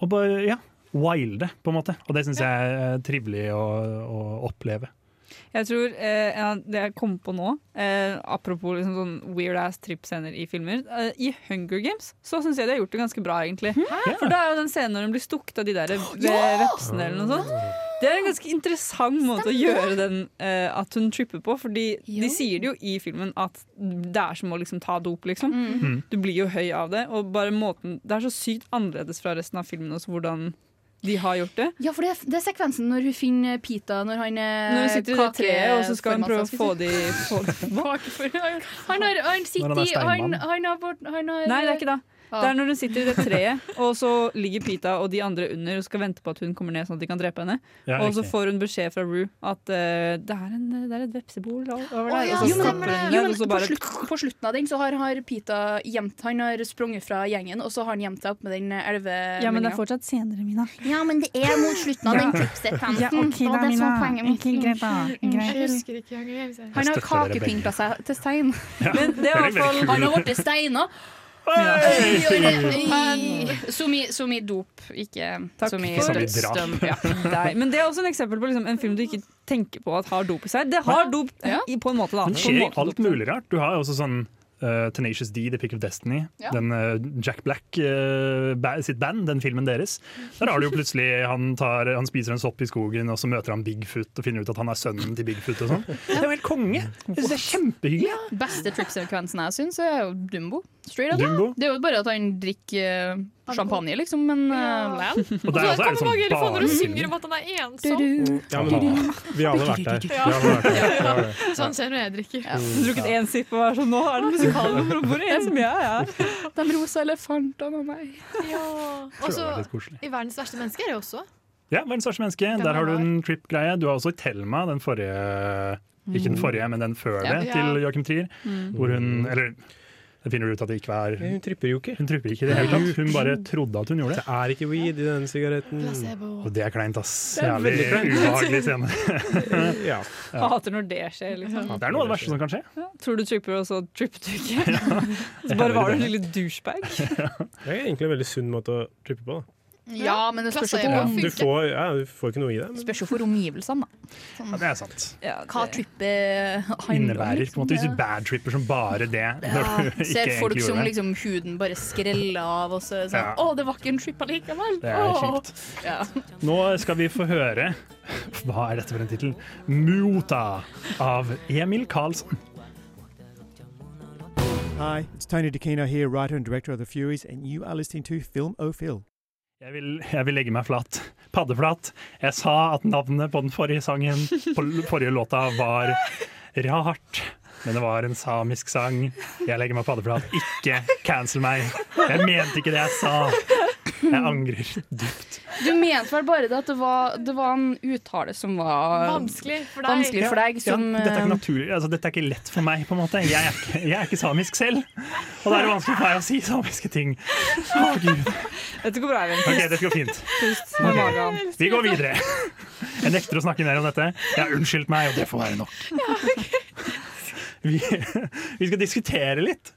[SPEAKER 4] Og bare, ja, wilde, på en måte. Og det syns jeg er trivelig å, å oppleve.
[SPEAKER 3] Jeg tror eh, ja, Det jeg kom på nå, eh, apropos liksom sånn weird ass trip-scener i filmer eh, I Hunger Games så syns jeg de har gjort det ganske bra, egentlig. For da er jo den scenen når hun blir stukket av de der ve- vepsene eller noe sånt. Det er en ganske interessant måte å gjøre den eh, at hun tripper på. Fordi de sier det jo i filmen at det er som å liksom ta dop, liksom.
[SPEAKER 5] Mm. Mm.
[SPEAKER 3] Du blir jo høy av det. Og bare måten Det er så sykt annerledes fra resten av filmen også, hvordan de har gjort det.
[SPEAKER 5] Ja, for det, er- det er sekvensen når hun finner Pita når han er
[SPEAKER 3] Når hun sitter i det treet, og så skal hun prøve å få de få (laughs)
[SPEAKER 5] Han, har, han
[SPEAKER 3] Når
[SPEAKER 5] sitter
[SPEAKER 3] han er
[SPEAKER 5] i han,
[SPEAKER 3] steinmann.
[SPEAKER 5] han har, bort- han har
[SPEAKER 3] Nei, det er ikke da.
[SPEAKER 5] Ja.
[SPEAKER 3] Det er når hun sitter i det treet, og så ligger Pita og de andre under og skal vente på at hun kommer ned, sånn at de kan drepe henne.
[SPEAKER 5] Ja,
[SPEAKER 3] og så
[SPEAKER 5] riktig.
[SPEAKER 3] får hun beskjed fra Rue at eh, det, er en, det er et vepsebol o- over der.
[SPEAKER 5] Å, ja,
[SPEAKER 3] og så
[SPEAKER 5] stemmer
[SPEAKER 3] stopper
[SPEAKER 5] det.
[SPEAKER 3] hun
[SPEAKER 5] Jo,
[SPEAKER 3] der,
[SPEAKER 5] men
[SPEAKER 3] og så
[SPEAKER 5] på,
[SPEAKER 3] altså bare
[SPEAKER 5] slutt, på slutten av den så har, har Pita gjemt Han har sprunget fra gjengen, og så har han gjemt seg opp med den elve...
[SPEAKER 3] Ja, men det er fortsatt senere, Mina.
[SPEAKER 5] Ja, men det er mot slutten av den tripsettansen.
[SPEAKER 3] Ja, ok da, Mina. Ok, greit da. Greit.
[SPEAKER 8] Mm.
[SPEAKER 5] Jeg
[SPEAKER 8] husker ikke Hunger Games. jeg.
[SPEAKER 5] Han har
[SPEAKER 3] Jeg støtter dere
[SPEAKER 5] kakepynta seg til stein.
[SPEAKER 3] Ja, Men det er det er i hvert fall- veldig kult.
[SPEAKER 5] Han har blitt steina.
[SPEAKER 3] Hei!
[SPEAKER 5] Som i, som i dop, ikke som i
[SPEAKER 3] for-
[SPEAKER 5] dødsdøm.
[SPEAKER 3] Ja. Nei, Men det er også en eksempel på liksom, en film du ikke tenker på at har dop i seg. Det har dop i- på en måte, da.
[SPEAKER 4] Men det
[SPEAKER 3] På en
[SPEAKER 4] skjer i
[SPEAKER 3] måte.
[SPEAKER 4] alt mulig rart. Du har jo også sånn eh, Tenacious D, The Pick of Destiny,
[SPEAKER 3] Ja.
[SPEAKER 4] den eh, Jack Black eh, ba sitt band, den filmen deres. Der har du jo plutselig han, tar, han spiser en sopp i skogen, og så møter han Bigfoot og finner ut at han er sønnen til Bigfoot og sånn. Det er jo helt konge! Jeg synes Det er kjempehyggelig.
[SPEAKER 5] (laughs) Beste tripsekvensen jeg syns, er jo Dumbo. Straight up.
[SPEAKER 4] Dumbo?
[SPEAKER 5] Det er jo bare at han drikker eh, champagne, liksom, men uh, vel.
[SPEAKER 4] Og der også er det sånn barnefilm.
[SPEAKER 8] om at han er ensom.
[SPEAKER 10] Ja, men vi har alle vært der. Vi har alle vært der. Vi har det.
[SPEAKER 8] Sånn skjer når jeg
[SPEAKER 3] Du
[SPEAKER 8] drikker. (laughs)
[SPEAKER 3] har drukket én sipp og er sånn Nå er det musikalen hvor hvor er jeg som jeg er?
[SPEAKER 5] De rosa elefantene og meg.
[SPEAKER 8] Ja.
[SPEAKER 4] Tror det
[SPEAKER 8] Også,
[SPEAKER 4] var litt koselig.
[SPEAKER 8] I 'Verdens verste menneske' er det også.
[SPEAKER 4] Ja, Verdens verste menneske. Der har du en trip-greie. Du har også Thelma, den forrige Ikke den forrige, men den før
[SPEAKER 8] Ja.
[SPEAKER 4] det,
[SPEAKER 8] Ja.
[SPEAKER 4] til Joachim Trier.
[SPEAKER 8] Mm.
[SPEAKER 4] Hvor hun Eller det finner du ut at det ikke var Hun
[SPEAKER 10] tripper jo ikke.
[SPEAKER 4] Hun tripper ikke i det hele tatt. Hun bare trodde at hun gjorde det.
[SPEAKER 10] Det er ikke weed i den sigaretten.
[SPEAKER 4] Og det er kleint, ass.
[SPEAKER 10] Det er
[SPEAKER 4] Jævlig
[SPEAKER 10] veldig kleint.
[SPEAKER 4] ubehagelig scene.
[SPEAKER 10] ja.
[SPEAKER 3] Jeg hater når det skjer. Liksom.
[SPEAKER 4] Det er noe av det verste som kan skje.
[SPEAKER 3] Ja, Tror du tripper, og så tripper du
[SPEAKER 4] (laughs)
[SPEAKER 3] ikke. (laughs) så bare var du en lille douchebag.
[SPEAKER 10] Det er egentlig en veldig sunn måte å trippe på. Da.
[SPEAKER 5] Ja, men det spørs jo
[SPEAKER 10] Ja,
[SPEAKER 5] på
[SPEAKER 10] du, får, ja, du får ikke noe i det. Men
[SPEAKER 5] spørs jo for omgivelsene, da. Sånn.
[SPEAKER 4] Ja, det er sant.
[SPEAKER 5] Hva trippet handler om,
[SPEAKER 4] Innebærer på en måte,
[SPEAKER 5] liksom.
[SPEAKER 4] Hvis du badtripper som bare det når
[SPEAKER 5] Ja,
[SPEAKER 4] du ikke
[SPEAKER 5] ser folk
[SPEAKER 4] egentlig
[SPEAKER 5] som
[SPEAKER 4] gjorde det.
[SPEAKER 5] liksom huden bare skreller av, og så er det sånn
[SPEAKER 4] Ja.
[SPEAKER 5] Å, det var ikke en trip allikevel!
[SPEAKER 4] Det er
[SPEAKER 5] Åh!»
[SPEAKER 4] kjipt.
[SPEAKER 5] Ja.
[SPEAKER 4] Nå skal vi få høre Hva er dette for en tittel? Muta av Emil Karlsen.
[SPEAKER 17] Hi, it's Tony DeCino here, writer and director of The Furies, and you are listening to Film O'Phil.
[SPEAKER 4] Jeg vil, jeg vil legge meg flat. Paddeflat. Jeg sa at navnet på den forrige sangen på l- forrige låta var rart. Men det var en samisk sang. Jeg legger meg paddeflat. Ikke cancel meg. Jeg mente ikke det jeg sa. Jeg angrer dypt.
[SPEAKER 5] Du mente vel bare det at det var, det var en uttale som var
[SPEAKER 8] Vanskelig for deg.
[SPEAKER 5] Vanskelig for deg som eh,
[SPEAKER 4] ja, dette, er ikke naturlig, altså, dette er ikke lett for meg, på en måte. Jeg er ikke, jeg er ikke samisk selv. Og da er det vanskelig for meg å si samiske ting. Å, Gud.
[SPEAKER 3] Dette går bra, Eivind.
[SPEAKER 4] Ok, dette går fint.
[SPEAKER 3] Pust med magen.
[SPEAKER 4] Ok, Vi går videre. Jeg nekter å snakke mer om dette. Jeg har unnskyldt meg, og det får være nok. Vi, vi skal diskutere litt.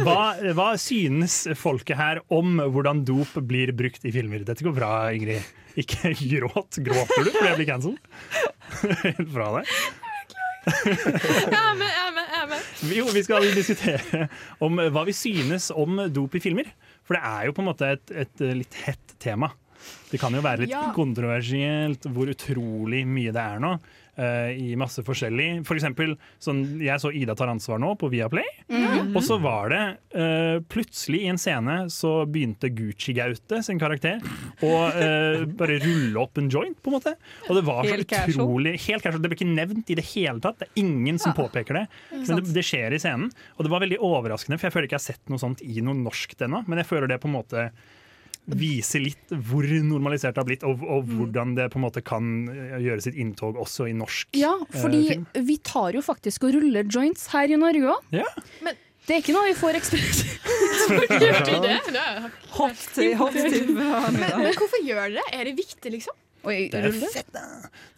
[SPEAKER 4] Hva, hva synes folket her om hvordan dop blir brukt i filmer? Dette går bra, Ingrid. Ikke gråt. Gråter du fordi jeg blir cancelled? (laughs) Helt fra deg.
[SPEAKER 8] (laughs) Jeg er med, jeg er med! jeg er med
[SPEAKER 4] Jo, vi skal diskutere om hva vi synes om dop i filmer. For det er jo på en måte et, et litt hett tema. Det kan jo være litt
[SPEAKER 8] Ja.
[SPEAKER 4] kontroversielt hvor utrolig mye det er nå. eh, I masse forskjellig. For eksempel, sånn, jeg så Ida tar ansvar nå på Viaplay.
[SPEAKER 20] Mhm.
[SPEAKER 4] Og så var det eh, plutselig i en scene så begynte Gucci Gaute sin karakter å eh, bare rulle opp en joint, på en måte. Og det var så
[SPEAKER 20] Helt casual.
[SPEAKER 4] utrolig Helt casual. Det ble ikke nevnt i det hele tatt. Det er ingen som påpeker det.
[SPEAKER 20] Ikke
[SPEAKER 4] Men det,
[SPEAKER 20] sant.
[SPEAKER 4] det skjer i scenen. Og det var veldig overraskende, for jeg føler ikke jeg har sett noe sånt i noe norsk ennå. Men jeg føler det på en måte viser litt hvor normalisert det har blitt, og, og hvordan det på en måte kan eh, gjøre sitt inntog også i norsk
[SPEAKER 5] Ja,
[SPEAKER 4] eh,
[SPEAKER 5] fordi
[SPEAKER 4] film.
[SPEAKER 5] vi tar jo faktisk og ruller joints her i Norge òg.
[SPEAKER 4] Ja.
[SPEAKER 5] Det er ikke noe vi får ekspress.
[SPEAKER 8] (laughs) Gjør du det? det har jeg ikke-
[SPEAKER 21] Hopp til, hopp til.
[SPEAKER 4] (laughs)
[SPEAKER 8] men, men hvorfor gjør dere det? Er det viktig, liksom?
[SPEAKER 4] Det er rulle? fett,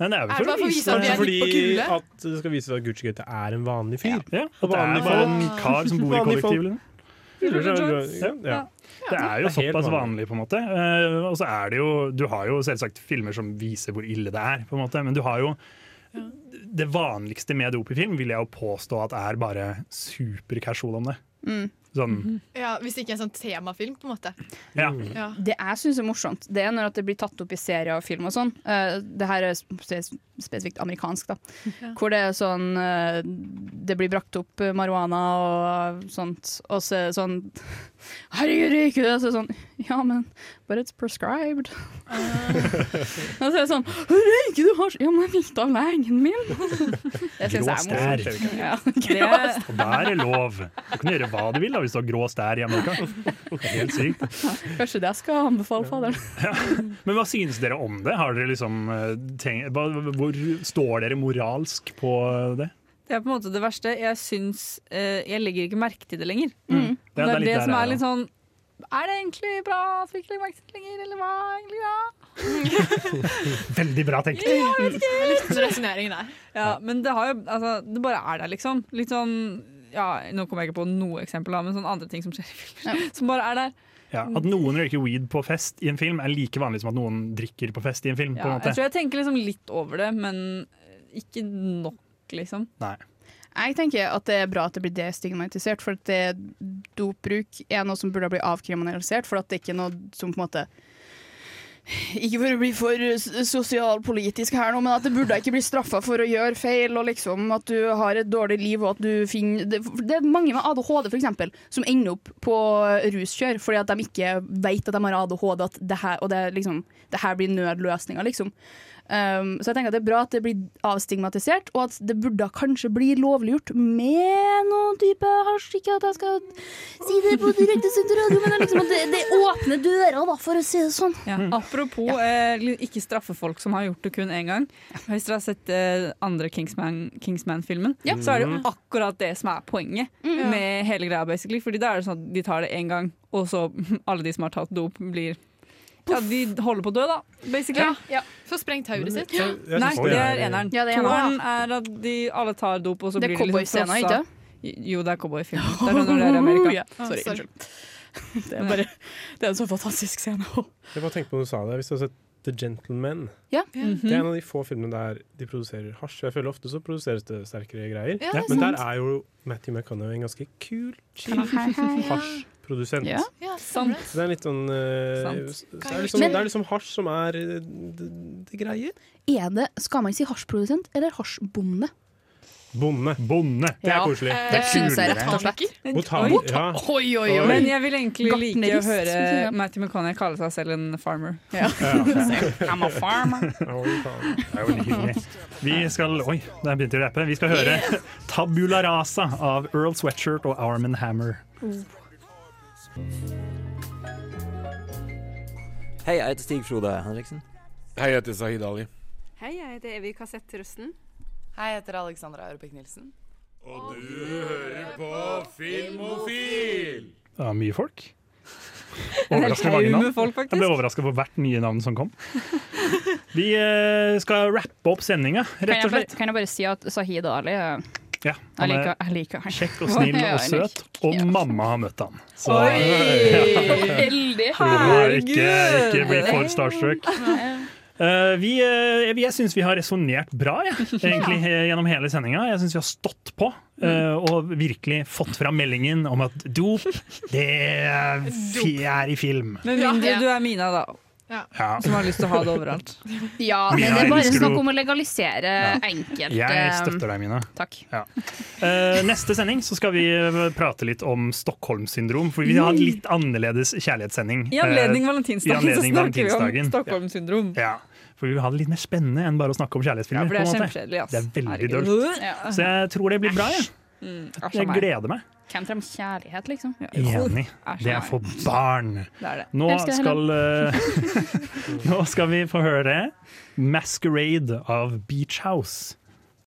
[SPEAKER 4] Nei, det er
[SPEAKER 8] Er det
[SPEAKER 4] vel
[SPEAKER 8] bare for å vise at vi
[SPEAKER 10] Kanskje
[SPEAKER 8] er
[SPEAKER 10] fordi
[SPEAKER 8] litt på gullet?
[SPEAKER 10] at det skal vise at Gucci Gutte er en vanlig fyr.
[SPEAKER 4] Ja,
[SPEAKER 10] Og
[SPEAKER 4] at det er
[SPEAKER 10] vanlige
[SPEAKER 4] bare
[SPEAKER 10] folk-
[SPEAKER 4] en kar som bor i
[SPEAKER 10] (laughs) vanlige folk
[SPEAKER 4] kollektivet.
[SPEAKER 10] fyller seg med
[SPEAKER 4] Ja.
[SPEAKER 10] joints. Ja.
[SPEAKER 4] Det er
[SPEAKER 10] Det er
[SPEAKER 4] jo
[SPEAKER 10] helt
[SPEAKER 4] såpass
[SPEAKER 10] vanlig.
[SPEAKER 4] vanlig, på en måte. Eh, og så er det jo Du har jo selvsagt filmer som viser hvor ille det er, på en måte, men du har jo det vanligste med dop i film vil jeg jo påstå at er bare supercasual om det.
[SPEAKER 5] Mm.
[SPEAKER 10] Mhm.
[SPEAKER 4] Sånn
[SPEAKER 8] Ja, Hvis det ikke er en sånn temafilm, på en måte.
[SPEAKER 4] Ja.
[SPEAKER 5] (laughs)
[SPEAKER 8] Ja.
[SPEAKER 5] Det jeg syns er morsomt, det er når at det blir tatt opp i serier og film og sånn. Eh, det her er spe- spesifikt amerikansk, da.
[SPEAKER 22] Ja.
[SPEAKER 5] Hvor det er sånn eh, Det blir brakt opp eh, marihuana og sånt, og så er det sånn (laughs) Herregud, røyker du? Og så er det sånn Ja, men But it's prescribed. (laughs)
[SPEAKER 8] Ah,
[SPEAKER 5] og så er det sånn Røyker du hasj? Ja, men jeg fikk det av legen min. (laughs) det syns jeg
[SPEAKER 4] Grå
[SPEAKER 5] er
[SPEAKER 4] stær.
[SPEAKER 5] morsomt. Ja,
[SPEAKER 21] Det-
[SPEAKER 4] Og der er det lov! Du kan gjøre hva du vil da hvis du har grå stær i Amerika. Det er helt sykt.
[SPEAKER 5] Kanskje det jeg skal anbefale faderen.
[SPEAKER 4] Men hva synes dere om det? Har dere liksom eh, tenkt, hva- Hvor står dere moralsk på det?
[SPEAKER 3] Det er på en måte det verste. Jeg syns eh, Jeg legger ikke merke til det lenger.
[SPEAKER 4] Mm.
[SPEAKER 3] Og det
[SPEAKER 4] Ja, det er
[SPEAKER 3] er
[SPEAKER 4] litt
[SPEAKER 3] det
[SPEAKER 4] der
[SPEAKER 3] som
[SPEAKER 4] jeg er
[SPEAKER 3] er litt sånn Er det egentlig bra at vi ikke legger merke til det lenger, eller hva er egentlig bra?
[SPEAKER 4] Veldig bra tenkt!
[SPEAKER 3] Ja, jeg vet ikke
[SPEAKER 8] Jeg likte den resoneringen der.
[SPEAKER 3] Ja, men det har jo Altså, det bare er der, liksom. Litt sånn ja, Nå kommer jeg ikke på noe eksempel, da, men sånn andre ting som skjer i filmer. (laughs) Som bare er der.
[SPEAKER 4] Ja, at noen røyker weed på fest i en film er like vanlig som at noen drikker på fest i en film. på
[SPEAKER 3] Ja,
[SPEAKER 4] en
[SPEAKER 3] jeg tror
[SPEAKER 4] måte.
[SPEAKER 3] jeg tenker liksom litt over det, men ikke nok, liksom.
[SPEAKER 4] Nei.
[SPEAKER 5] Jeg tenker at det er bra at det blir destigmatisert, for at det dopbruk er noe som burde bli avkriminalisert, for at det ikke er noe som på en måte ikke for å bli for s- sosialpolitisk her nå, men at det burde ikke bli straffa for å gjøre feil, og liksom at du har et dårlig liv og at du finner Det, det er mange med ADHD, for eksempel, som ender opp på ruskjør fordi at de ikke vet at de har ADHD, at det her, og det, er liksom, det her blir nødløsninga, liksom. Um, så jeg tenker at det er bra at det blir avstigmatisert, og at det burde kanskje bli lovliggjort med noen type hasj. Ikke at jeg skal si det på direkte sin radio, men det er liksom at det, det åpner døra, da, for å si det sånn.
[SPEAKER 3] Ja. Apropos eh, li- ikke straffe folk som har gjort det kun én gang. Hvis dere har sett eh, andre Kingsman- Kingsman-filmen, Ja.
[SPEAKER 20] Mm.
[SPEAKER 3] så er det jo akkurat det som er poenget
[SPEAKER 20] Mm.
[SPEAKER 3] med hele greia. basically Fordi da er det sånn at de tar det én gang, og så (laughs) alle de som har tatt dop, blir Ja, de holder på å dø, da, basically.
[SPEAKER 8] Ja, ja. Så sprengt hodet
[SPEAKER 10] Mm.
[SPEAKER 8] sitt.
[SPEAKER 3] Ja. Nei, det er eneren.
[SPEAKER 8] Ja, det er eneren.
[SPEAKER 3] Toeren er at de alle tar dop, og så
[SPEAKER 5] Det sånn er
[SPEAKER 3] blir de liksom
[SPEAKER 5] cowboyscena,
[SPEAKER 3] frossa.
[SPEAKER 5] ikke?
[SPEAKER 3] Jo, det er cowboyfilm. Det er når det er i
[SPEAKER 8] (laughs)
[SPEAKER 3] Amerika.
[SPEAKER 5] Ja,
[SPEAKER 8] Ah,
[SPEAKER 5] sorry,
[SPEAKER 3] Oh, Sorry.
[SPEAKER 5] unnskyld. Det er bare Det er en så fantastisk scene.
[SPEAKER 10] Jeg bare tenker på når du sa det, hvis du har sett The Gentleman
[SPEAKER 5] Ja.
[SPEAKER 8] Hmm?
[SPEAKER 10] Det er en av de få filmene der de produserer hasj. Jeg føler ofte så produseres det sterkere greier.
[SPEAKER 5] Ja, det er
[SPEAKER 10] Men der
[SPEAKER 5] sant.
[SPEAKER 10] er jo Matthew McConaughey en ganske kul, chill
[SPEAKER 5] Hei, hei, hei.
[SPEAKER 10] hasjprodusent.
[SPEAKER 5] Ja.
[SPEAKER 8] Ja,
[SPEAKER 10] Så Det er litt sånn eh,
[SPEAKER 5] Sant.
[SPEAKER 10] så Det er liksom,
[SPEAKER 5] Men-
[SPEAKER 10] det er liksom hasj som er eh, det, det greier.
[SPEAKER 5] Er det, skal man si hasjprodusent eller hasjbonde?
[SPEAKER 10] Bonde. Det er
[SPEAKER 5] Ja.
[SPEAKER 10] koselig.
[SPEAKER 5] Eh, Det synes jeg rett og slett.
[SPEAKER 10] Botaner. Ja.
[SPEAKER 3] Men jeg vil egentlig like å
[SPEAKER 5] Gartnerist,
[SPEAKER 3] høre
[SPEAKER 5] som det heter.
[SPEAKER 3] Matty McConney kalle seg selv en farmer.
[SPEAKER 5] Ja.
[SPEAKER 3] I'm a farmer.
[SPEAKER 4] Det er jo veldig hyggelig. Vi skal Oi, der begynte jeg å rappe. Vi skal høre (laughs) Tabula Rasa av Earl Sweatshirt og Arm and Hammer.
[SPEAKER 17] Hei, jeg heter Stig Frode Henriksen. Hei, jeg heter Sahid Ali.
[SPEAKER 23] Hei, jeg heter Evy Kassett Rusten. Hei, jeg heter Alexandra Aurebekk Nilsen.
[SPEAKER 24] Og du hører på Filmofil!
[SPEAKER 4] Det var mye folk.
[SPEAKER 3] En hel
[SPEAKER 4] Overraskende mange
[SPEAKER 3] haug
[SPEAKER 4] navn.
[SPEAKER 3] med folk, faktisk.
[SPEAKER 4] jeg ble overraska på hvert nye navn som kom. Vi eh, skal rappe opp sendinga,
[SPEAKER 5] Kan
[SPEAKER 4] rett
[SPEAKER 5] jeg,
[SPEAKER 4] og slett.
[SPEAKER 5] bare, kan jeg bare si at Sahid Ali er
[SPEAKER 4] Ja, han
[SPEAKER 3] Jeg liker-
[SPEAKER 4] er
[SPEAKER 3] jeg liker han.
[SPEAKER 4] kjekk
[SPEAKER 3] (laughs)
[SPEAKER 4] og snill
[SPEAKER 3] Ja,
[SPEAKER 4] og
[SPEAKER 3] jeg
[SPEAKER 4] søt, og mamma har møtt han. Så-
[SPEAKER 3] Heldig!
[SPEAKER 4] Ja, Ikke, ikke bli for starstruck.
[SPEAKER 3] (laughs)
[SPEAKER 4] Eh, vi, eh, jeg jeg syns vi har resonnert bra jeg, egentlig, eh, gjennom hele sendinga. Jeg syns vi har stått på eh, og virkelig fått fram meldingen om at dop,
[SPEAKER 3] (laughs)
[SPEAKER 4] det er fi- er i film.
[SPEAKER 3] Med mindre du er Mina, da.
[SPEAKER 4] Ja.
[SPEAKER 3] Som har lyst til å ha det overalt.
[SPEAKER 5] Ja, men
[SPEAKER 4] Ja,
[SPEAKER 5] det er bare
[SPEAKER 4] elsker
[SPEAKER 5] snakk
[SPEAKER 4] du.
[SPEAKER 5] om å legalisere ehm, enkelte
[SPEAKER 3] Eh,
[SPEAKER 4] Jeg støtter deg, Mina.
[SPEAKER 5] Takk.
[SPEAKER 4] Ja. Eh, neste sending så skal vi eh, prate litt om Stockholm-syndrom, for vi har en litt annerledes kjærlighetssending.
[SPEAKER 3] (laughs) Mm. I anledning
[SPEAKER 4] Eh, i
[SPEAKER 3] valentinsdagen så
[SPEAKER 4] anledning
[SPEAKER 3] snakker vi om
[SPEAKER 4] valentinsdagen.
[SPEAKER 3] Stockholm syndrom.
[SPEAKER 4] Eh, Ja. For vi vil ha det litt mer spennende enn bare å snakke om kjærlighetsfilmer.
[SPEAKER 3] Ja, for det er
[SPEAKER 4] på en måte.
[SPEAKER 3] kjempekjedelig, ass.
[SPEAKER 4] Det er veldig
[SPEAKER 3] Herregud. Mm,
[SPEAKER 4] dølt.
[SPEAKER 3] Ja.
[SPEAKER 4] Så jeg tror det blir bra. Jeg, jeg gleder meg.
[SPEAKER 5] Hvem trenger kjærlighet, liksom?
[SPEAKER 4] Enig. Det er for barn.
[SPEAKER 5] Det er det.
[SPEAKER 4] Nå
[SPEAKER 5] Elsker det,
[SPEAKER 4] skal,
[SPEAKER 5] Helen.
[SPEAKER 4] (laughs) eh, nå skal vi få høre 'Masquerade' av Beach House.